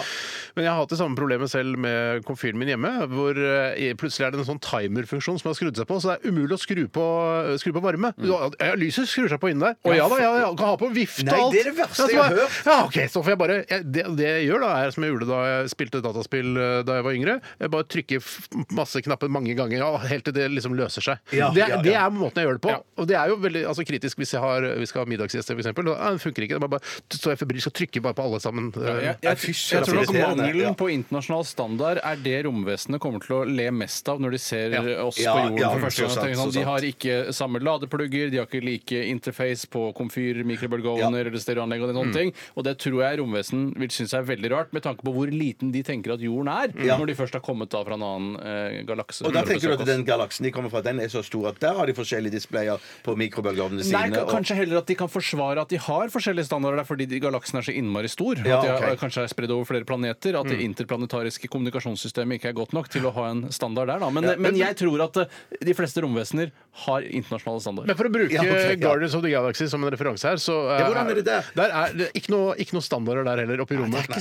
Speaker 4: Men jeg har hatt det samme problemet selv med komfyren min hjemme, hvor eh, plutselig er det en sånn timerfunksjon som har skrudd seg på, så det er umulig å skru på, eh, skru på varme. Du- Ja, lyset skrur seg på inni der. Å ja da, ja, ja, kan ha på vifte
Speaker 6: Mm. Nei,
Speaker 4: og alt.
Speaker 6: det er det verste
Speaker 4: Ja, så
Speaker 6: jeg har
Speaker 4: bare-
Speaker 6: hørt.
Speaker 4: Ja, ok, så får jeg bare jeg, det, det jeg gjør, da, er som jeg gjorde da jeg spilte dataspill eh, da jeg var yngre, jeg bare trykker f- masse knapper mange ganger ja, helt til det liksom løser seg.
Speaker 6: Ja,
Speaker 4: det,
Speaker 6: ja, ja.
Speaker 4: det er måten jeg gjør det på. Og det er jo veldig altså, kritisk hvis jeg har, vi skal ha middagsgjester, f.eks. Ja, det funker ikke. Da bare, bare står jeg febrilsk og trykker bare på alle sammen. eh,
Speaker 5: Jeg,
Speaker 6: Nei,
Speaker 5: jeg,
Speaker 6: fy
Speaker 5: jeg,
Speaker 6: søren,
Speaker 5: tror nok
Speaker 6: det er irriterende, ja.
Speaker 5: mangelen på internasjonal standard er det romvesenet kommer til å le mest av når de ser
Speaker 4: Ja.
Speaker 5: oss
Speaker 6: Ja,
Speaker 5: på jorden
Speaker 6: ja,
Speaker 5: for
Speaker 6: så
Speaker 5: første gang.
Speaker 6: sant,
Speaker 5: Tenker sånn, De
Speaker 6: så sant.
Speaker 5: har ikke samme ladeplugger, de har ikke like interface på komfyr, mikrobølgeovner eller stereoanlegg
Speaker 6: Mm.
Speaker 5: og den sånne ting. Og det tror jeg romvesen vil synes er veldig rart, med tanke på hvor liten de tenker at jorden er,
Speaker 6: Ja.
Speaker 5: når de først har kommet da fra en annen eh, galakse.
Speaker 6: Og da
Speaker 5: for å
Speaker 6: tenker
Speaker 5: besøke
Speaker 6: du at
Speaker 5: oss.
Speaker 6: den galaksen de kommer fra, den er så stor at der har de forskjellige displayer på mikrobølgeovnene sine?
Speaker 5: Nei, ka-
Speaker 6: og-
Speaker 5: Kanskje heller at de kan forsvare at de har forskjellige standarder der, fordi de- galaksen er så innmari stor.
Speaker 6: Ja,
Speaker 5: at de er,
Speaker 6: ok.
Speaker 5: kanskje er spredt over flere planeter. At det interplanetariske kommunikasjonssystemet ikke er godt nok til å ha en standard der. Da. Men, men jeg tror at eh, de fleste romvesener har internasjonale standarder.
Speaker 4: Men for å bruke
Speaker 6: Ja, ok, ja.
Speaker 4: Guardians of the Galaxy som en referanse her, så eh,
Speaker 6: Ja, hvordan er det der?
Speaker 4: er det ikke noe, ikke noe standarder der heller, oppe i rommet.
Speaker 6: ikke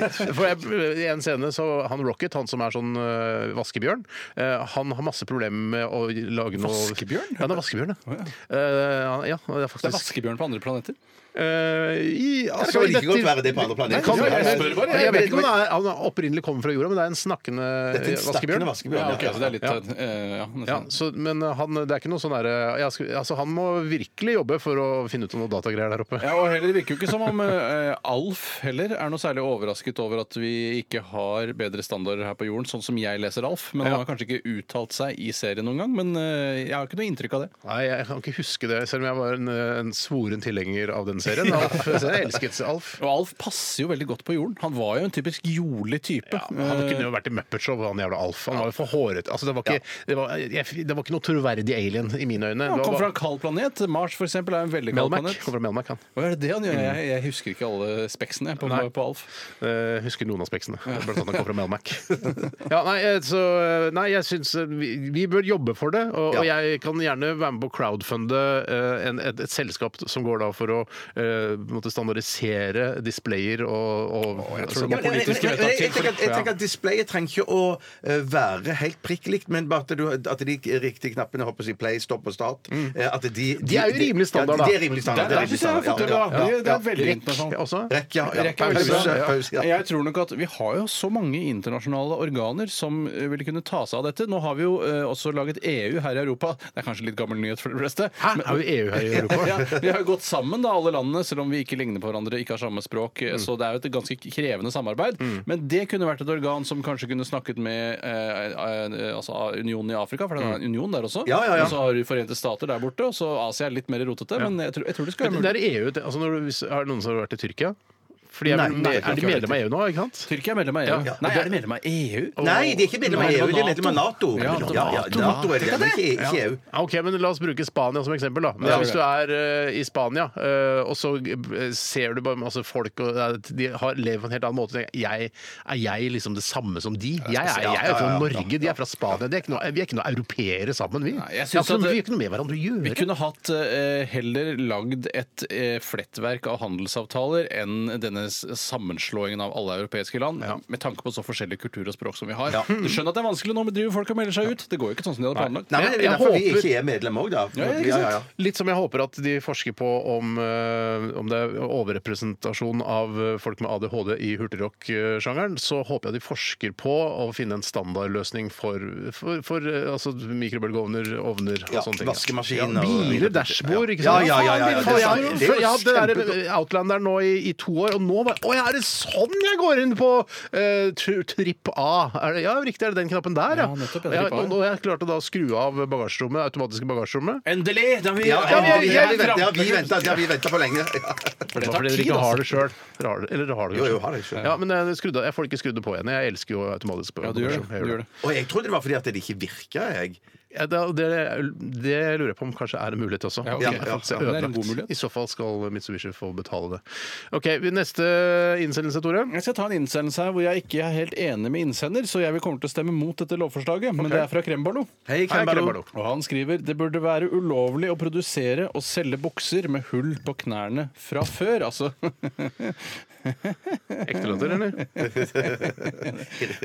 Speaker 4: Nei, nei. For jeg, I en scene så han Rocket, han som er sånn eh, vaskebjørn, eh, han har masse problemer med å lage noe
Speaker 5: Vaskebjørn?
Speaker 4: Ja, han er vaskebjørn, ja. Eh, han- ja, det er
Speaker 5: Det er
Speaker 4: faktisk
Speaker 5: vaskebjørn på andre planeter.
Speaker 4: Eh, i,
Speaker 6: Det kan jo like godt være det på andre
Speaker 4: Nei,
Speaker 6: planeter.
Speaker 4: kan,
Speaker 6: Ja,
Speaker 4: jeg,
Speaker 6: ja, ja.
Speaker 4: spør bare. jeg vet ikke om han, er, han opprinnelig kommer fra jorda, men det er en snakkende
Speaker 6: Dette er en
Speaker 4: vaskebjørn.
Speaker 6: snakkende vaskebjørn.
Speaker 5: Ja, ok, så det er litt
Speaker 4: Ja.
Speaker 5: eh, ja, nesten.
Speaker 4: Ja, så, men han, det er ikke noe sånn derre jeg skal- altså, Han må virkelig jobbe for å finne ut om noe datagreier der oppe.
Speaker 5: Ja, og heller virker jo ikke som om eh, Alf heller er noe særlig overrasket over at vi ikke har bedre standarder her på jorden, sånn som jeg leser Alf. Men han har kanskje ikke uttalt seg i serien noen gang, men eh, jeg har ikke noe inntrykk av det.
Speaker 4: Nei, Jeg kan ikke huske det, selv om jeg var en, en svoren tilhenger av den serien. [LAUGHS] Alf, jeg elsket Alf.
Speaker 5: Og Alf passer jo veldig godt på jorden. Han var jo en typisk jolig type.
Speaker 4: Ja, men han kunne jo vært i Muppet Show, han jævla Alf. Han var jo for hårete. Altså, det, var ikke, det, var, jeg, det var ikke noe troverdig alien i mine øyne.
Speaker 5: Eh, han
Speaker 4: Det var
Speaker 5: kom
Speaker 4: bare-
Speaker 5: fra en kald planet. Mars for eksempel, er en veldig kald
Speaker 4: Melmac.
Speaker 5: planet.
Speaker 4: Kom fra Melmac, han.
Speaker 5: Hva er det det han gjør? Jeg, jeg husker ikke alle speksene på,
Speaker 4: Nei.
Speaker 5: på Alf.
Speaker 4: Eh, husker noen av speksene. Blant annet han kom fra
Speaker 6: [LAUGHS]
Speaker 4: Melmac. ja, nei, eh, så, eh, nei, jeg syns eh, vi, vi bør jobbe for det. Og, og jeg kan gjerne være med på å crowdfunde eh, en, et, et selskap som går da for å eh, på en måte standardisere displayer og, og
Speaker 6: Ja, men- men- men-
Speaker 5: politiske
Speaker 6: men-
Speaker 5: vedtak
Speaker 6: Jeg
Speaker 5: til
Speaker 6: tenker at- jeg
Speaker 5: for-
Speaker 6: tenker at displayet trenger ikke å eh, være helt prikk likt, men bare at, du, at de riktige knappene håper jeg, å si play, stopp og start eh, at de, de,
Speaker 4: De er jo rimelig standard,
Speaker 6: ja, de, de
Speaker 4: da.
Speaker 6: er rimelig
Speaker 5: Der-
Speaker 6: standard. det
Speaker 5: der
Speaker 6: er rimelig
Speaker 5: synes jeg jeg har fått
Speaker 6: standard,
Speaker 5: det
Speaker 6: ja,
Speaker 5: bra.
Speaker 6: ja,
Speaker 5: Det- det er
Speaker 6: ja.
Speaker 5: veldig sånn.
Speaker 4: Rekk
Speaker 5: internasjonalt.
Speaker 4: også.
Speaker 6: Rekk, ja. ja.
Speaker 5: Rekk er veldig
Speaker 6: Pause,
Speaker 5: bra.
Speaker 6: pause, ja.
Speaker 5: Jeg tror nok at Vi har jo så mange internasjonale organer som eh, ville kunne ta seg av dette. Nå har vi jo eh, også laget EU her i Europa. Det er kanskje litt gammel nyhet for de fleste.
Speaker 4: Hæ? Er jo EU her i Europa?
Speaker 5: Ja, vi har jo gått sammen, da, alle landene, selv om vi ikke ligner på hverandre, ikke har samme språk.
Speaker 4: Mm.
Speaker 5: eh, Så det er jo et ganske krevende samarbeid. Men det kunne vært et organ som kanskje kunne snakket med eh, eh, altså, Unionen i Afrika,
Speaker 4: Mm.
Speaker 5: for det er en union der også.
Speaker 6: Ja, ja, ja.
Speaker 5: Og så har du Forente stater der borte, og så Asia er litt mer rotete. Men jeg tror, jeg tror det skal
Speaker 4: Men
Speaker 5: være
Speaker 4: det
Speaker 5: mulig.
Speaker 4: er EU, det- altså når du, hvis, Har noen som har vært i Tyrkia? Fordi jeg,
Speaker 6: Nei,
Speaker 4: vil-
Speaker 6: nei,
Speaker 4: er de medlem av EU nå? ikke sant?
Speaker 5: Tyrkia er medlem av EU.
Speaker 4: Ja.
Speaker 5: Nei, er de medlem av
Speaker 6: E
Speaker 5: EU?
Speaker 6: Nei, de er ikke medlem av EU, de er medlem av Nato.
Speaker 5: Ja,
Speaker 6: Ja, ja,
Speaker 5: NATO.
Speaker 6: NATO er E det, men ikke, ikke EU.
Speaker 4: Ja, Ok, men La oss bruke Spania som eksempel. da Men
Speaker 5: Ja,
Speaker 4: Hvis
Speaker 5: ok.
Speaker 4: du er eh, i Spania, eh, og så eh, ser du bare masse folk og eh, de har, lever på en helt annen måte tenker jeg, Er jeg liksom det samme som de? Jeg er, jeg er jo fra Norge, de er fra Spania. De er ikke noe, vi er ikke noe europeere sammen, vi.
Speaker 5: Nei, jeg
Speaker 4: vi, har
Speaker 5: synes
Speaker 4: ikke
Speaker 5: at
Speaker 4: noe,
Speaker 5: det-
Speaker 4: vi har ikke noe med hverandre å
Speaker 5: Vi
Speaker 4: gjøre.
Speaker 5: kunne hatt eh, heller lagd et eh, flettverk av handelsavtaler enn denne s- sammenslåingen av alle europeiske land, med tanke på så forskjellig kultur og språk som vi har. Du skjønner at det er vanskelig nå, men driver folk og melder seg ut? Det går jo ikke sånn som de hadde planlagt.
Speaker 6: Nei, men
Speaker 4: Jeg-
Speaker 6: det er
Speaker 4: jeg
Speaker 6: derfor vi
Speaker 4: håper-
Speaker 6: ikke er medlem òg, da.
Speaker 5: Ja, ikke
Speaker 6: Ja, ja, ja.
Speaker 5: sant?
Speaker 4: Litt som jeg håper at de forsker på om, eh, om det er overrepresentasjon av eh, folk med ADHD i hurtigrock-sjangeren, så håper jeg de forsker på å finne en standardløsning for, for, for eh, altså, mikrobølgeovner, ovner og
Speaker 6: Ja,
Speaker 4: sånne ting.
Speaker 6: vaskemaskin
Speaker 4: ja,
Speaker 6: og-
Speaker 4: biler, dashbord, ikke
Speaker 6: Ja,
Speaker 4: sant?
Speaker 6: ja, ja, ja, ja,
Speaker 4: Faen,
Speaker 6: det er
Speaker 4: jeg-
Speaker 6: sant. Det er jo
Speaker 4: Jeg hadde den
Speaker 6: kjempe-
Speaker 4: der Outlander nå i, i to år, og nå bare Å ja, er det sånn jeg går inn på eh, tr- tripp A? Er det, ja, riktig, er det den knappen der, ja?
Speaker 5: Ja, nettopp, ja,
Speaker 4: ja,
Speaker 5: tripp A, ja.
Speaker 4: og, og jeg klarte da å skru av bagasjerommet, automatiske bagasjerommet.
Speaker 5: Endelig! Da har vi,
Speaker 6: Ja,
Speaker 4: ja,
Speaker 6: ja,
Speaker 4: vi-
Speaker 6: vi-
Speaker 4: ja,
Speaker 6: ja,
Speaker 4: vi-
Speaker 6: vi venter- ja, vi venter- ja, vi venter for lenge. [LAUGHS] Ja.
Speaker 5: For
Speaker 4: Bare
Speaker 5: det tar
Speaker 4: fordi dere
Speaker 5: tid,
Speaker 4: ikke har
Speaker 5: altså.
Speaker 4: det sjøl. Dere har det- Eller dere har det
Speaker 6: Jo,
Speaker 4: kanskje.
Speaker 6: jo, har det sjøl.
Speaker 4: Ja, men jeg, skrudde, jeg får ikke skrudd det på igjen. Jeg elsker jo automatisk på.
Speaker 5: Ja, du gjør det. Du gjør det.
Speaker 6: Og jeg trodde det var fordi at det ikke virka, jeg.
Speaker 4: Ja, det, det, det lurer jeg på om kanskje er en mulighet også.
Speaker 5: Ja, ok.
Speaker 4: Jeg har fått se
Speaker 5: Ja, men det er en
Speaker 4: ødelagt.
Speaker 5: god mulighet.
Speaker 4: I så fall skal Mitsubishi få betale det. Ok, Neste innsendelse, Tore.
Speaker 5: Jeg skal ta en innsendelse her hvor jeg ikke er helt enig med innsender, så jeg vil kommer til å stemme mot dette lovforslaget. Men det er fra Kremballo.
Speaker 6: Hei,
Speaker 4: Kremballo.
Speaker 5: Og han skriver det burde være ulovlig å produsere og selge bukser med hull på knærne fra før. Altså [LAUGHS]
Speaker 4: Ekte låter, eller?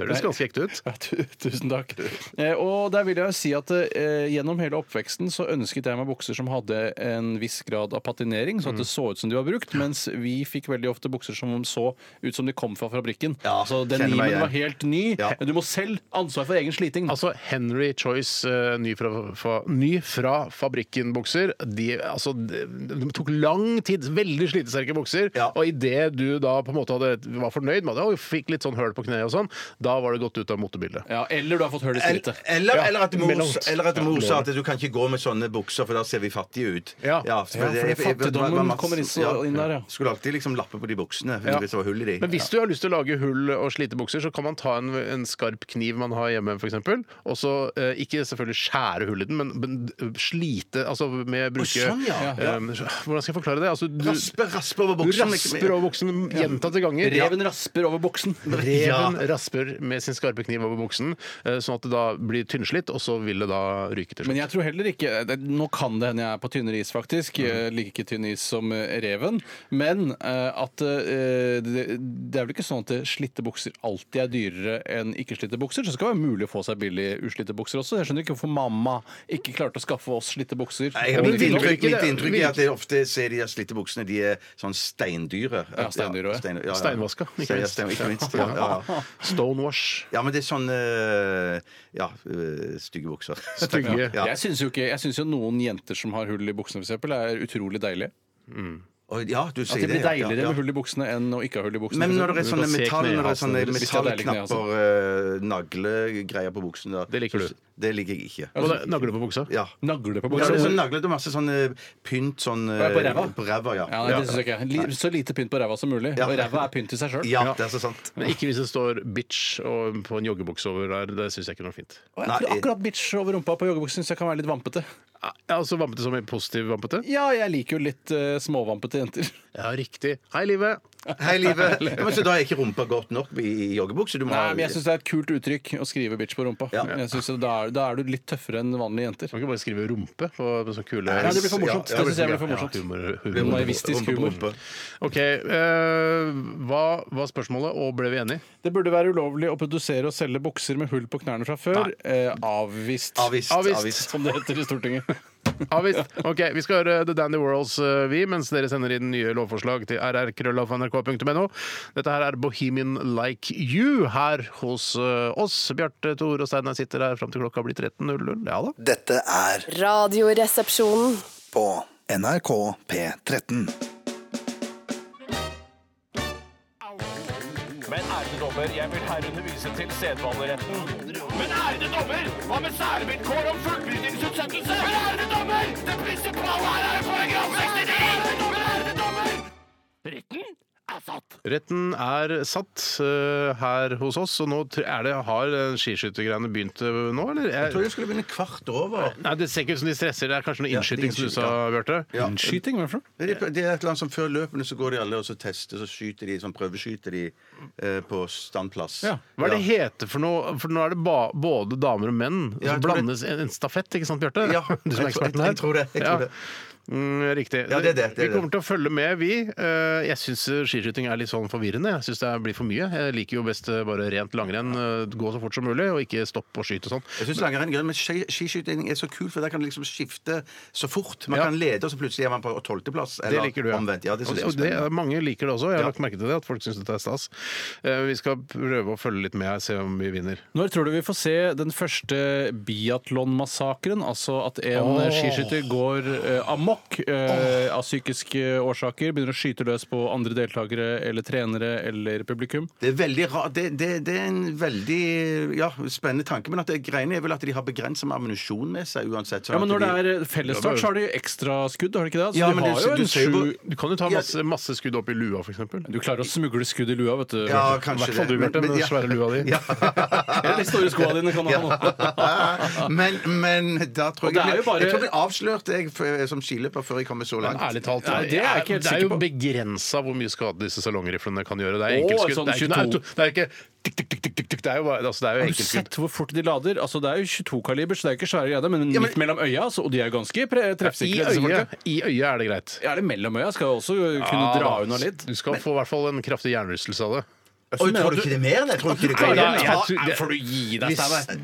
Speaker 4: Høres ganske ekte ut.
Speaker 5: [LAUGHS] Ja, tu- Tusen takk. Eh, Og der vil jeg jo si at eh, gjennom hele oppveksten så ønsket jeg meg bukser som hadde en viss grad av patinering, sånn at
Speaker 6: Mm.
Speaker 5: det så ut som de var brukt, mens vi fikk veldig ofte bukser som så ut som de kom fra fabrikken.
Speaker 6: Ja,
Speaker 5: så den
Speaker 6: kjenner meg
Speaker 5: limen
Speaker 6: igjen.
Speaker 5: var helt ny.
Speaker 6: Ja.
Speaker 5: Du må selv ansvar for egen sliting.
Speaker 4: Altså Henry Choice eh, ny fra, fa, ny fra fabrikken-bukser. De, altså, de, de tok lang tid. Veldig slitesterke bukser.
Speaker 6: Ja.
Speaker 4: Og idet du da på en måte hadde, var fornøyd med det og fikk litt sånn høl på kneet og sånn, da var det gått ut av motebildet.
Speaker 5: Ja, eller du har fått hull i skrittet.
Speaker 6: Eller,
Speaker 4: Ja,
Speaker 6: eller at
Speaker 4: mellom-
Speaker 6: mor, eller at mor
Speaker 4: Ja,
Speaker 6: sa at du kan ikke gå med sånne bukser, for da ser vi fattige ut.
Speaker 4: Ja.
Speaker 6: for
Speaker 5: Ja, for
Speaker 6: jeg- jeg- jeg-
Speaker 5: fattigdommen
Speaker 6: jeg- jeg-
Speaker 5: kommer inn så- inn der, ja.
Speaker 6: Skulle alltid liksom lappe på de buksene
Speaker 4: Ja.
Speaker 6: hvis det var hull i de.
Speaker 4: Men hvis du har lyst til å lage hull og slite bukser, så kan man ta en, en skarp kniv man har hjemme, f.eks., og så eh, ikke selvfølgelig skjære hull i den, men, men slite altså med bruke
Speaker 6: sånn, ja.
Speaker 4: eh, Hvordan skal jeg forklare det? Altså, du,
Speaker 6: Raspe, raspe over
Speaker 4: du
Speaker 6: buksen. liksom.
Speaker 4: rasper over buksen gjentatte ganger.
Speaker 5: Reven rasper over buksen.
Speaker 4: Reven rasper med sin skarpe kniv over buksen, eh, sånn at det da blir tynnslitt, og så vil det da ryke til
Speaker 5: Men
Speaker 4: slutt.
Speaker 5: jeg tror heller ikke eh, det, Nå kan det hende jeg er på tynnere is, faktisk.
Speaker 6: Mm.
Speaker 5: eh, Like tynn is som eh, reven. Men eh, at eh, det, det er vel ikke sånn at eh, slitte bukser alltid er dyrere enn ikke-slitte bukser. Så det skal være mulig å få seg billig uslitte bukser også. Jeg skjønner ikke hvorfor mamma ikke klarte å skaffe oss slitte bukser.
Speaker 6: Nei, jeg-
Speaker 5: Og
Speaker 6: mitt
Speaker 5: det-
Speaker 6: inntrykk,
Speaker 4: det-
Speaker 6: mitt inntrykk er at jeg ofte ser de der slitte buksene. De er sånn steindyre.
Speaker 5: Ja, steindyre også, ja.
Speaker 6: stein-
Speaker 4: Steinvaska, ikke
Speaker 6: Stein-
Speaker 4: minst.
Speaker 6: stein- Ikke minst. Ja, ja, ja.
Speaker 5: [LAUGHS]
Speaker 4: Stonewash.
Speaker 6: ja, men det er sånn eh, Ja, eh, stygge bukser.
Speaker 4: Stygge.
Speaker 6: Ja.
Speaker 5: Jeg syns jo, ikke- jeg synes jo noen jenter som har hull i buksene, f.eks., er utrolig deilige.
Speaker 6: Og ja, du sier
Speaker 5: At det blir
Speaker 6: ja, ja,
Speaker 5: deiligere
Speaker 6: ja.
Speaker 5: med hull i buksene enn å ikke ha hull i buksene.
Speaker 6: Men
Speaker 5: for
Speaker 6: når det er
Speaker 5: eksempel.
Speaker 4: kan
Speaker 6: sånne
Speaker 4: se
Speaker 6: metall, når det er
Speaker 4: knehalsen
Speaker 6: sånne
Speaker 5: deres.
Speaker 6: metallknapper, eh, naglegreier på buksen da,
Speaker 4: Det liker du.
Speaker 6: så- Det liker jeg ikke.
Speaker 5: Altså,
Speaker 4: Og da- nagler du på buksa?
Speaker 6: Ja.
Speaker 5: Nagle på
Speaker 6: Ja,
Speaker 5: buksa.
Speaker 6: det er sånn naglet og masse sånn eh, pynt sånn eh,
Speaker 5: På ræva?
Speaker 6: På ræva, ja.
Speaker 5: Ja, nei, det synes jeg ikke. Li- Så lite pynt på ræva som mulig.
Speaker 6: Ja.
Speaker 5: Og ræva er pynt i seg sjøl.
Speaker 6: Ja, det er så sant.
Speaker 4: Men ikke hvis det står 'bitch' og på en joggebukse over der. Det syns jeg ikke er noe fint.
Speaker 6: Nei, jeg-
Speaker 5: Akkurat bitch over rumpa på joggebukse syns jeg kan være litt vampete.
Speaker 4: Ja, altså Vampete som en positiv vampete?
Speaker 5: Ja, jeg liker jo litt eh, småvampete jenter.
Speaker 4: Ja, riktig. Hei, livet!
Speaker 6: [LAUGHS] Hei, livet. [LAUGHS] Ja, men så da er ikke rumpa godt nok i, i joggebukse? Du må
Speaker 5: Nei,
Speaker 6: ha-
Speaker 5: men jeg syns det er et kult uttrykk å skrive bitch på rumpa.
Speaker 6: Ja.
Speaker 5: Jeg synes da, er, da er du litt tøffere enn vanlige jenter.
Speaker 4: Man kan ikke bare skrive 'rumpe' på, på sånne kule
Speaker 5: Nei, det blir for morsomt.
Speaker 4: Ja,
Speaker 5: Det synes jeg blir for
Speaker 4: ja,
Speaker 5: morsomt.
Speaker 4: humor,
Speaker 5: Det er
Speaker 4: humor.
Speaker 5: Naivistisk
Speaker 6: rumpe på
Speaker 5: humor.
Speaker 6: rumpe.
Speaker 4: OK. eh, hva var spørsmålet, og ble vi enige?
Speaker 5: Det burde være ulovlig å produsere og selge bukser med hull på knærne fra før. Eh, avvist.
Speaker 6: Avvist.
Speaker 4: Avvist.
Speaker 6: avvist.
Speaker 5: Som det heter i Stortinget.
Speaker 4: Ja visst. Ok, vi skal høre The Dandy Worlds, eh, vi, mens dere sender inn nye lovforslag til rrkrøllalfa.nrk.no. Dette her er Bohemian Like You her hos eh, oss. Bjarte, Tore og Steinar sitter her fram til klokka blir 13.00. Ja da.
Speaker 8: Dette er
Speaker 7: Radioresepsjonen.
Speaker 8: på NRK P13.
Speaker 10: Men ærede dommer, jeg vil herrene vise til sedvaneretten. Men ærede dommer, hva med særvilkår om fullbyrdingsutsettelse? Men ærede dommer, det prinsipale her er paragraf 69! Men ærede dommer! Retten er satt.
Speaker 4: Retten er satt eh, her hos oss, og nå tr- er det, har eh, skiskyttergreiene begynt eh, nå, eller?
Speaker 6: Jeg tror jeg skulle begynne kvart over.
Speaker 4: Nei, Det ser ikke ut som de stresser. Det er kanskje noe
Speaker 6: Ja,
Speaker 4: innskyting, som du sa, Bjarte?
Speaker 6: Ja.
Speaker 5: Skyting, hva er det for noe?
Speaker 6: Det er det er et eller annet som Før løpene så går de alle og så tester, så skyter de, sånn prøveskyter de eh, på standplass.
Speaker 5: Ja.
Speaker 4: Hva er det heter for noe? For nå er det ba både damer og menn som
Speaker 6: Ja, jeg tror det-
Speaker 4: blandes i en stafett, ikke sant, Bjarte?
Speaker 6: Ja,
Speaker 4: [LAUGHS] Du som er
Speaker 6: jeg tror-
Speaker 4: eksperten her.
Speaker 6: jeg tror det, jeg tror det.
Speaker 4: Mm, riktig.
Speaker 6: Ja, det er det, det er
Speaker 4: vi kommer til å følge med, vi. Eh, Jeg syns skiskyting er litt sånn forvirrende. Jeg syns det blir for mye. Jeg liker jo best eh, bare rent langrenn, eh, gå så fort som mulig, og ikke stopp og skyte og sånn.
Speaker 6: Jeg synes langrenn er gøy, men ski- skiskyting er så kult, for der kan du liksom skifte så fort. Man
Speaker 4: Ja.
Speaker 6: kan lede, og så plutselig er man på tolvteplass.
Speaker 4: Det liker du, ja.
Speaker 6: Omvendt. Ja, det
Speaker 4: og
Speaker 6: synes
Speaker 4: det,
Speaker 6: jeg er
Speaker 4: og det,
Speaker 6: spennende.
Speaker 4: mange liker det også. Jeg har
Speaker 6: Ja.
Speaker 4: lagt merke til det, at folk syns dette er stas. Eh, Vi skal prøve å følge litt med her, se om vi vinner.
Speaker 5: Når tror du vi får se den første biatlonmassakren? Altså at en
Speaker 4: Åh.
Speaker 5: skiskytter går eh, amok eh, av psykiske årsaker, begynner å skyte løs på andre deltakere eller trenere eller publikum?
Speaker 6: Det er veldig rart. Det, det, det er en veldig ja, spennende tanke. Men at det greiene er vel at de har begrenset med ammunisjon med seg uansett. sånn
Speaker 5: Ja, men
Speaker 6: at
Speaker 5: Når det
Speaker 6: de-
Speaker 5: er fellesstart, så har de ekstra skudd, har de ikke det? Så
Speaker 6: Ja,
Speaker 5: de
Speaker 6: men
Speaker 5: har
Speaker 6: det-
Speaker 5: jo
Speaker 6: du
Speaker 5: en
Speaker 6: ser jo
Speaker 5: sju...
Speaker 6: på-
Speaker 4: Du kan jo ta masse, masse skudd opp i lua, f.eks.
Speaker 5: Du klarer å smugle skudd i lua, vet du. [LAUGHS]
Speaker 6: ja,
Speaker 5: Bjarte.
Speaker 6: kanskje
Speaker 4: hvert fall
Speaker 6: det.
Speaker 4: du, Bjarte, med
Speaker 6: Men- men-
Speaker 4: den svære lua di.
Speaker 6: [LAUGHS] Ja.
Speaker 5: Eller de store skoene dine kan ha
Speaker 6: Ja.
Speaker 5: [LAUGHS]
Speaker 6: men, men da tror
Speaker 5: Og
Speaker 6: jeg
Speaker 5: det er
Speaker 6: jeg
Speaker 5: jo
Speaker 6: blir-
Speaker 5: bare-
Speaker 6: Jeg tror jeg blir avslørt jeg, f- som skiløper før jeg kommer så langt.
Speaker 4: Ærlig talt,
Speaker 5: Nei, det er jeg ikke helt
Speaker 4: det er
Speaker 5: sikker
Speaker 4: jo
Speaker 5: på.
Speaker 4: begrensa hvor mye skade disse salongriflene kan gjøre. Det er
Speaker 5: Å,
Speaker 4: enkeltskudd.
Speaker 5: sånn
Speaker 4: det, er ikke, noe
Speaker 5: 22.
Speaker 4: auto- det er ikke tikk, tikk, tikk, tikk, tikk, tikk. Det er jo, bare- altså, det er jo
Speaker 5: Har du
Speaker 4: enkeltskudd.
Speaker 5: sett hvor fort de lader? Altså, det er jo 22-kaliber, så det er ikke svære greier, men, midt mellom øya, så, og de er jo ganske pre-
Speaker 4: I
Speaker 5: treffsikre. disse folka.
Speaker 4: øyet, I øyet er det greit.
Speaker 5: Ja, det mellom øya skal også kunne
Speaker 4: Ja,
Speaker 5: dra
Speaker 4: da.
Speaker 5: unna litt.
Speaker 4: Du skal få i hvert fall en kraftig hjernerystelse av det.
Speaker 6: Oi, tror du ikke det er mer enn det? Tror du ikke
Speaker 4: Nei,
Speaker 6: det er
Speaker 4: da,
Speaker 6: mer?
Speaker 4: jeg tror- det-
Speaker 5: gi
Speaker 4: Hvis,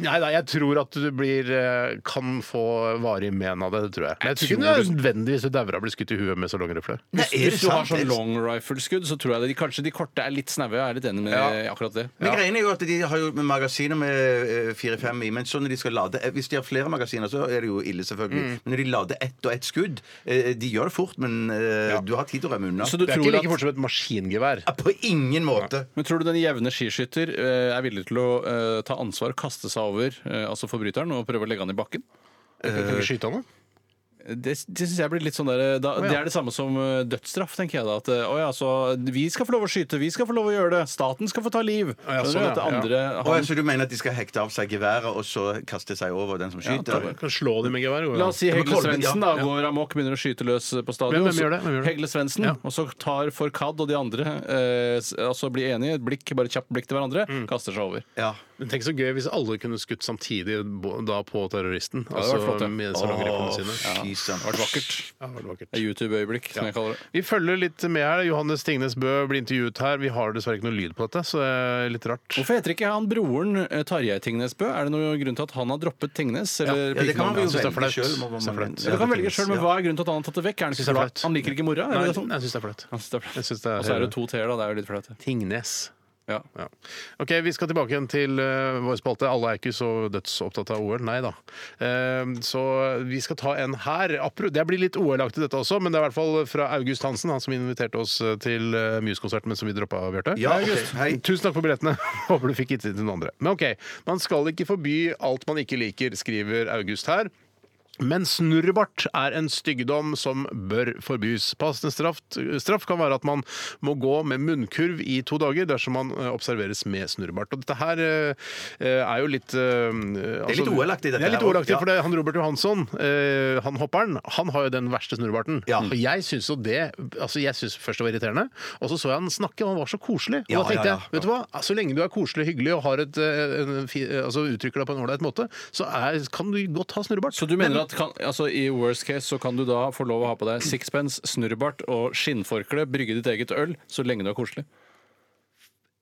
Speaker 4: nei, nei, jeg tror at du blir eh, kan få varig men av det, det tror jeg. Men jeg tror ikke det er nødvendig hvis du dauer av å bli skutt i huet med salongrifle.
Speaker 6: Nei, er det
Speaker 5: Hvis du har
Speaker 6: sant?
Speaker 5: sånn long rifle-skudd, så tror jeg det, de, kanskje de korte er litt snaue. Jeg er litt enig med akkurat det.
Speaker 6: Men greiene er jo at De har jo magasiner med eh, fire-fem i, men så når de skal lade eh, Hvis de har flere magasiner, så er det jo ille, selvfølgelig.
Speaker 5: Mm.
Speaker 6: Men når de lader ett og ett skudd eh, De gjør det fort, men eh, du har tid til å rømme unna.
Speaker 5: Så du
Speaker 4: Det er
Speaker 5: tror
Speaker 4: ikke
Speaker 5: at-
Speaker 4: like fort som et maskingevær.
Speaker 6: Ja, På ingen måte.
Speaker 5: Men tror du den jevne skiskytter eh, er villig til å eh, ta ansvar, kaste seg over eh, altså forbryteren og prøve å legge han i bakken?
Speaker 4: Du kan ikke skyte han, da.
Speaker 5: Det, det synes jeg blir litt sånn der, da, Det er det samme som eh, dødsstraff, tenker jeg da. At eh, å ja, så vi skal få lov å skyte, vi skal få lov å gjøre det. Staten skal få ta liv.
Speaker 4: ja,
Speaker 5: Skjønner
Speaker 4: sånn,
Speaker 5: du
Speaker 4: ja.
Speaker 5: at det andre
Speaker 6: Og
Speaker 5: han,
Speaker 6: altså, du mener at de skal hekte av seg geværet og så kaste seg over den som skyter?
Speaker 4: Du kan slå dem med gevær. jo.
Speaker 5: La oss si
Speaker 6: Ja, men
Speaker 5: Hegle
Speaker 6: Kolben,
Speaker 5: Svendsen
Speaker 6: ja.
Speaker 5: da, går amok, begynner å skyte løs på
Speaker 4: Hvem-
Speaker 5: stadion.
Speaker 4: hvem gjør det? Hvem gjør det?
Speaker 5: Hegle Svendsen.
Speaker 4: Ja.
Speaker 5: Og så tar Forkad og de andre eh, s- altså blir enige, et blikk, bare kjapt blikk til hverandre,
Speaker 4: Mm.
Speaker 5: kaster seg over.
Speaker 6: ja.
Speaker 4: Men Tenk så gøy hvis alle kunne skutt samtidig bo- da på terroristen.
Speaker 5: hadde vært
Speaker 4: altså
Speaker 5: flott, ja.
Speaker 4: med salongriflene sine.
Speaker 6: Fy søren.
Speaker 5: Det har vært vakkert.
Speaker 4: Ja, det var vakkert.
Speaker 5: Det er YouTube-øyeblikk, som jeg kaller det.
Speaker 4: Vi følger litt med her. Johannes Tingnes Bø blir intervjuet her. Vi har dessverre ikke noe lyd på dette, så det er litt rart.
Speaker 5: Hvorfor heter ikke han broren eh, Tarjei Tingnes Bø? Er det noen grunn til at han har droppet Tingnes? Eller
Speaker 6: Ja, det kan man jo
Speaker 4: Jeg synes det er
Speaker 6: velge
Speaker 4: flaut.
Speaker 6: sjøl. må
Speaker 4: Jeg synes det er
Speaker 6: man-
Speaker 4: flaut.
Speaker 5: Ja, du kan velge
Speaker 6: finnes,
Speaker 5: selv, men
Speaker 6: ja.
Speaker 5: hva er grunnen til at han har tatt det vekk? Er han,
Speaker 4: Jeg
Speaker 5: ikke
Speaker 4: synes det er
Speaker 5: flau?
Speaker 4: flaut.
Speaker 5: han liker ikke mora?
Speaker 4: Nei,
Speaker 5: Eller
Speaker 4: jeg
Speaker 5: noe sånt?
Speaker 4: syns det er flaut.
Speaker 5: Han synes det er flaut.
Speaker 4: Jeg synes det er-
Speaker 5: Og så er det to t-er, da. Det er jo litt flaut. det.
Speaker 4: Tingnes.
Speaker 5: Ja.
Speaker 4: Ja. Ok, Vi skal tilbake igjen til eh, vår spalte. Alle er ikke så dødsopptatt av OL. Nei da. Eh, så vi skal ta en her. Apro- Det blir litt OL-aktig dette også, men det er i hvert fall fra August Hansen, han som inviterte oss eh, til eh, Muse-konsert, men som vi droppa, Bjarte.
Speaker 6: Ja, ok. Hei.
Speaker 4: Tusen takk for billettene. [LAUGHS] Håper du fikk gitt inn til noen andre. Men ok, man skal ikke forby alt man ikke liker, skriver August her. Men snurrebart er en styggedom som bør forbys. Passende straff, straff kan være at man må gå med munnkurv i to dager dersom man eh, observeres med snurrebart. Og dette her eh, er jo litt eh, altså-
Speaker 6: litt OL-aktig, dette
Speaker 4: Det er litt
Speaker 6: her også,
Speaker 4: OL-aktig,
Speaker 6: ja.
Speaker 4: for det, han Robert Johansson, eh, han hopperen, han har jo den verste snurrebarten.
Speaker 6: Ja.
Speaker 4: Og jeg syns jo det altså jeg synes først det var irriterende, og så så jeg han snakke, og han var så koselig. Og
Speaker 6: Ja,
Speaker 4: da tenkte
Speaker 6: ja, ja.
Speaker 4: jeg, vet du hva, så lenge du er koselig, hyggelig og har et, eh, en, fi- altså uttrykker deg på en ålreit måte, så er, kan du godt ha snurrebart.
Speaker 5: Så du mener at kan, altså, i worst case så kan du da få lov å ha på deg sixpence, snurrebart og skinnforkle, brygge ditt eget øl, så lenge du er koselig?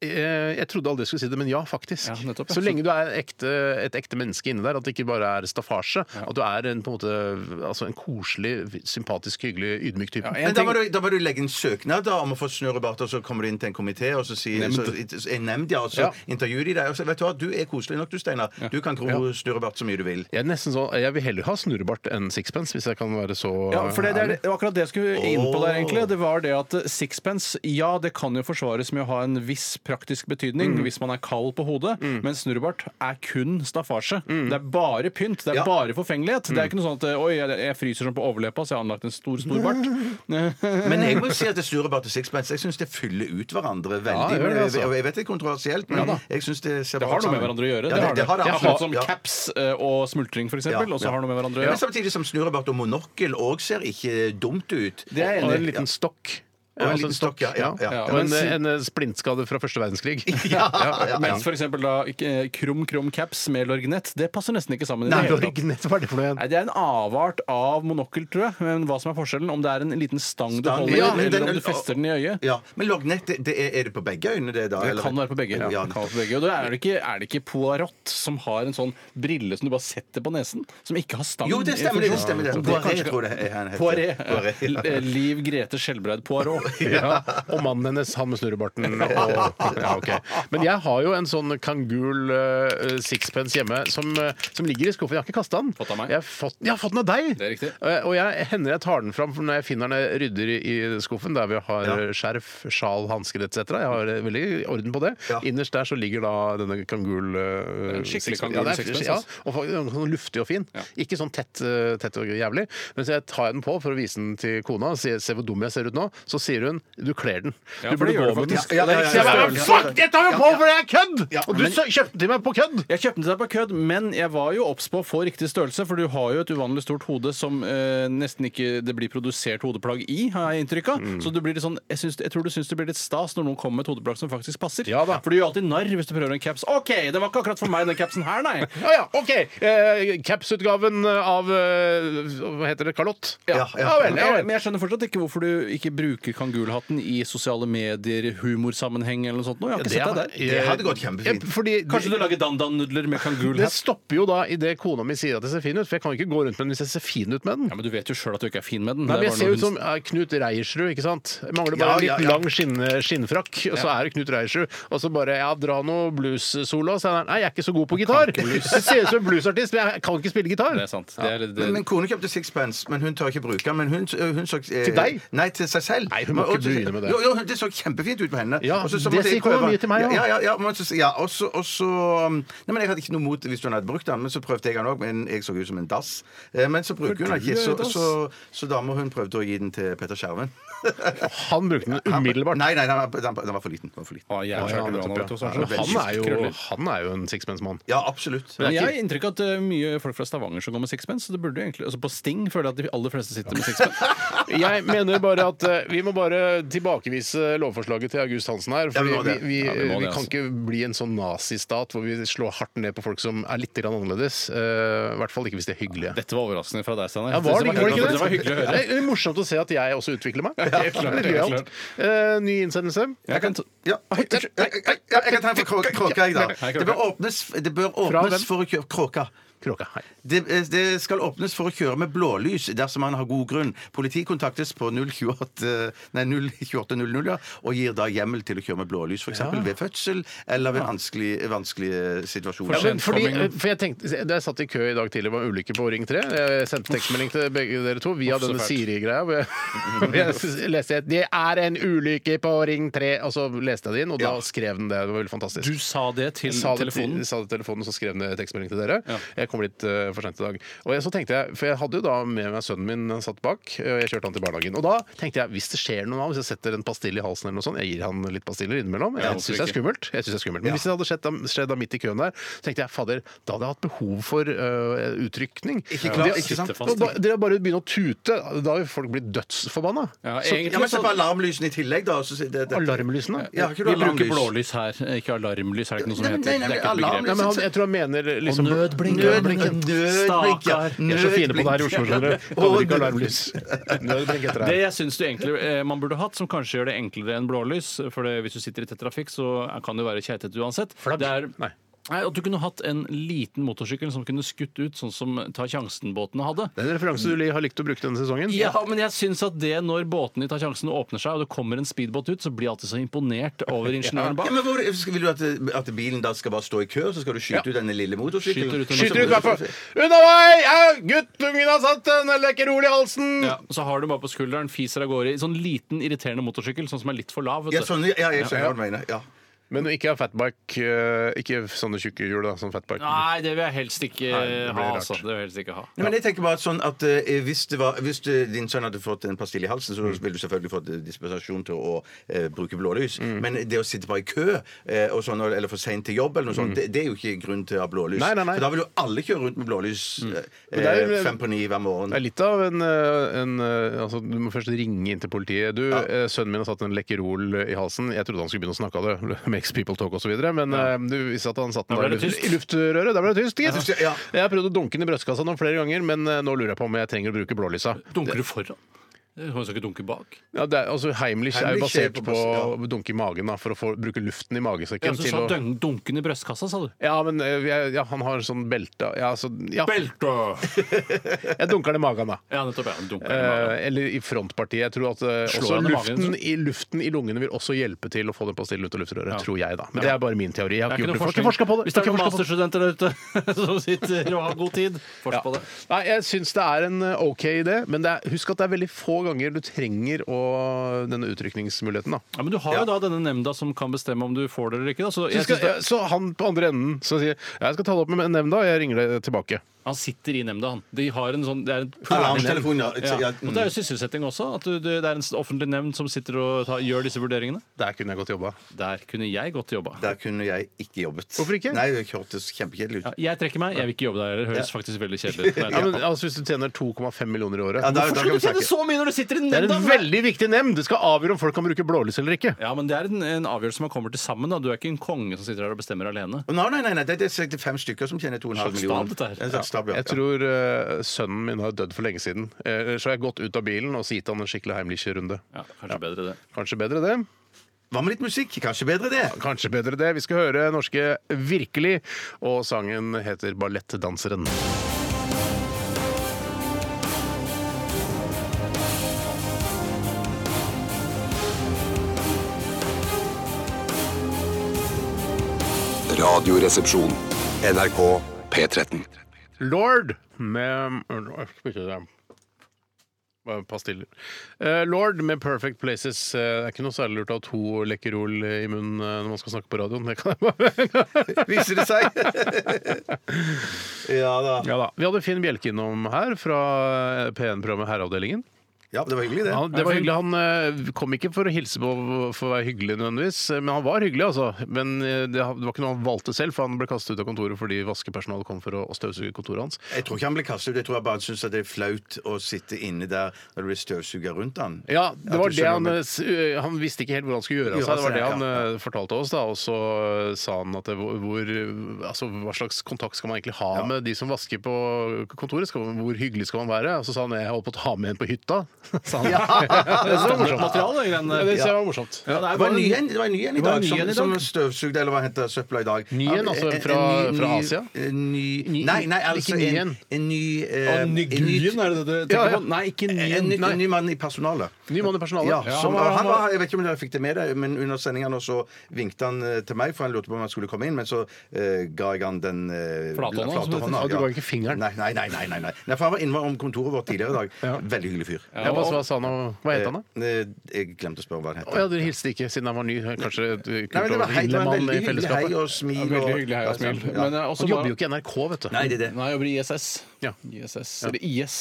Speaker 4: Eh, Jeg trodde aldri jeg skulle si det, men ja, faktisk.
Speaker 5: Ja, nettopp, ja.
Speaker 4: Så lenge du er ekte, et ekte menneske inni der, at det ikke bare er staffasje, at du er en, på en måte altså en koselig, sympatisk, hyggelig, ydmyk type.
Speaker 5: en
Speaker 6: Men da må, du, da må du legge en søknad da, om å få snurrebart, og så kommer du inn til en komité og så sier så, så- en nemnd, ja, og så
Speaker 4: Ja.
Speaker 6: intervjuer de deg. Og så vet du hva, du er koselig nok, du, Steinar. Du kan gro snurrebart så mye du vil.
Speaker 4: Jeg, er nesten sånn, jeg vil heller ha snurrebart enn sixpence, hvis jeg kan være så
Speaker 5: Ja, for det, det er
Speaker 4: ærlig.
Speaker 5: det var akkurat det jeg skulle inn på der,
Speaker 6: Åh.
Speaker 5: egentlig. Det var det at sixpence, ja, det kan jo forsvares med å ha en viss praktisk betydning hvis man er kald på hodet, men snurrebart er kun staffasje. Det er bare pynt, det er
Speaker 6: Ja.
Speaker 5: bare forfengelighet. Det er ikke noe sånn at oi, jeg, jeg fryser sånn på overleppa, så jeg har anlagt en stor, stor bart. [LAUGHS]
Speaker 6: Men jeg må si at det snurrebart og sixpence jeg syns det fyller ut
Speaker 4: Ja, det
Speaker 6: hverandre veldig.
Speaker 4: gjør det, altså.
Speaker 6: Og jeg vet det er kontroversielt, men jeg syns det ser
Speaker 5: Det
Speaker 6: bra
Speaker 5: har
Speaker 6: ut
Speaker 5: noe med
Speaker 6: sammen.
Speaker 5: hverandre å gjøre.
Speaker 6: Ja,
Speaker 5: Det har det.
Speaker 6: har det,
Speaker 5: Det er
Speaker 6: absolutt.
Speaker 5: akkurat som
Speaker 6: Ja.
Speaker 5: caps eh, og smultring, for eksempel,
Speaker 6: Ja,
Speaker 5: også har noe med hverandre å
Speaker 6: Men
Speaker 5: gjøre.
Speaker 6: samtidig som snurrebart og monokkel òg ser ikke dumt ut.
Speaker 5: Det er jeg
Speaker 4: Og
Speaker 5: enig i.
Speaker 4: en liten stokk.
Speaker 6: Og en
Speaker 4: altså
Speaker 6: liten stokk, ja. ja, ja.
Speaker 5: Ja,
Speaker 4: Og en,
Speaker 5: men-
Speaker 4: en splintskade fra første
Speaker 5: [LAUGHS]
Speaker 4: verdenskrig.
Speaker 6: Ja, ja,
Speaker 5: Mens for eksempel da eh, krum krum caps med lorgnett, det passer nesten ikke sammen. i
Speaker 4: Nei,
Speaker 5: det hele tatt.
Speaker 4: lorgnett, hva er det for noe igjen?
Speaker 5: Nei, Det er en avart av monokkel, tror jeg. Men hva som er forskjellen? Om det er en liten stang du
Speaker 6: Stang,
Speaker 5: holder,
Speaker 6: ja, men
Speaker 5: eller
Speaker 6: den-
Speaker 5: om du fester den i øyet?
Speaker 6: Ja, Men loggnett, det, det er, er det på begge øynene, det da?
Speaker 5: Det kan være på begge.
Speaker 6: Ja,
Speaker 5: det kan være på begge. Og da er det, ikke, er det ikke Poirot som har en sånn brille som du bare setter på nesen? Som ikke har stang?
Speaker 6: Jo, det stemmer, det, det stemmer. det.
Speaker 5: Og
Speaker 6: Poiré,
Speaker 5: kanskje-
Speaker 6: tror jeg det er han heter.
Speaker 5: Poiré.
Speaker 6: Poiré, ja.
Speaker 5: L- Liv Grete Skjelbreid
Speaker 6: [LAUGHS]
Speaker 5: Poirot.
Speaker 4: Ja, og mannen hennes, han med snurrebarten. Og, ja, ok. Men jeg har jo en sånn kangul eh, sixpence hjemme som, eh, som ligger i skuffen. Jeg har ikke kasta den.
Speaker 5: Fått av meg.
Speaker 4: Jeg har fått, jeg har fått den av deg!
Speaker 5: Det er riktig.
Speaker 4: Eh, og jeg hender jeg tar den fram for når jeg finner den, jeg rydder i, i skuffen der vi har
Speaker 6: Ja.
Speaker 4: skjerf, sjal, hansker etc. Jeg har eh, veldig orden på det.
Speaker 6: Ja.
Speaker 4: Innerst der så ligger da denne kangul eh,
Speaker 5: en skikkelig
Speaker 4: sixpence.
Speaker 5: kangul
Speaker 4: Ja, det er-
Speaker 5: sixpence,
Speaker 4: Ja,
Speaker 5: altså.
Speaker 4: og fa- sånn luftig og fin. Ikke sånn tett, eh, tett og jævlig. Men så jeg tar den på for å vise den til kona og sier 'se hvor dum jeg ser ut nå', så sier hun 'du kler den'.
Speaker 5: Ja,
Speaker 4: Du
Speaker 5: for
Speaker 4: burde
Speaker 5: det
Speaker 4: gå
Speaker 5: gjør du
Speaker 4: med den.
Speaker 5: faktisk.
Speaker 6: Ja, ja, ja, ja,
Speaker 4: Så jeg bare,
Speaker 6: ja, ja.
Speaker 4: Fuck, jeg tar jo på fordi jeg er kødd! Og du
Speaker 5: Men-
Speaker 4: så- kjøpte til meg på kødd!
Speaker 5: Jeg kjøpte den til deg på kødd, men jeg var jo obs på å få riktig størrelse, for du har jo et uvanlig stort hode som eh, nesten ikke det blir produsert hodeplagg i, har jeg inntrykk av.
Speaker 4: Mm.
Speaker 5: Så du blir litt sånn, jeg, syns, jeg tror du syns det blir litt stas når noen kommer med et hodeplagg som faktisk passer.
Speaker 4: Ja da.
Speaker 5: For du gjør alltid narr hvis du prøver en caps. OK, det var ikke akkurat for meg, den capsen her, nei.
Speaker 4: [LAUGHS] Ja, ja, OK. Eh, Caps-utgaven av eh, Hva heter det? Kalott?
Speaker 6: Ja, ja.
Speaker 4: vel, ja
Speaker 5: Jeg,
Speaker 4: vel.
Speaker 5: men jeg skjønner fortsatt ikke hvorfor du ikke bruker kangulhatten i sosiale medier, humorsammenheng eller noe sånt. Nå, jeg har ikke sett deg der.
Speaker 6: Det hadde gått kjempefint.
Speaker 4: Ja, fordi
Speaker 5: Kanskje du lager dandan-nudler med
Speaker 4: Det
Speaker 5: kangulhatt?
Speaker 4: stopper jo da idet kona mi sier at jeg ser fin ut, for jeg kan jo ikke gå rundt med den hvis jeg ser fin ut med den.
Speaker 5: Ja, men du vet jo sjøl at du ikke er fin med den.
Speaker 4: Nei,
Speaker 5: Det
Speaker 4: men
Speaker 5: var
Speaker 4: Jeg ser
Speaker 5: noe
Speaker 4: ut som
Speaker 5: hun-
Speaker 4: eh, Knut Reiersrud, ikke sant? Jeg mangler bare
Speaker 6: Ja,
Speaker 4: en
Speaker 6: ja,
Speaker 4: liten
Speaker 6: ja.
Speaker 4: lang skinn, skinnfrakk, og så er det Knut Reiersrud. Og så bare ja, dra noe blues-solo. Så er han, nei, jeg er ikke så god på gitar. Jeg ser ut som en bluesartist, men jeg kan ikke spille gitar.
Speaker 5: Det er sant. Det er, litt-
Speaker 6: Men, men kona kjøpte sixpence, men hun tør ikke bruke den. Men hun, hun så, eh,
Speaker 4: Til deg?
Speaker 6: Nei, til seg selv.
Speaker 4: Nei, hun må
Speaker 6: Men-
Speaker 4: ikke
Speaker 6: og-
Speaker 4: begynne med det.
Speaker 6: Jo, jo, det så kjempefint ut på henne.
Speaker 4: Ja,
Speaker 6: Og så- så
Speaker 4: det
Speaker 6: måtte
Speaker 4: sier
Speaker 6: jeg
Speaker 4: kona
Speaker 6: prøve-
Speaker 4: mye til meg også.
Speaker 6: Ja, ja, ja, men så- ja, og så- og så um, Nei, men Jeg hadde ikke noe mot hvis hun hadde brukt den, men så prøvde jeg den òg. Men jeg så ut som en dass. Eh, Men så bruker hun den ikke, så, så, så da må hun prøvde å gi den til Petter Skjerven.
Speaker 4: Han brukte den umiddelbart.
Speaker 6: Nei, nei, den var, den, den var for liten. Den var for liten.
Speaker 5: Å, jeg
Speaker 4: Ja,
Speaker 5: har hørt det sånn bra nå, vet du. så
Speaker 4: ja, men
Speaker 5: det
Speaker 4: han, er jo,
Speaker 5: krøller.
Speaker 4: han er jo en sixpence-mann.
Speaker 6: Ja, absolutt.
Speaker 5: Men jeg har inntrykk av at det er mye folk fra Stavanger som går med sixpence. Så det burde jo egentlig, altså på Sting føler jeg at de aller fleste sitter med sixpence.
Speaker 4: Jeg mener bare at eh, vi må bare tilbakevise lovforslaget til August Hansen her. For
Speaker 6: Ja, vi må
Speaker 4: vi,
Speaker 6: det.
Speaker 4: vi,
Speaker 5: Ja, vi må
Speaker 4: vi
Speaker 5: det,
Speaker 4: kan
Speaker 5: altså.
Speaker 4: ikke bli en sånn nazistat hvor vi slår hardt ned på folk som er litt grann annerledes. eh, I hvert fall ikke hvis de er hyggelige.
Speaker 5: [LAUGHS] Dette var overraskende fra deg, Steinar.
Speaker 4: Ja, var det,
Speaker 5: Dette
Speaker 4: ikke- var det ikke det?
Speaker 5: Dette var hyggelig å høre.
Speaker 4: Det er morsomt å se at jeg også utvikler
Speaker 5: [LAUGHS]
Speaker 4: meg. Helt Det
Speaker 5: klart,
Speaker 4: er
Speaker 5: helt
Speaker 4: gøyalt. Eh, ny innsendelse.
Speaker 5: Jeg kan ta-
Speaker 6: Ja.
Speaker 4: Oi, unnskyld.
Speaker 6: Jeg, jeg, jeg, jeg kan ta en fra kråka, kråka
Speaker 5: Hei,
Speaker 6: jeg, da.
Speaker 5: Kråka.
Speaker 6: Det bør åpnes, det bør
Speaker 4: hvem?
Speaker 6: åpnes for å kjøre Kråka.
Speaker 4: Kråka, hei.
Speaker 6: Det, eh, det skal åpnes for å kjøre med blålys dersom man har god grunn. Politi kontaktes på 028 nei, 02800 ja, og gir da hjemmel til å kjøre med blålys, f.eks. eksempel ved fødsel eller ved vanskelig, vanskelige
Speaker 4: Ja,
Speaker 6: situasjoner.
Speaker 4: men fordi, for jeg tenkte, Da jeg satt i kø i dag tidlig, var en ulykke på Ring 3. Jeg sendte tekstmelding til begge dere to via
Speaker 5: Uff, så
Speaker 4: denne
Speaker 5: fælt.
Speaker 4: Siri-greia. hvor jeg- hvor Jeg s- leste at 'Det er en ulykke på Ring 3', og så leste jeg det inn, og da skrev den det. Det var veldig fantastisk.
Speaker 5: Du sa det til
Speaker 4: Jeg sa det
Speaker 5: telefonen.
Speaker 4: Til, sa det til telefonen, så skrev den tekstmelding til dere.
Speaker 5: Ja.
Speaker 4: Jeg kom litt eh, for sent i dag. Og jeg, så tenkte jeg, For jeg hadde jo da med meg sønnen min, han satt bak, eh, og jeg kjørte han til barnehagen. Og da tenkte jeg hvis det skjer noe nå, hvis jeg setter en pastille i halsen eller noe sånt Jeg gir han litt pastiller innimellom.
Speaker 5: Ja,
Speaker 4: Jeg syns det er
Speaker 5: hvorfor
Speaker 4: skummelt. Jeg synes det er skummelt. Men hvis det hadde skjedd, da- skjedd da midt i køen der, så tenkte jeg fader, da hadde jeg hatt behov for eh, utrykning.
Speaker 6: Ikke klart,
Speaker 4: Ja.
Speaker 6: ikke sant?
Speaker 4: Og da- Dere bare begynner å tute. Da har jo folk blitt dødsforbanna.
Speaker 5: Ja,
Speaker 6: Så, ja,
Speaker 5: egentlig
Speaker 6: men se
Speaker 5: så
Speaker 6: på alarmlysene i tillegg, da. Så, det, det,
Speaker 4: Alarmlysene.
Speaker 6: ja, har ikke
Speaker 5: Vi
Speaker 6: du
Speaker 5: bruker
Speaker 6: alarmlys?
Speaker 5: blålys her, ikke alarmlys. Er det ikke noe som
Speaker 6: Nei,
Speaker 5: heter?
Speaker 6: men- nei,
Speaker 5: det er
Speaker 6: nei,
Speaker 5: ikke et
Speaker 6: alarm-
Speaker 5: begrep.
Speaker 4: Nei, men han, jeg tror han mener liksom
Speaker 5: nødblink.
Speaker 6: Nødblinken. Nødblink, ja.
Speaker 5: Stakkar.
Speaker 4: Vi er så fine på det her i Oslo, skjønner du.
Speaker 6: Å,
Speaker 4: Handler ikke
Speaker 6: nød-
Speaker 4: alarmlys. Nødblink heter
Speaker 5: Det
Speaker 4: det.
Speaker 5: jeg syns du egentlig eh, man burde hatt, som kanskje gjør det enklere enn blålys For det, hvis du sitter i tett trafikk, så kan det jo være keitete uansett.
Speaker 4: Flagg?
Speaker 5: Det er,
Speaker 4: Nei.
Speaker 5: nei. At du kunne hatt en liten motorsykkel som kunne skutt ut, sånn som Ta sjansen-båtene hadde.
Speaker 4: Det er en referanse du har likt å bruke denne sesongen.
Speaker 5: Ja, men jeg syns at det når båtene i Ta sjansen åpner seg, og det kommer en speedbåt ut, så blir jeg alltid så imponert [LAUGHS] over ingeniøren
Speaker 6: Ja,
Speaker 5: bak.
Speaker 6: men hvor, vil du at, at bilen da skal bare stå i kø, og så skal du skyte ut denne lille
Speaker 5: Skyter
Speaker 6: motorsykkelen?
Speaker 5: ut den.
Speaker 4: Skyter ut hvert fall. Unna meg! Ja, Guttungen har satt en lekkerol i halsen!
Speaker 5: Ja, og så har du bare på skulderen, fiser av gårde i sånn liten, irriterende motorsykkel, sånn som er litt for lav. vet
Speaker 6: Ja,
Speaker 5: du.
Speaker 6: sånn, ja, jeg skjønner hva du mener. Ja.
Speaker 4: Men ikke ha fatback, eh, ikke sånne tjukke hjul da, som fatback.
Speaker 5: Nei, det vil jeg helst ikke
Speaker 4: Nei, det blir
Speaker 5: ha.
Speaker 4: rart.
Speaker 5: Altså. Det vil jeg helst ikke ha.
Speaker 6: Nei, men jeg tenker bare sånn at eh, hvis, det var, hvis eh, din sønn hadde fått en pastille i halsen, så
Speaker 4: Mm.
Speaker 6: ville du selvfølgelig fått eh, dispensasjon til å eh, bruke blålys.
Speaker 4: Mm.
Speaker 6: Men det å sitte bare i kø eh, og sånn, eller for seint til jobb, eller noe sånt, det, det er jo ikke grunn til å ha
Speaker 4: Mm.
Speaker 6: blålys.
Speaker 4: Nei, nei, nei. Mm.
Speaker 6: For da vil jo alle kjøre rundt med blålys eh,
Speaker 4: Men det er jo-
Speaker 6: fem på ni hver morgen.
Speaker 4: Det er litt av en, eh, en eh, altså, Du må først ringe inn til politiet. Du, eh, Sønnen min har tatt en Lekkerol eh, i halsen. Jeg trodde han skulle begynne å snakke av det. [LAUGHS] Makes people talk osv. Men eh, du visste at han satt den
Speaker 5: Da
Speaker 4: der
Speaker 5: ble
Speaker 4: i
Speaker 5: det
Speaker 4: luft-
Speaker 5: tyst.
Speaker 4: i luftrøret. Der ble det tyst, gitt.
Speaker 6: Ja.
Speaker 4: Jeg har prøvd å dunke den i brystkassa noen flere ganger, men eh, nå lurer jeg på om jeg trenger å bruke blålysa.
Speaker 5: Dunker du foran? Du kan jo ikke dunke bak.
Speaker 4: Ja, det er, altså, Heimlich er jo
Speaker 6: Heimlich er
Speaker 4: basert
Speaker 6: på-
Speaker 4: på å dunke i magen da, for å få, bruke luften i
Speaker 5: Ja,
Speaker 4: magesekken
Speaker 5: så du
Speaker 4: til
Speaker 5: sa
Speaker 4: å
Speaker 5: dun- dunken i brystkassa, sa du.
Speaker 4: ja, men eh, jeg, ja, han har sånn belte ja, så, ja,
Speaker 5: Belte!
Speaker 4: Jeg dunker den i magen, da.
Speaker 5: Ja, nettopp. Ja. Dunker i magen.
Speaker 4: Eh, eller i frontpartiet. Jeg tror at eh,
Speaker 5: Slå
Speaker 4: også
Speaker 5: deg i magen,
Speaker 4: luften, i, luften i lungene vil også hjelpe til å få den pastillen ut av luftrøret.
Speaker 5: Ja.
Speaker 4: Tror jeg, da. Men
Speaker 5: Ja.
Speaker 4: det er bare min teori. Jeg har
Speaker 5: Det
Speaker 4: ikke
Speaker 5: er ikke noe
Speaker 4: gjort
Speaker 5: forskning.
Speaker 4: forskning. Forska på det!
Speaker 5: Hvis det er
Speaker 4: Ikke
Speaker 5: noen
Speaker 4: forska på det.
Speaker 5: masterstudenter der ute [LAUGHS] som sitter og har god tid, forsk
Speaker 4: Ja.
Speaker 5: på det.
Speaker 4: Nei, jeg syns det er en eh, OK idé, men det er, husk at det er veldig få ganger du trenger å, denne utrykningsmuligheten. Da.
Speaker 5: Ja, men du har jo da denne nemnda som kan bestemme om du får det eller ikke. Da. Så
Speaker 4: Så,
Speaker 5: jeg
Speaker 4: skal,
Speaker 5: synes
Speaker 4: ja,
Speaker 5: det,
Speaker 4: så han på andre enden som sier jeg skal ta det opp med nemnda, og jeg ringer deg tilbake.
Speaker 5: han sitter i nemnda, han. De har en sånn, det er en
Speaker 6: Alarmtelefon, ja.
Speaker 5: Ja.
Speaker 6: ja.
Speaker 5: Og det er jo sysselsetting også. At du, det er en offentlig nemnd som sitter og tar, gjør disse vurderingene.
Speaker 4: Der kunne jeg godt jobba.
Speaker 5: Der kunne jeg godt jobba.
Speaker 6: Der kunne jeg ikke jobbet.
Speaker 4: Hvorfor ikke?
Speaker 6: Nei, Det hørtes kjempekjedelig ut.
Speaker 5: Ja, jeg trekker meg. Jeg vil ikke jobbe der. Det høres faktisk veldig kjedelig ut.
Speaker 4: Ja, men, altså, hvis du tjener 2,5 millioner i året
Speaker 6: Ja, da- da
Speaker 4: Hvorfor
Speaker 6: kan
Speaker 4: skal
Speaker 6: vi
Speaker 4: du tjene
Speaker 6: snakke.
Speaker 4: så-
Speaker 5: så mye når du sitter i
Speaker 4: Det er
Speaker 5: nemnda!
Speaker 4: en veldig viktig nemnd! Det skal avgjøre om folk kan bruke blålys eller ikke.
Speaker 5: Ja, men Det er en, en avgjørelse man kommer til sammen. da Du er ikke en konge som sitter her og bestemmer alene.
Speaker 6: Nei, nei, nei, nei, det er 65 stykker som tjener 2,5
Speaker 5: Slags stab,
Speaker 6: millioner.
Speaker 5: dette her.
Speaker 6: En slags stab, ja.
Speaker 4: Jeg tror eh, sønnen min har dødd for lenge siden. Eh, så har jeg gått ut av bilen og så gitt han en skikkelig Heimlich-runde.
Speaker 5: Ja, kanskje bedre det.
Speaker 4: Kanskje bedre det.
Speaker 6: Hva med litt musikk? Kanskje bedre det?
Speaker 4: Kanskje bedre det. Vi skal høre norske Virkelig, og sangen heter 'Ballettdanseren'.
Speaker 1: Radioresepsjon. NRK P13.
Speaker 4: Lord med øh, Bare Pastiller. Eh, Lord med 'Perfect Places'. Eh, Det er ikke noe særlig lurt å ha to Lekkerol i munnen eh, når man skal snakke på radioen. Det kan jeg bare
Speaker 6: [LAUGHS] Viser det
Speaker 4: [LAUGHS]
Speaker 6: seg? ja da.
Speaker 4: Ja da. Vi hadde Finn Bjelke innom her fra P1-programmet Herreavdelingen.
Speaker 6: Ja, det var hyggelig, det.
Speaker 4: Han, det var hyggelig. Han eh, kom ikke for å hilse på for å være hyggelig nødvendigvis, eh, men han var hyggelig, altså. Men eh, det ha- det var ikke noe han valgte selv, for han ble kastet ut av kontoret fordi vaskepersonalet kom for å å støvsuge kontoret hans.
Speaker 6: Jeg tror ikke han ble kastet ut. Jeg tror jeg bare syns det er flaut å sitte inne der når det blir støvsuga rundt han.
Speaker 4: Ja, det
Speaker 6: At
Speaker 4: var
Speaker 6: du
Speaker 4: det
Speaker 6: skjønner
Speaker 4: han
Speaker 6: meg.
Speaker 4: eh, s- eh, Han visste ikke helt hvor han skulle gjøre av
Speaker 6: Gjøre
Speaker 4: seg. Det var
Speaker 6: seg,
Speaker 4: det han
Speaker 6: ja,
Speaker 4: eh, fortalte oss, da. Og så eh, sa han at det, hvor, hvor- altså, hva slags kontakt skal man egentlig ha med de som vasker på kontoret? Skal, man- hvor hyggelig skal man være? Og så sa han jeg holdt på å ta med en på hytta. Sa han. det var morsomt.
Speaker 5: Materiale, de greiene
Speaker 4: Ja, [LAUGHS]
Speaker 5: der.
Speaker 4: det synes jeg var morsomt.
Speaker 5: Ja, det
Speaker 6: Det
Speaker 5: er
Speaker 6: var
Speaker 5: bare
Speaker 6: en ny en, det var en ny en i
Speaker 5: var en
Speaker 6: dag
Speaker 5: ny
Speaker 6: som,
Speaker 5: en i dag.
Speaker 6: som støvsugde eller hva henter søpla i dag.
Speaker 4: Ny en, altså,
Speaker 6: En- en
Speaker 4: fra-
Speaker 6: ny-
Speaker 4: fra
Speaker 6: ny-
Speaker 4: Asia?
Speaker 6: En ny
Speaker 4: Ny-
Speaker 6: Nei, nei altså
Speaker 4: ikke ny
Speaker 6: en,
Speaker 4: en.
Speaker 6: en ny eh,
Speaker 5: Og Nygyen, er det det du tenker
Speaker 4: Ja, ja.
Speaker 5: på? Nei, ikke
Speaker 6: En,
Speaker 5: Nyen.
Speaker 6: ny- en ny mann i personalet.
Speaker 4: Ny mann i personalet.
Speaker 6: Ja, som,
Speaker 4: han var-
Speaker 6: han var, jeg vet ikke om dere fikk det med deg, men under sendinga nå så vinkte han eh, til meg, for han lurte på om han skulle komme inn, men så eh, ga jeg han den eh,
Speaker 5: Flate hånda, som det
Speaker 4: heter. Ja, du ga ikke fingeren.
Speaker 6: Nei, nei, nei. nei, nei, nei. nei for han var innom om kontoret vårt tidligere i dag.
Speaker 4: Ja.
Speaker 6: Veldig hyggelig fyr.
Speaker 4: Ja, hva, hva sa han, og- hva het han, da?
Speaker 6: Eh, Jeg glemte å spørre hva han het.
Speaker 4: Å ja, dere hilste ikke siden han var ny. Kanskje kult
Speaker 6: Nei, men det
Speaker 4: å
Speaker 6: var, hei, det
Speaker 4: innlemme
Speaker 6: var en
Speaker 4: han i
Speaker 6: veldig hyggelig hei
Speaker 4: fellesskapet?
Speaker 6: og smil.
Speaker 5: Ja, veldig
Speaker 6: og-
Speaker 5: hyggelig hei og smil.
Speaker 6: Ja.
Speaker 5: Men jeg er
Speaker 4: Han
Speaker 5: også
Speaker 4: jobber
Speaker 5: bare
Speaker 4: jo ikke i NRK, vet du.
Speaker 6: Nei, det er det.
Speaker 5: Nei, jeg jobber i ISS.
Speaker 4: Ja.
Speaker 5: ISS. Eller IS.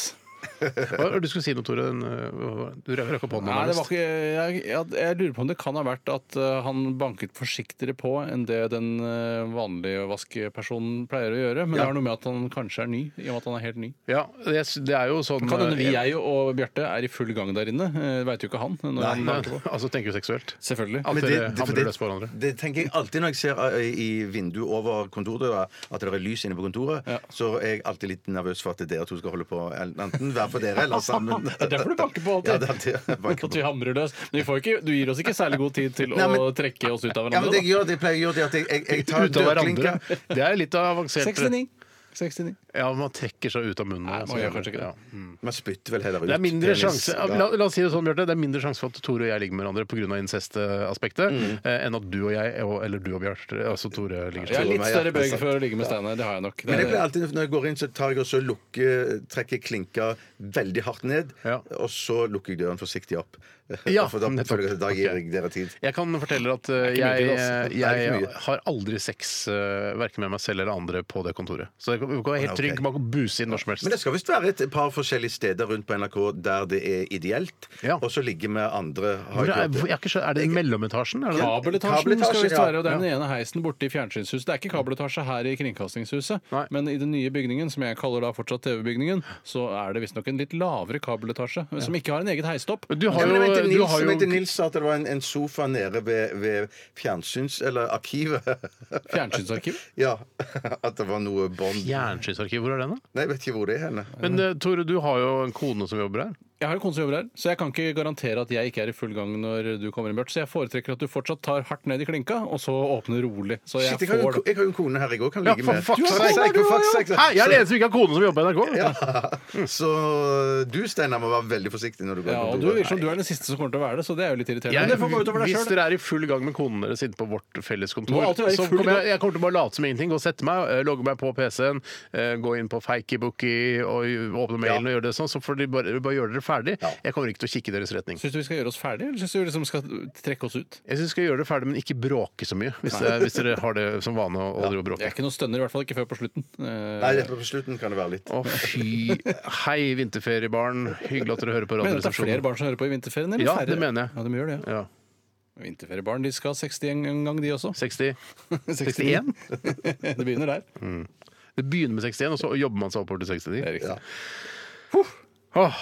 Speaker 4: Hva- Du skulle si noe, Tore. Den, øh, Du rakk opp hånden.
Speaker 5: Nei, det var
Speaker 4: nærmest.
Speaker 5: ikke jeg, jeg, jeg lurer på om det kan ha vært at eh, han banket forsiktigere på enn det den eh, vanlige vaskepersonen pleier å gjøre. Men det har noe med at han kanskje er ny, i og med at han er helt ny.
Speaker 4: Ja, det er- det er jo sånn
Speaker 5: Kan hende vi,
Speaker 4: øh,
Speaker 5: jeg og Bjarte, er i full gang der inne. Eh, Veit jo ikke han. Når
Speaker 4: Nei,
Speaker 5: han
Speaker 4: nei, [LAUGHS]
Speaker 5: banker på.
Speaker 4: altså tenker du seksuelt?
Speaker 5: Selvfølgelig.
Speaker 4: At
Speaker 6: Men
Speaker 4: dere
Speaker 6: det, det, for
Speaker 4: hamrer løs på
Speaker 6: det,
Speaker 4: hverandre?
Speaker 6: det tenker jeg alltid når jeg ser eh, i vinduet over kontordøra at det er lys inne på kontoret.
Speaker 5: Ja.
Speaker 6: Så er jeg alltid litt nervøs for at dere to skal holde på enten hver for dere eller
Speaker 4: [LAUGHS]
Speaker 6: sammen.
Speaker 5: [LAUGHS] Det er derfor du banker på alltid.
Speaker 6: Ja, det er alltid jeg
Speaker 5: [LAUGHS]
Speaker 6: banker
Speaker 5: At vi
Speaker 6: på.
Speaker 5: hamrer løs. Men vi får ikke, du gir oss ikke særlig god tid til
Speaker 6: [LAUGHS] Nei, men-
Speaker 5: å trekke oss ut av
Speaker 6: Ja, men
Speaker 5: hverandre.
Speaker 6: det jeg gjør, det jeg pleier å gjøre, det er at jeg, jeg, jeg
Speaker 4: Ut
Speaker 6: tar
Speaker 4: av
Speaker 6: dørklinka
Speaker 4: hverandre. Det er litt avansert.
Speaker 5: 69. 69.
Speaker 4: Ja, man trekker seg ut av munnen.
Speaker 5: Nei,
Speaker 4: altså.
Speaker 5: man gjør kanskje ikke det.
Speaker 4: Ja.
Speaker 6: Man spytter vel heller ut
Speaker 4: Det er mindre
Speaker 6: penis.
Speaker 4: sjanse
Speaker 6: Ja.
Speaker 4: la, la oss si det sånn, Bjarte. Det er mindre sjanse for at Tore og jeg ligger med hverandre pga. incestaspektet, eh, enn at du og jeg, og- eller du og Bjarte, altså Tore, ligger
Speaker 5: Jeg
Speaker 4: sammen.
Speaker 5: har litt
Speaker 6: meg, ja.
Speaker 5: større bøyg for å ligge med Steinar. Det har jeg nok. Det
Speaker 6: Men jeg
Speaker 5: er-
Speaker 6: pleier alltid, Når jeg går inn, så tar jeg og så lukker, trekker klinka veldig hardt ned.
Speaker 4: Ja.
Speaker 6: Og så lukker jeg døren forsiktig opp.
Speaker 4: Ja,
Speaker 6: [LAUGHS] For da,
Speaker 4: nettopp.
Speaker 6: føler jeg at da gir
Speaker 4: Ok.
Speaker 6: jeg dere tid.
Speaker 4: Jeg kan fortelle at eh,
Speaker 5: ikke mye
Speaker 4: jeg,
Speaker 5: til, ass.
Speaker 6: Det er ikke
Speaker 4: jeg
Speaker 6: mye.
Speaker 4: har aldri sex eh, verken med meg selv eller andre på det kontoret. Så jeg kan jeg kan være helt
Speaker 6: ok.
Speaker 4: trygg. Man kan buse inn når som helst.
Speaker 6: Men det skal visst være et par forskjellige steder rundt på NRK der det er ideelt.
Speaker 4: Ja.
Speaker 6: Og så ligge med andre. har
Speaker 4: Hvor
Speaker 6: jeg
Speaker 4: er,
Speaker 6: hørt det.
Speaker 4: hvor- jeg har ikke skjønt- er det i mellometasjen? Er det det?
Speaker 5: Kabeletasjen,
Speaker 6: Kabeletasjen,
Speaker 5: skal visst
Speaker 6: ja.
Speaker 5: være, og det er den ene heisen borte i fjernsynshuset. Det er ikke kabeletasje her i Kringkastingshuset,
Speaker 4: Nei.
Speaker 5: men i den nye bygningen, som jeg kaller da fortsatt TV-bygningen, så er det visstnok en litt lavere kabeletasje, som ikke har en eget heistopp.
Speaker 4: Men Du
Speaker 6: Ja,
Speaker 4: har
Speaker 6: men jeg
Speaker 4: jo,
Speaker 6: mente
Speaker 4: du
Speaker 6: Nils,
Speaker 4: har
Speaker 6: jeg mente
Speaker 4: jo
Speaker 6: Nils sa at det var en, en sofa nede ved, ved fjernsyns- eller arkivet. [LAUGHS]
Speaker 5: Fjernsynsarkiv.
Speaker 6: ja, [LAUGHS] At det var noe bånd.
Speaker 4: Fjernsynsarkiv, hvor er den, da?
Speaker 6: Nei, jeg vet ikke hvor det er henne.
Speaker 4: Men eh, Tore, du har jo en kone som jobber her.
Speaker 5: Jeg har en kone som jobber her, så jeg kan ikke garantere at jeg ikke er i full gang når du kommer inn, Bjørt. Så jeg foretrekker at du fortsatt tar hardt ned i klinka, og så åpner rolig. Så jeg
Speaker 6: Shit, jeg, har jo,
Speaker 5: får
Speaker 6: en-
Speaker 5: det.
Speaker 6: jeg har jo en kone her jeg òg kan
Speaker 4: Ja,
Speaker 6: ligge
Speaker 4: for
Speaker 6: med.
Speaker 4: fuck's
Speaker 6: Du har
Speaker 4: sake,
Speaker 6: kone,
Speaker 4: du
Speaker 6: for
Speaker 4: har
Speaker 6: fuck's
Speaker 4: jo-
Speaker 6: sake, så-
Speaker 4: Hæ, jeg er den eneste som ikke har kone som jobber i NRK!
Speaker 6: Ja. Så du, Steinar, må være veldig forsiktig når du går
Speaker 5: Ja, og du virker som du er den siste som kommer til å være det, så det er jo litt
Speaker 4: Jeg,
Speaker 5: irriterende. Men det får gå utover deg
Speaker 4: hvis
Speaker 5: selv.
Speaker 4: dere er i full gang med konene deres inne på vårt felles kontor,
Speaker 5: Må alltid være i
Speaker 4: så
Speaker 5: full
Speaker 4: kommer jeg,
Speaker 5: gang.
Speaker 4: jeg kommer til å bare late som ingenting. Gå og sette meg, eh, logge meg på PC-en, eh, gå inn på Fakebooky og åpne mailen og gjøre det sånn, så får de bare, bare gjøre dere ferdig. Jeg kommer ikke til å kikke i deres retning.
Speaker 5: Syns du vi skal gjøre oss ferdig, eller syns du vi liksom skal trekke oss ut?
Speaker 4: Jeg syns vi skal gjøre det ferdig, men ikke bråke så mye. Hvis, det, hvis dere har det som vane å, å drive og
Speaker 5: Jeg
Speaker 4: bråke.
Speaker 5: er ikke noe stønner, i hvert fall ikke før på slutten. Eh,
Speaker 6: Nei, det er på slutten kan det være litt.
Speaker 4: Å, fy. Hei, vinterferiebarn. Hyggelig at dere hører på
Speaker 5: Mener du at det er flere
Speaker 4: Radioresepsjonen.
Speaker 5: barn som hører på i vinterferien? Eller
Speaker 4: Ja,
Speaker 5: færre?
Speaker 4: det mener jeg.
Speaker 5: Ja, de gjør det, ja.
Speaker 4: Ja.
Speaker 5: Vinterferiebarn de skal ha 60 en en gang, de også. [LAUGHS]
Speaker 4: 60 61?
Speaker 5: det begynner der.
Speaker 4: Det begynner med 61, og så jobber man seg oppover til 69.
Speaker 5: Det er riktig.
Speaker 4: Åh,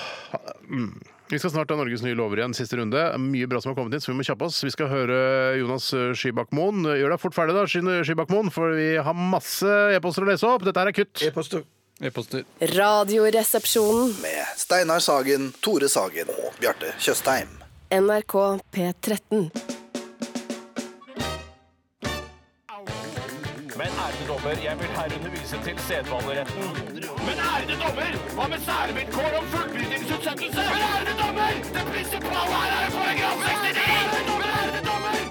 Speaker 4: mm. Vi skal snart ha Norges nye lover igjen, siste runde. Mye bra som har kommet inn, så vi må kjappe oss. Vi skal høre Jonas Skybakk Moen. Gjør deg fort ferdig, da, Sky- Skybakk Moen, for vi har masse e-poster å lese opp. Dette her er kutt.
Speaker 6: E-poster.
Speaker 5: E-poster.
Speaker 7: Radioresepsjonen.
Speaker 8: Med Steinar Sagen, Tore Sagen og Bjarte Tjøstheim.
Speaker 7: NRK P13.
Speaker 10: Men ærede dommer, jeg vil herunder vise til sedvaneretten. Men ærede dommer, hva med særvilkår om fullbyrdingsutsettelse? Men ærede dommer, det prinsipale her er paragraf 69! Men ærede dommer,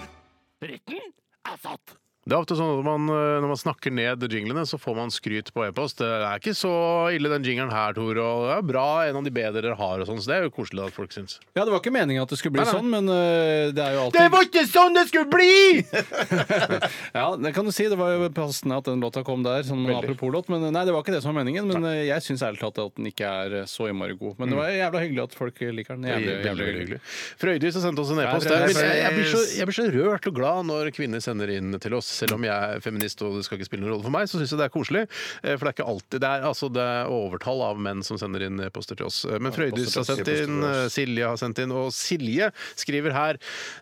Speaker 10: retten er satt.
Speaker 4: Det er ofte sånn at man, eh, Når man snakker ned jinglene, så får man skryt på e-post. Det er ikke så ille, den jingelen her, Tore. Og det er bra, en av de bedre dere har. og sånn, Så det er jo koselig at folk syns.
Speaker 5: Ja, det var ikke meninga at det skulle bli
Speaker 4: Nei, nei.
Speaker 5: sånn, men eh, det er jo alltid
Speaker 4: ikke sånn det skulle bli!
Speaker 5: Ja, det kan du si. Det var jo passende at den låta kom der. Sånn
Speaker 4: Veldig.
Speaker 5: apropos-låt. Men nei, det var ikke det som var meningen. Men eh, jeg syns ærlig talt at den ikke er eh, så innmari god. Men det var jævla hyggelig at folk liker den. Jævlig,
Speaker 4: Mm. Veldig,
Speaker 5: jævlig
Speaker 4: veldig
Speaker 5: hyggelig.
Speaker 4: Sånn hyggelig. Frøydis har sendt oss en e-post.
Speaker 5: Ja,
Speaker 4: Jeg,
Speaker 5: Frøydis.
Speaker 4: blir- jeg, blir så- jeg blir så rørt og glad når kvinner sender inn til oss. Selv om jeg er feminist og det skal ikke spille noen rolle for meg, så syns jeg det er koselig. Eh, For det er ikke alltid det er, altså, det er overtall av menn som sender inn e-poster til oss. Eh, Men Frøydis har sendt inn, eh, Silje har sendt inn, og Silje skriver her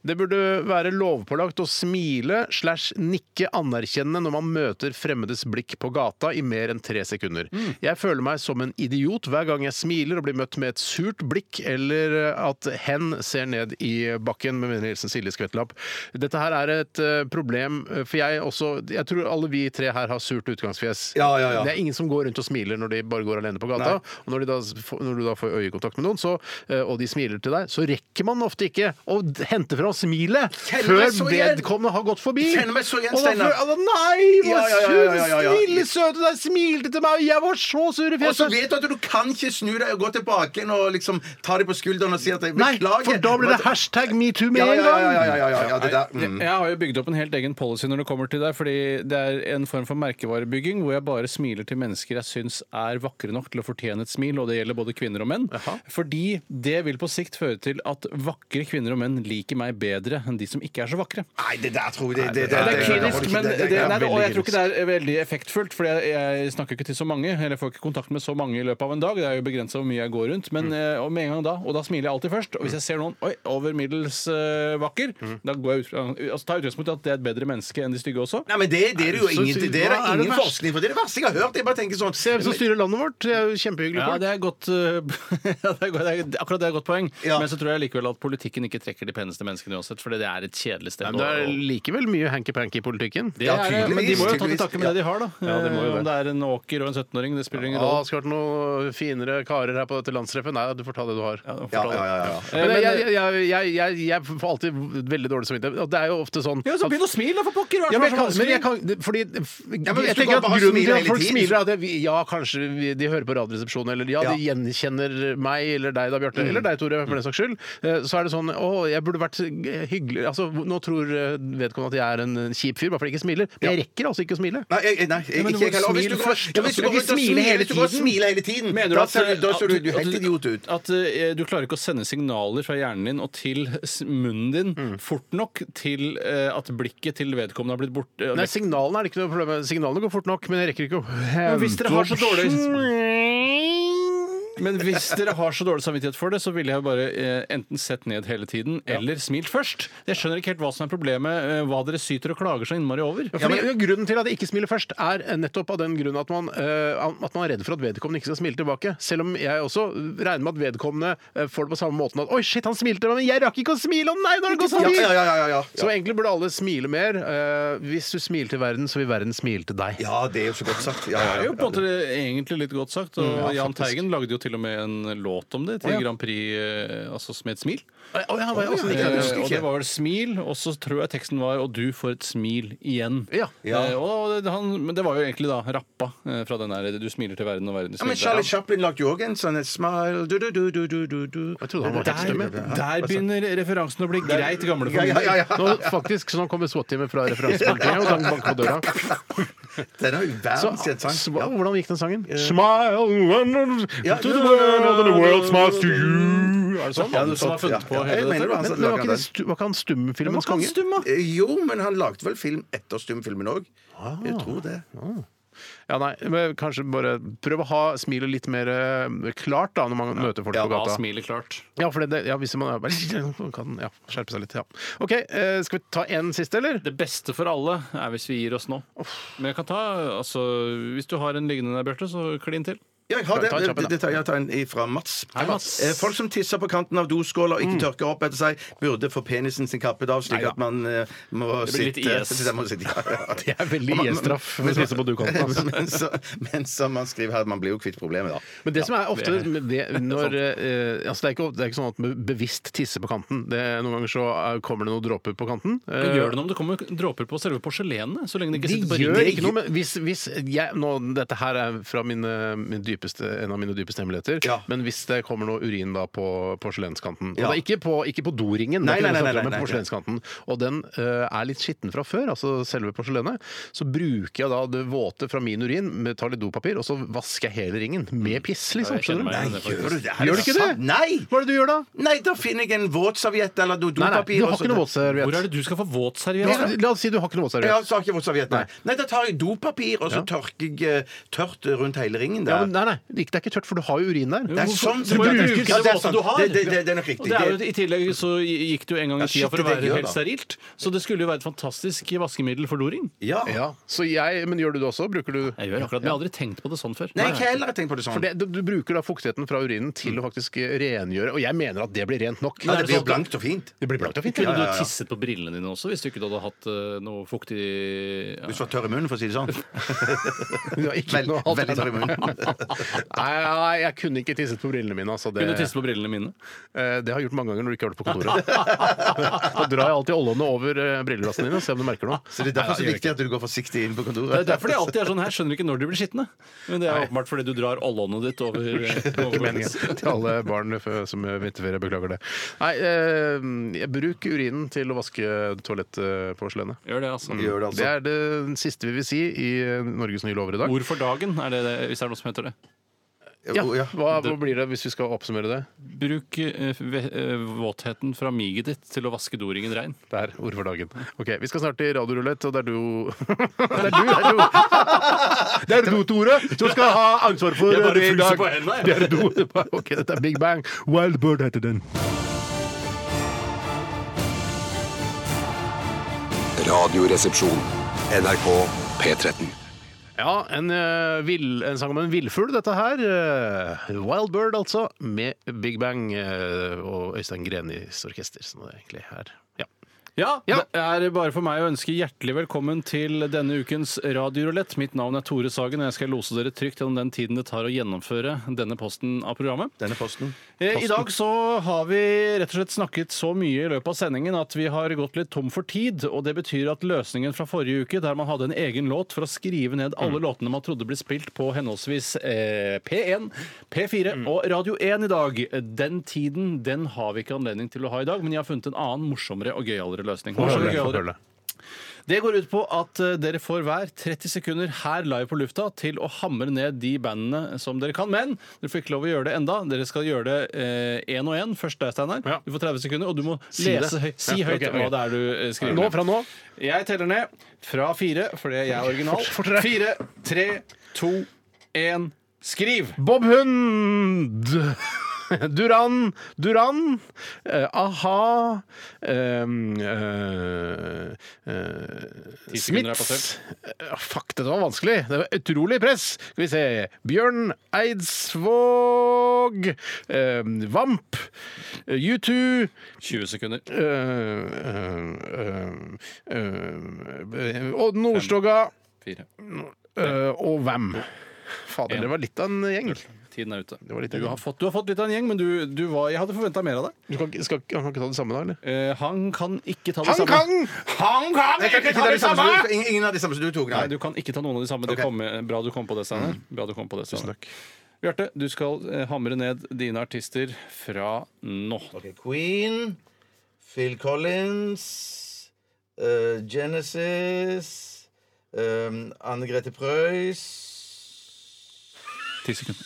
Speaker 4: Det burde være lovpålagt å smile slash nikke anerkjennende når man møter fremmedes blikk på gata i mer enn tre sekunder. Jeg føler meg som en idiot hver gang jeg smiler og blir møtt med et surt blikk, eller at hen ser ned i bakken, med vennlig hilsen Silje Skvettelapp. Dette her er et eh, problem, eh, for jeg også Jeg tror alle vi tre her har surt utgangsfjes.
Speaker 6: Ja, ja, ja.
Speaker 4: Det er ingen som går rundt og smiler når de bare går alene på gata. Og når, de da, s- får- når du da får øyekontakt med noen, så, eh, og de smiler til deg, så rekker man ofte ikke å d- hente fra smilet
Speaker 6: Kjenner
Speaker 4: før
Speaker 6: meg så igjen!
Speaker 4: vedkommende har gått forbi.
Speaker 6: Kjenner meg så igjen,
Speaker 4: Og da
Speaker 6: Steinar.
Speaker 4: føler- Nei,
Speaker 6: Ja,
Speaker 4: hvor
Speaker 6: ja, ja, ja, ja, ja, ja.
Speaker 4: sur, snille, søte deg smilte til meg, og jeg var så sur i
Speaker 6: Og så
Speaker 4: fjeset!
Speaker 6: vet du at du kan ikke snu deg og gå tilbake igjen og liksom ta dem på skulderen og si at jeg
Speaker 4: Nei,
Speaker 6: beklager.
Speaker 4: for da blir det hashtag metoo med
Speaker 6: Ja, ja,
Speaker 4: en
Speaker 6: ja, ja,
Speaker 4: gang!
Speaker 6: ja, ja, ja, det der. Mm.
Speaker 5: Jeg har jo bygd opp en helt egen policy når det kommer til deg, fordi det er en form for merkevarebygging hvor jeg bare smiler til mennesker jeg syns er vakre nok til å fortjene et smil, og det gjelder både kvinner og menn. Fordi det vil på sikt føre til at vakre kvinner og menn liker meg bedre enn de som ikke er så vakre.
Speaker 6: Nei, det der tror jeg det, det,
Speaker 5: Ja, det er
Speaker 6: det-
Speaker 5: kynisk,
Speaker 6: det-
Speaker 5: men
Speaker 6: det-
Speaker 5: det,
Speaker 6: det- det-
Speaker 5: nei, det, og jeg
Speaker 4: veldig
Speaker 5: tror ikke det er veldig effektfullt. For jeg, jeg snakker ikke til så mange, eller får ikke kontakt med så mange i løpet av en dag. Det er jo begrensa hvor mye jeg går rundt. Men eh, og med en gang da, og da smiler jeg alltid først. Og hvis jeg ser noen oi, over middels eh, vakker, da går jeg ut, fra- altså, tar jeg utgangspunkt i at det er et bedre menneske enn de stygge også?
Speaker 6: Nei, men det, det er det jo
Speaker 4: Så
Speaker 6: ingen,
Speaker 4: sykt.
Speaker 6: det er det
Speaker 4: Hva er det
Speaker 6: ingen
Speaker 4: verste?
Speaker 6: forskning for. Det er det verste jeg har hørt. Jeg bare tenker sånn
Speaker 4: Se hvem som styrer landet vårt. Det er jo kjempehyggelig.
Speaker 5: Ja,
Speaker 4: folk.
Speaker 5: det er godt, uh, [LAUGHS] ja, det er godt, det er, akkurat det er et godt poeng.
Speaker 6: Ja.
Speaker 5: Men så tror jeg likevel at politikken ikke trekker de peneste menneskene uansett, for det er et kjedelig sted.
Speaker 4: Nei, men det
Speaker 5: å-
Speaker 4: er likevel mye hanky-panky i politikken.
Speaker 5: Det
Speaker 6: Ja,
Speaker 5: er det, men de
Speaker 6: tydeligvis,
Speaker 5: må jo ta til
Speaker 6: tydeligvis.
Speaker 5: takke med det de har, da.
Speaker 4: Ja, det må jo
Speaker 5: Eh, Om
Speaker 4: det.
Speaker 5: det er en åker og en 17-åring, det spiller
Speaker 4: Ja,
Speaker 5: ingen
Speaker 4: det
Speaker 5: rolle.
Speaker 4: skulle vært noen finere karer her på dette landstreffet. Nei, du får ta det du har.
Speaker 6: Ja, ja, ja, ja.
Speaker 5: Eh,
Speaker 4: Men
Speaker 5: men-
Speaker 4: jeg, jeg, jeg, jeg, jeg får alltid veldig dårlig samvittighet. Og det er jo ofte sånn
Speaker 5: Ja, så
Speaker 4: at-
Speaker 5: begynn å smile, da, for pokker!
Speaker 4: Ja, men jeg
Speaker 5: Hva
Speaker 4: kan,
Speaker 5: er det som
Speaker 4: men
Speaker 5: er
Speaker 4: jeg
Speaker 5: så
Speaker 4: kan, det- fordi, f-
Speaker 6: hvis
Speaker 4: jeg
Speaker 6: du
Speaker 4: tenker
Speaker 6: kan
Speaker 4: at
Speaker 6: bare
Speaker 4: grunnen
Speaker 6: smile
Speaker 4: til at
Speaker 6: hele
Speaker 4: folk
Speaker 6: tiden,
Speaker 4: smiler, er at det- vi- ja, kanskje vi- de hører på Radioresepsjonen, eller ja, de gjenkjenner meg eller deg da, Bjarte, eller deg, Tore, for den saks skyld. Eh, Så er det sånn å, jeg burde vært hyggelig Altså, nå tror eh, vedkommende at jeg er en eh, kjip fyr bare fordi jeg ikke smiler. Men jeg rekker altså ikke å smile.
Speaker 6: Nei, jeg, nei jeg,
Speaker 5: men du
Speaker 6: ikke
Speaker 5: må
Speaker 6: jeg heller. Og Hvis du
Speaker 5: smile
Speaker 6: går-
Speaker 5: først.
Speaker 6: ja, hvis
Speaker 5: Du kan
Speaker 6: du går
Speaker 5: ikke
Speaker 6: rundt og
Speaker 5: smile hele
Speaker 6: smiler- hvis du går og
Speaker 5: tiden.
Speaker 6: smiler hele tiden,
Speaker 5: Mener du
Speaker 6: da
Speaker 5: at, eh,
Speaker 6: ser du- da
Speaker 5: at
Speaker 6: ser du
Speaker 5: du-
Speaker 6: du helt idiot ut.
Speaker 5: At eh, du klarer ikke å sende signaler fra hjernen din og til s- munnen din fort nok til eh, at blikket til vedkommende har blitt borte?
Speaker 4: Nei, signalene er det ikke noe problem med. Signalene går fort nok, men jeg rekker ikke å
Speaker 5: Men hvis dere har så
Speaker 4: dårlig
Speaker 5: Men hvis dere har så dårlig samvittighet for det, så ville jeg bare eh, enten sett ned hele tiden eller smilt først. Jeg skjønner ikke helt hva som er problemet, eh, hva dere syter og klager så innmari over.
Speaker 4: Ja, fordi Grunnen til at jeg ikke smiler først, er nettopp av den grunn at man, eh, at man er redd for at vedkommende ikke skal smile tilbake. Selv om jeg også regner med at vedkommende eh, får det på samme måten at Oi, shit, han smilte, men jeg rakk ikke å smile! Å nei, nå har det gått
Speaker 6: Ja,
Speaker 4: forbi!
Speaker 6: ja, ja, ja, ja.
Speaker 4: Så egentlig burde alle smile mer. Eh, hvis du smiler til verden, så vil verden smile til deg.
Speaker 6: Ja, det er jo så godt sagt. Ja, ja,
Speaker 5: Det er jo på en
Speaker 6: ja.
Speaker 5: måte egentlig litt godt sagt. Og
Speaker 6: Mm,
Speaker 5: Jahn Teigen lagde jo til og med en låt om det til Grand Prix, eh, altså med et smil.
Speaker 4: Å, ja, hva- åssen gikk
Speaker 5: Eh,
Speaker 4: det?
Speaker 5: og det var vel smil, og så tror jeg teksten var 'og du får et smil igjen'.
Speaker 4: Ja.
Speaker 5: Eh, og det, han, men det var jo egentlig da rappa eh, fra den der 'du smiler til verden og verden
Speaker 6: Ja,
Speaker 5: smiler
Speaker 6: men
Speaker 5: til
Speaker 6: Charlie
Speaker 5: deg'.
Speaker 6: Chaplin lagde jo også en sånn et smile du, du, du, du, du, du, du.
Speaker 4: Jeg trodde han var helt stemme.
Speaker 5: Der, der begynner referansen å bli greit gamle for
Speaker 6: altså. Ja,
Speaker 5: min
Speaker 6: ja, ja,
Speaker 5: del.
Speaker 6: ja.
Speaker 4: Nå, faktisk, så nå kommer SWAT-teamet fra referansepolitiet og dang bank på døra.
Speaker 6: Den er jo
Speaker 4: Så,
Speaker 6: verdens kjent sang.
Speaker 4: sva-
Speaker 6: [LAUGHS] Ja. Eh.
Speaker 4: hvordan gikk den sangen? Smile
Speaker 6: Ja.
Speaker 4: to the world, and the world smiles to you. Er det sånn?
Speaker 5: Han som har funnet på
Speaker 6: Ja, jeg
Speaker 5: hele
Speaker 6: mener
Speaker 5: dette.
Speaker 6: det var han
Speaker 4: Men,
Speaker 6: som
Speaker 4: men var, ikke
Speaker 6: lagde
Speaker 4: det,
Speaker 6: den.
Speaker 4: stu- var ikke han stumfilmens konge?
Speaker 6: Eh, Jo, men han lagde vel film etter stumfilmen òg.
Speaker 4: Ah.
Speaker 6: Jeg tror det.
Speaker 4: Ja, nei, men kanskje bare prøv å ha smilet litt mer eh, klart da når man møter folk
Speaker 5: Ja,
Speaker 4: på gata.
Speaker 5: smilet klart.
Speaker 4: Ja, for det, ja, hvis man er- [LAUGHS] man kan ja, skjerpe seg litt. Ja. OK, eh, skal vi ta en siste, eller?
Speaker 5: Det beste for alle er hvis vi gir oss nå. Men jeg kan ta, altså, Hvis du har en liggende der, Bjarte, så klin til.
Speaker 6: Ja, jeg har
Speaker 4: Ta en
Speaker 6: det.
Speaker 4: kjapp en, da.
Speaker 6: det, det tar, jeg tar en fra Mats.
Speaker 5: Hei, Mats.
Speaker 6: Eh, Folk som tisser på kanten av
Speaker 4: Mm.
Speaker 6: doskåla og ikke tørker opp etter seg, burde få penisen sin kappet av, slik at man eh, må
Speaker 5: Det blir litt
Speaker 6: sitte.
Speaker 5: IS.
Speaker 6: [LAUGHS] sitte- må sitte- ja, ja.
Speaker 4: [LAUGHS] Det er veldig
Speaker 6: Og man-
Speaker 4: IS-straff
Speaker 6: men-
Speaker 4: å tisse på dukanten, altså.
Speaker 6: [LAUGHS] Men så- Men som man skriver her, man blir jo kvitt problemet, da.
Speaker 4: Men det som er ofte med det, når, eh, altså det, er ikke, det er ikke sånn at man bevisst tisser på kanten. Det, noen ganger så eh, kommer det noen dråper på kanten.
Speaker 5: Hva
Speaker 4: Eh,
Speaker 5: gjør det noe om det kommer dråper på selve porselenet? Så lenge det ikke
Speaker 4: De
Speaker 5: sitter på
Speaker 4: gjør
Speaker 5: ringen.
Speaker 4: ikke noe, men hvis, hvis jeg, nå, Dette her er fra mine, min dypeste, en av mine dypeste hemmeligheter.
Speaker 6: Ja.
Speaker 4: Men hvis det kommer noe urin da på porselenskanten
Speaker 6: Ja.
Speaker 4: Og det er ikke på, ikke på doringen,
Speaker 6: Nei,
Speaker 4: det er ikke
Speaker 6: nei,
Speaker 4: det vi
Speaker 6: nei,
Speaker 4: snakker om, men
Speaker 6: nei,
Speaker 4: på
Speaker 6: nei, nei.
Speaker 4: porselenskanten. Og den eh, er litt skitten fra før, altså selve porselenet. Så bruker jeg da det våte fra min urin, med- tar litt dopapir, og så vasker jeg hele ringen med piss, liksom.
Speaker 5: Jeg
Speaker 4: Skjønner du?
Speaker 5: kjenner meg igjen i
Speaker 4: Nei.
Speaker 5: det, faktisk.
Speaker 6: Gjør du det? Er
Speaker 4: Gjør du
Speaker 6: det
Speaker 4: ikke det?
Speaker 6: sant? Nei!
Speaker 4: Hva er det du gjør da?
Speaker 6: Nei, da finner jeg en våtserviett eller do-
Speaker 4: Nei, nei,
Speaker 6: dopapir.
Speaker 4: du
Speaker 6: og
Speaker 4: har
Speaker 6: så-
Speaker 4: ikke noe
Speaker 5: Hvor er
Speaker 4: våtserviett.
Speaker 5: det du skal få
Speaker 4: La,
Speaker 5: våtserviett?
Speaker 4: la oss si du har ikke noe
Speaker 6: Ja,
Speaker 4: våtserviett.
Speaker 6: så har jeg ikke våtserviett, nei. Nei, da tar jeg dopapir, og så
Speaker 4: Ja.
Speaker 6: tørker jeg eh, tørt rundt hele ringen
Speaker 4: Ja,
Speaker 6: der.
Speaker 4: men nei, nei, det er ikke tørt, for du har jo urin der.
Speaker 6: det er sånn
Speaker 5: Du må jo bruke det
Speaker 6: Ja, det er
Speaker 5: våte
Speaker 6: sant.
Speaker 5: du har.
Speaker 6: Det- det- det- det er nok riktig.
Speaker 5: Og det er jo,
Speaker 6: Det-
Speaker 5: I tillegg så gikk det jo en gang
Speaker 6: Ja,
Speaker 5: i tida
Speaker 6: shit,
Speaker 5: for å
Speaker 6: det
Speaker 5: være
Speaker 6: gjør
Speaker 5: helt
Speaker 6: da.
Speaker 5: sterilt. Så det skulle jo være et fantastisk vaskemiddel for doring.
Speaker 6: Ja.
Speaker 4: Ja, så jeg, Men gjør du det også? Bruker du
Speaker 5: Jeg gjør akkurat det. Jeg har aldri tenkt på det sånn før.
Speaker 6: Nei, ikke heller har jeg tenkt på det sånn.
Speaker 4: For det, du, du bruker da fuktigheten fra urinen til å faktisk rengjøre, og jeg mener at det blir rent nok.
Speaker 6: ja, det blir jo blankt og fint.
Speaker 4: Det blir blankt og fint. Ja,
Speaker 5: Kunne
Speaker 4: [LAUGHS] ja,
Speaker 5: du
Speaker 4: ja.
Speaker 5: tisset på brillene dine også hvis du ikke hadde hatt eh, noe fuktig ja.
Speaker 6: Hvis du var tørr i munnen, for å si det sånn.
Speaker 4: Du har ikke
Speaker 6: Vel-
Speaker 4: noe alternativ.
Speaker 6: veldig tørr i munnen.
Speaker 4: [LAUGHS] Nei, nei, jeg kunne ikke tisset på brillene mine. Altså det,
Speaker 5: Kunne du tisse på brillene mine?
Speaker 4: eh, det har jeg gjort mange ganger når du ikke har det på kontoret. [LAUGHS] da drar jeg alltid oljene over eh, brillelassene dine og ser om du merker noe.
Speaker 6: Så det er derfor så viktig at du går forsiktig inn på kontoret.
Speaker 5: Det er derfor de alltid er sånn her. Skjønner ikke når de blir skitne. Men det er åpenbart fordi du drar ollånet ditt over, over
Speaker 4: Meningen
Speaker 6: [LAUGHS]
Speaker 4: til alle barn fø- som er vinterferie. Beklager det. Nei, eh, jeg bruker urinen til å vaske toalettporselenet.
Speaker 5: Gjør det, altså.
Speaker 6: Gjør det,
Speaker 4: Det
Speaker 6: altså.
Speaker 4: er det siste vi vil si i eh, Norges nye lover i dag.
Speaker 5: Ord for dagen, er det det, hvis det er noe som heter det.
Speaker 4: Oh, Ja,
Speaker 6: Jo, ja.
Speaker 4: hva, hva blir det hvis vi skal oppsummere det?
Speaker 5: Bruk eh, ve- eh, våtheten fra miget ditt til å vaske doringen rein.
Speaker 4: Det er ord for dagen. Ok, Vi skal snart til radiorulett, og det er du Det er du, det er du. Det er du, Tore, som skal ha ansvar for
Speaker 5: Jeg bare
Speaker 4: det i
Speaker 5: fryser
Speaker 4: dag.
Speaker 5: på hendene, jeg.
Speaker 4: Det er du. Ok, dette er Big Bang. Wild Bird heter den.
Speaker 1: Radioresepsjon. NRK P13.
Speaker 4: Ja, en, eh, vill, en sang om en villfugl, dette her. eh, Wild Bird, altså. Med Big Bang eh, og Øystein Grenis orkester, som det egentlig er. Ja.
Speaker 5: Ja,
Speaker 4: Ja.
Speaker 5: Det er bare for meg å ønske hjertelig velkommen til denne ukens radiorulett. Mitt navn er Tore Sagen, og jeg skal lose dere trygt gjennom den tiden det tar å gjennomføre denne posten av programmet.
Speaker 6: Denne posten.
Speaker 5: Eh, I dag så har vi rett og slett snakket så mye i løpet av sendingen at vi har gått litt tom for tid, og det betyr at løsningen fra forrige uke, der man hadde en egen låt for å skrive ned alle låtene man trodde ble spilt på henholdsvis eh, P1, P4 og Radio 1 i dag, den tiden den har vi ikke anledning til å ha i dag, men jeg har funnet en annen morsommere og gøyalere løsning. Morsommere og gøyalere. Det går ut på at eh, dere får hver 30 sekunder her live på lufta til å hamre ned de bandene som dere kan. Men dere får ikke lov å gjøre det enda. Dere skal gjøre det én og én. Først deg, Steinar.
Speaker 4: Ja.
Speaker 5: Du får 30 sekunder, og du må
Speaker 4: Si det.
Speaker 5: lese høyt. Si
Speaker 4: Ja,
Speaker 5: høyt
Speaker 4: ok, ok.
Speaker 5: hva det er du eh, skriver.
Speaker 4: Nå,
Speaker 5: ned.
Speaker 4: fra nå.
Speaker 5: Jeg teller ned fra fire, fordi jeg er original.
Speaker 4: fortere.
Speaker 5: Fire, tre, to, én, skriv!
Speaker 4: Bob Hund! Duran, Duran, eh, a-ha um, eh, eh,
Speaker 5: Ti sekunder er
Speaker 4: Smiths Eh, Fuck, dette var vanskelig. Det var utrolig press. Skal vi se Bjørn Eidsvåg, eh, Vamp, eh, U2
Speaker 5: 20 sekunder.
Speaker 4: eh, eh, eh, eh, Odd Nordstoga
Speaker 5: Fire.
Speaker 4: eh, og Vam. Fader,
Speaker 5: En.
Speaker 4: det var litt av en gjeng.
Speaker 5: Tiden er ute.
Speaker 4: Det var litt av en
Speaker 5: Du
Speaker 4: gjeng.
Speaker 5: har fått, du har fått litt av en gjeng, men du, du var, jeg hadde forventa mer av deg.
Speaker 4: Du kan, ikke- skal, ikke- han kan ikke ta det samme da, eller?
Speaker 5: Eh, han kan ikke ta det
Speaker 4: Han
Speaker 5: samme.
Speaker 4: kan!
Speaker 5: Han kan
Speaker 6: Jeg kan ikke ta de samme som du- ingen- Ingen av de samme som du tok,
Speaker 5: Nei,
Speaker 6: nei.
Speaker 5: du kan ikke ta noen av de samme. Det
Speaker 6: Ok.
Speaker 5: kom, bra du kom på det, Steinar. Bra du kom på det, Steinar. Bjarte, du skal eh, hamre ned dine artister fra nå.
Speaker 6: Ok, Eh, Queen, Phil Collins, eh, Genesis, eh, Anne Grete Preus
Speaker 5: Ti sekunder.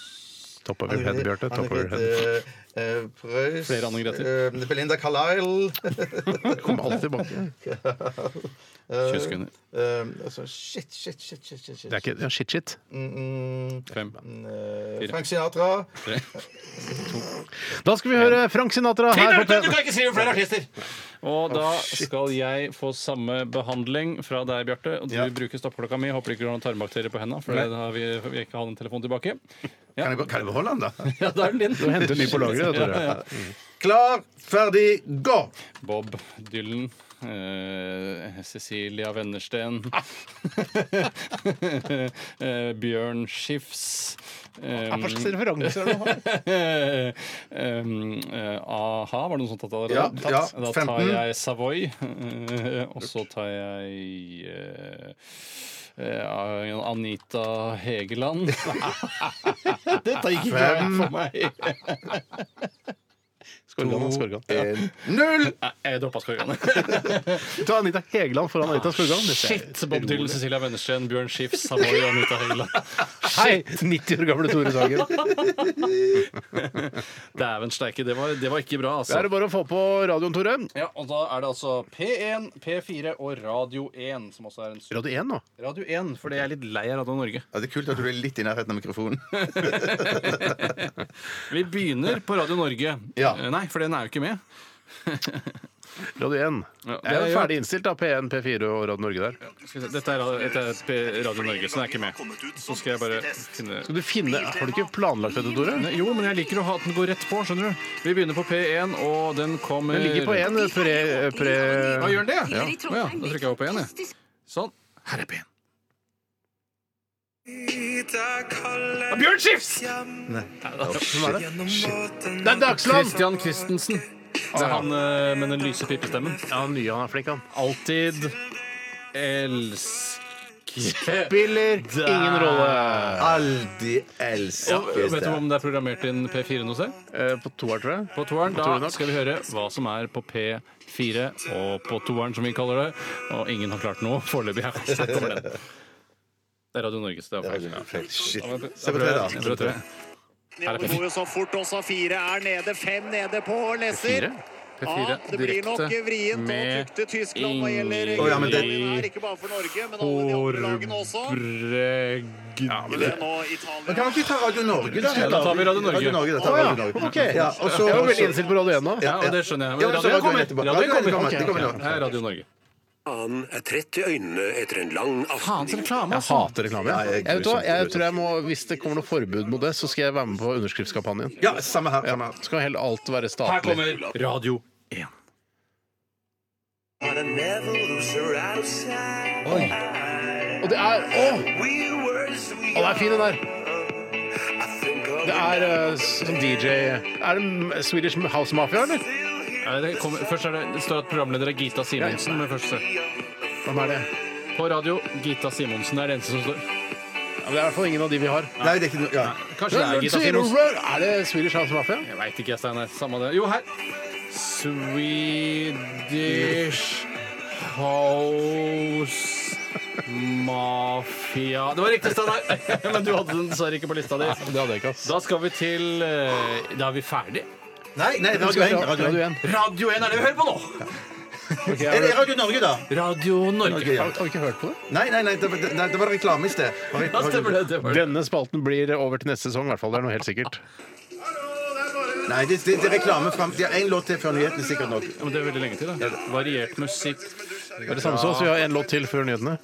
Speaker 4: Top of your head, Bjarte. Top of your head.
Speaker 6: Grete Preus
Speaker 5: Flere Anne Grete.
Speaker 6: eh, Belinda Carlisle.
Speaker 5: eh,
Speaker 4: Kom alltid tilbake.
Speaker 5: 20 sekunder.
Speaker 6: Eh, altså, shit, shit, shit, shit. shit, shit.
Speaker 4: Det er ikke ja, shit, shit.
Speaker 6: Mm,
Speaker 5: Fem.
Speaker 6: mm, eh,
Speaker 5: Fire.
Speaker 6: Frank Sinatra.
Speaker 4: Da skal vi høre Frank Sinatra her. på P-
Speaker 5: ikke skrive flere artister! Og da skal jeg få samme behandling fra deg, Bjarte. Og du bruker stoppeklokka mi. Håper ikke du har noen tarmbakterier på henda, for da har vi, vi ikke har den telefonen tilbake.
Speaker 6: Kan jeg, kan jeg beholde den, da?
Speaker 5: Ja, da er den din. [LAUGHS]
Speaker 4: Du henter ny på lageret, Tore.
Speaker 6: [LAUGHS] Klar, ferdig, gå!
Speaker 5: Bob Dylan. eh, Cecilia Wennersten. [LAUGHS] eh, Bjørn Skifs. Um,
Speaker 4: Hva slags referanser er det du har?
Speaker 5: [LAUGHS] um, eh, aha, var det noe sånt tatt allerede?
Speaker 6: Ja, ja,
Speaker 5: Da tar
Speaker 6: 15.
Speaker 5: jeg Savoy. eh, og så tar jeg eh, eh, Anita Hegeland. [LAUGHS] Dette gikk ikke bra for meg. [LAUGHS]
Speaker 4: Skorgan, da, Skorgan.
Speaker 6: Null!
Speaker 5: Nei, Jeg droppa skorganen.
Speaker 4: Ta Anita Hegeland foran Anita Skorgan.
Speaker 5: Shit! Bob Dylan, Cecilia Wennersten, Bjørn Schiff, Savoy og Anita Hegeland.
Speaker 4: Hei, 90 år gamle Tore Sagen.
Speaker 5: Dæven steike, det, var- det var ikke
Speaker 4: Da
Speaker 5: bra,
Speaker 4: er
Speaker 5: altså.
Speaker 4: det bare å få på radioen, Tore.
Speaker 5: Ja, og da er det altså P1, P4 og Radio 1, som også er en
Speaker 4: Radio 1 nå.
Speaker 5: Radio 1, fordi jeg er litt lei av Radio Norge.
Speaker 6: Ja, det er kult at du er litt i nærheten av mikrofonen.
Speaker 5: Vi begynner på Radio Norge.
Speaker 6: Ja.
Speaker 5: Eh, Nei, for den er jo ikke med.
Speaker 4: Radio 1. Jeg
Speaker 5: Ja,
Speaker 4: er
Speaker 5: det
Speaker 4: jo
Speaker 5: er-
Speaker 4: ferdig innstilt av P1, P4 og Radio Norge der.
Speaker 5: Skal vi se, Dette er, ra- dette er P- Radio Norge, så den er ikke med. Så skal jeg bare finne
Speaker 4: Skal du finne Har du ikke planlagt dette, Tore?
Speaker 5: Nei, Jo, men jeg liker å ha at den går rett på, skjønner du. Vi begynner på P1, og den kommer
Speaker 4: Den ligger på 1 pre... eh, pre
Speaker 5: Hva gjør den det?
Speaker 4: Ja.
Speaker 5: Å ja, da trykker jeg opp på 1, jeg. Sånn. Her er P1. Ah, Bjørn Skifs!
Speaker 4: Hvem er det? Det er Dagsland!
Speaker 5: Christian Christensen. Det er han eh, med den lyse pipestemmen.
Speaker 4: Ja, han nye han er flink, han.
Speaker 5: Alltid elsker
Speaker 4: Spiller ingen rolle.
Speaker 6: Aldri elsker
Speaker 5: Og Vet du om det er programmert inn P4 noe sted?
Speaker 4: Eh, På toer, tror jeg.
Speaker 5: På toeren?
Speaker 4: tror jeg
Speaker 5: Da
Speaker 4: nok.
Speaker 5: skal vi høre hva som er på P4 og på toeren, som vi kaller det. Og ingen har klart noe foreløpig. her. Så kommer den. Det er Radio Norge, så det er feil.
Speaker 6: Perfekt. Shit.
Speaker 5: Ja, men-
Speaker 6: Se på det, da.
Speaker 5: Jeg tror det er tre. Her er P4.
Speaker 10: går jo så fort også. Fire er nede, fem nede på Lesser.
Speaker 5: P4. P4
Speaker 10: det blir nok
Speaker 5: direkte
Speaker 10: vrient å
Speaker 5: med
Speaker 10: tukte Tyskland hva gjelder
Speaker 5: Ingrid
Speaker 6: Å, ja, men det-
Speaker 10: Irland er ikke bare for Norge, men alle de andre lagene også.
Speaker 5: Horbreg...
Speaker 10: Det er nå Italia.
Speaker 6: [LAUGHS] Men kan vi ikke ta Radio Norge, da?
Speaker 5: Ja, da tar vi Radio Norge.
Speaker 6: Radio Norge, da tar
Speaker 4: Å,
Speaker 6: vi
Speaker 4: ja.
Speaker 6: Radio Norge.
Speaker 4: Ok.
Speaker 6: Ja, og så-
Speaker 4: Jeg var
Speaker 6: og så-
Speaker 4: veldig innstilt på Radio 1 nå.
Speaker 5: Ja, og det skjønner jeg.
Speaker 6: Ja, men så
Speaker 5: Radio
Speaker 6: Radio 1 etterpå.
Speaker 5: kommer. Radio
Speaker 6: Radio 1
Speaker 5: kommer.
Speaker 6: kommer, det kommer nå.
Speaker 5: Det er Radio Norge.
Speaker 10: Annen er trett i øynene etter en lang aften. i-
Speaker 5: reklame, altså.
Speaker 4: Hater reklame.
Speaker 6: Ja, jeg
Speaker 4: jeg,
Speaker 6: er
Speaker 4: vet hva,
Speaker 6: grusomt
Speaker 4: jeg
Speaker 6: grusomt.
Speaker 4: tror jeg må, Hvis det kommer noe forbud mot det, så skal jeg være med på underskriftskampanjen.
Speaker 6: Ja, samme her. Samme her.
Speaker 4: Så kan heller alt være
Speaker 5: Her
Speaker 4: statlig.
Speaker 5: kommer Radio 1.
Speaker 10: But I never lose her outside.
Speaker 4: Oi. Og det er Å!
Speaker 10: We were as we
Speaker 4: Å, det er fin, den der.
Speaker 10: I think of
Speaker 4: Det er eh, som DJ Er det M- Swedish House Mafia, eller?
Speaker 5: Nei, det, kommer- først er det, det står at programleder er Gita Simonsen. Men først, så-
Speaker 4: Hvem er det?
Speaker 5: på radio Gita Simonsen. Det er det eneste som står.
Speaker 4: Ja, men det er i hvert fall ingen av de vi har.
Speaker 6: Nei, det er ikke noe ja.
Speaker 5: Kanskje det er Gita Simonsen.
Speaker 4: Er det Swedish House Mafia?
Speaker 5: Jeg veit ikke, jeg, Steinar. Samme det. Jo, her. Swedish House Mafia Det var riktig, Steinar! [LAUGHS] Men du hadde den dessverre ikke på lista di.
Speaker 4: Det hadde jeg ikke, ass.
Speaker 5: Da skal vi til eh, Da er vi ferdig.
Speaker 6: Nei, nei, Radio 1. Radio 1.
Speaker 5: Radio 1 er det vi hører på nå!
Speaker 4: Ok, jeg
Speaker 6: Er det
Speaker 4: har-
Speaker 6: Radio Norge, da?
Speaker 5: Radio Norge.
Speaker 6: Ok, ja.
Speaker 4: har vi ikke hørt på det?
Speaker 6: Nei, nei, nei, det var, det, det var reklame i sted. Var det-
Speaker 5: Ja, stemmer det. det var det.
Speaker 4: Denne spalten blir over til neste sesong, i hvert fall. Det er noe helt sikkert.
Speaker 6: Nei, det, det, det er reklame fram til én låt til før nyhetene, sikkert nok.
Speaker 5: Ja, men det er veldig lenge til, da. Variert musikk.
Speaker 4: Det er det samme som oss. Vi har en låt til før nyhetene.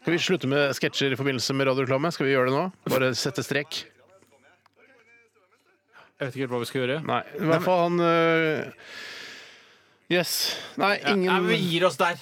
Speaker 4: Skal vi slutte med sketsjer i forbindelse med radioreklame? Skal vi gjøre det nå? Bare sette strek?
Speaker 5: Jeg vet ikke helt hva vi skal gjøre.
Speaker 4: Nei. I hvert fall han øh, Yes. Nei, ingen
Speaker 5: Nei, men vi gir oss der.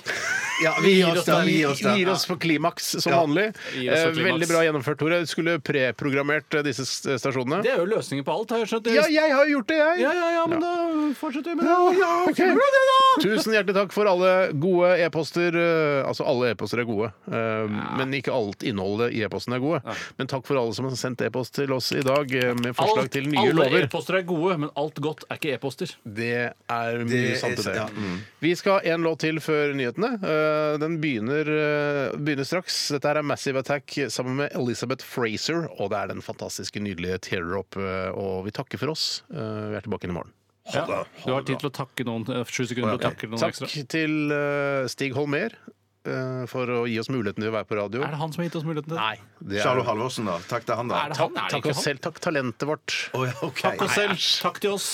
Speaker 6: Ja, vi gir oss der. Vi gir oss
Speaker 4: Vi
Speaker 6: der.
Speaker 4: gir oss på klimaks som
Speaker 6: Ja.
Speaker 4: vanlig.
Speaker 5: Gir oss på
Speaker 4: Eh,
Speaker 5: klimaks.
Speaker 4: Veldig bra gjennomført, Tore. Du skulle preprogrammert eh, disse s- stasjonene.
Speaker 5: Det er jo løsningen på alt, har jeg skjønt.
Speaker 4: Ja, jeg har gjort det, jeg!
Speaker 5: ja, ja, ja, men da fortsetter vi med det.
Speaker 4: Ok. Tusen hjertelig takk for alle gode e-poster. Eh, Altså, alle e-poster er gode, eh, men ikke alt innholdet i e-posten er gode. Men takk for alle som har sendt e-post til oss i dag eh, med forslag
Speaker 5: Alt,
Speaker 4: til nye
Speaker 5: alle
Speaker 4: lover.
Speaker 5: e-poster er gode, men alt godt er ikke e-poster.
Speaker 4: Det er mye
Speaker 6: Det er-
Speaker 4: sant i det. Mm.
Speaker 6: ja,
Speaker 4: Vi skal ha en låt til før nyhetene. Eh, Den begynner, eh, begynner straks. Dette her er Massive Attack sammen med Elizabeth Fraser, og det er den fantastiske, nydelige Tear Up. eh, Og vi takker for oss. Eh, Vi er tilbake igjen i morgen.
Speaker 5: Ja. Du har tid til å takke noen. eh, Sju sekunder til å takke noen
Speaker 4: Takk
Speaker 5: ekstra.
Speaker 4: til eh, Stig Holmer eh, for å gi oss muligheten til å være på radio.
Speaker 5: Er det han som har gitt oss muligheten til det?
Speaker 4: Nei. Det
Speaker 6: Charlo Halvorsen, da. Takk til han, da.
Speaker 5: Er det
Speaker 4: Takk,
Speaker 5: han? Er det
Speaker 4: takk
Speaker 5: ikke
Speaker 4: oss
Speaker 5: han?
Speaker 4: selv. Takk talentet vårt.
Speaker 6: Å, ja, ok.
Speaker 5: Takk oss selv. Takk til oss.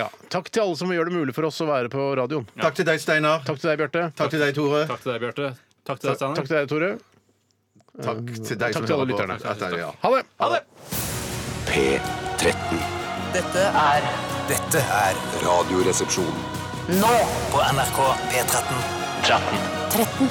Speaker 4: Ja. Takk til alle som gjør det mulig for oss å være på radioen.
Speaker 6: Takk til deg, Steinar.
Speaker 4: Takk til deg, Bjarte.
Speaker 6: Takk til deg, Tore.
Speaker 5: Takk til deg, Bjarte. Takk til
Speaker 4: Takk
Speaker 5: deg, Steinar.
Speaker 4: til deg, Tore.
Speaker 6: Takk til deg som
Speaker 4: til alle
Speaker 6: hører på.
Speaker 4: lytterne.
Speaker 6: At dere- ja.
Speaker 4: Ha det!
Speaker 5: Ha det!
Speaker 1: P13.
Speaker 2: Dette er
Speaker 3: Dette er
Speaker 1: Radioresepsjon.
Speaker 2: nå
Speaker 3: på NRK P13.
Speaker 2: 13.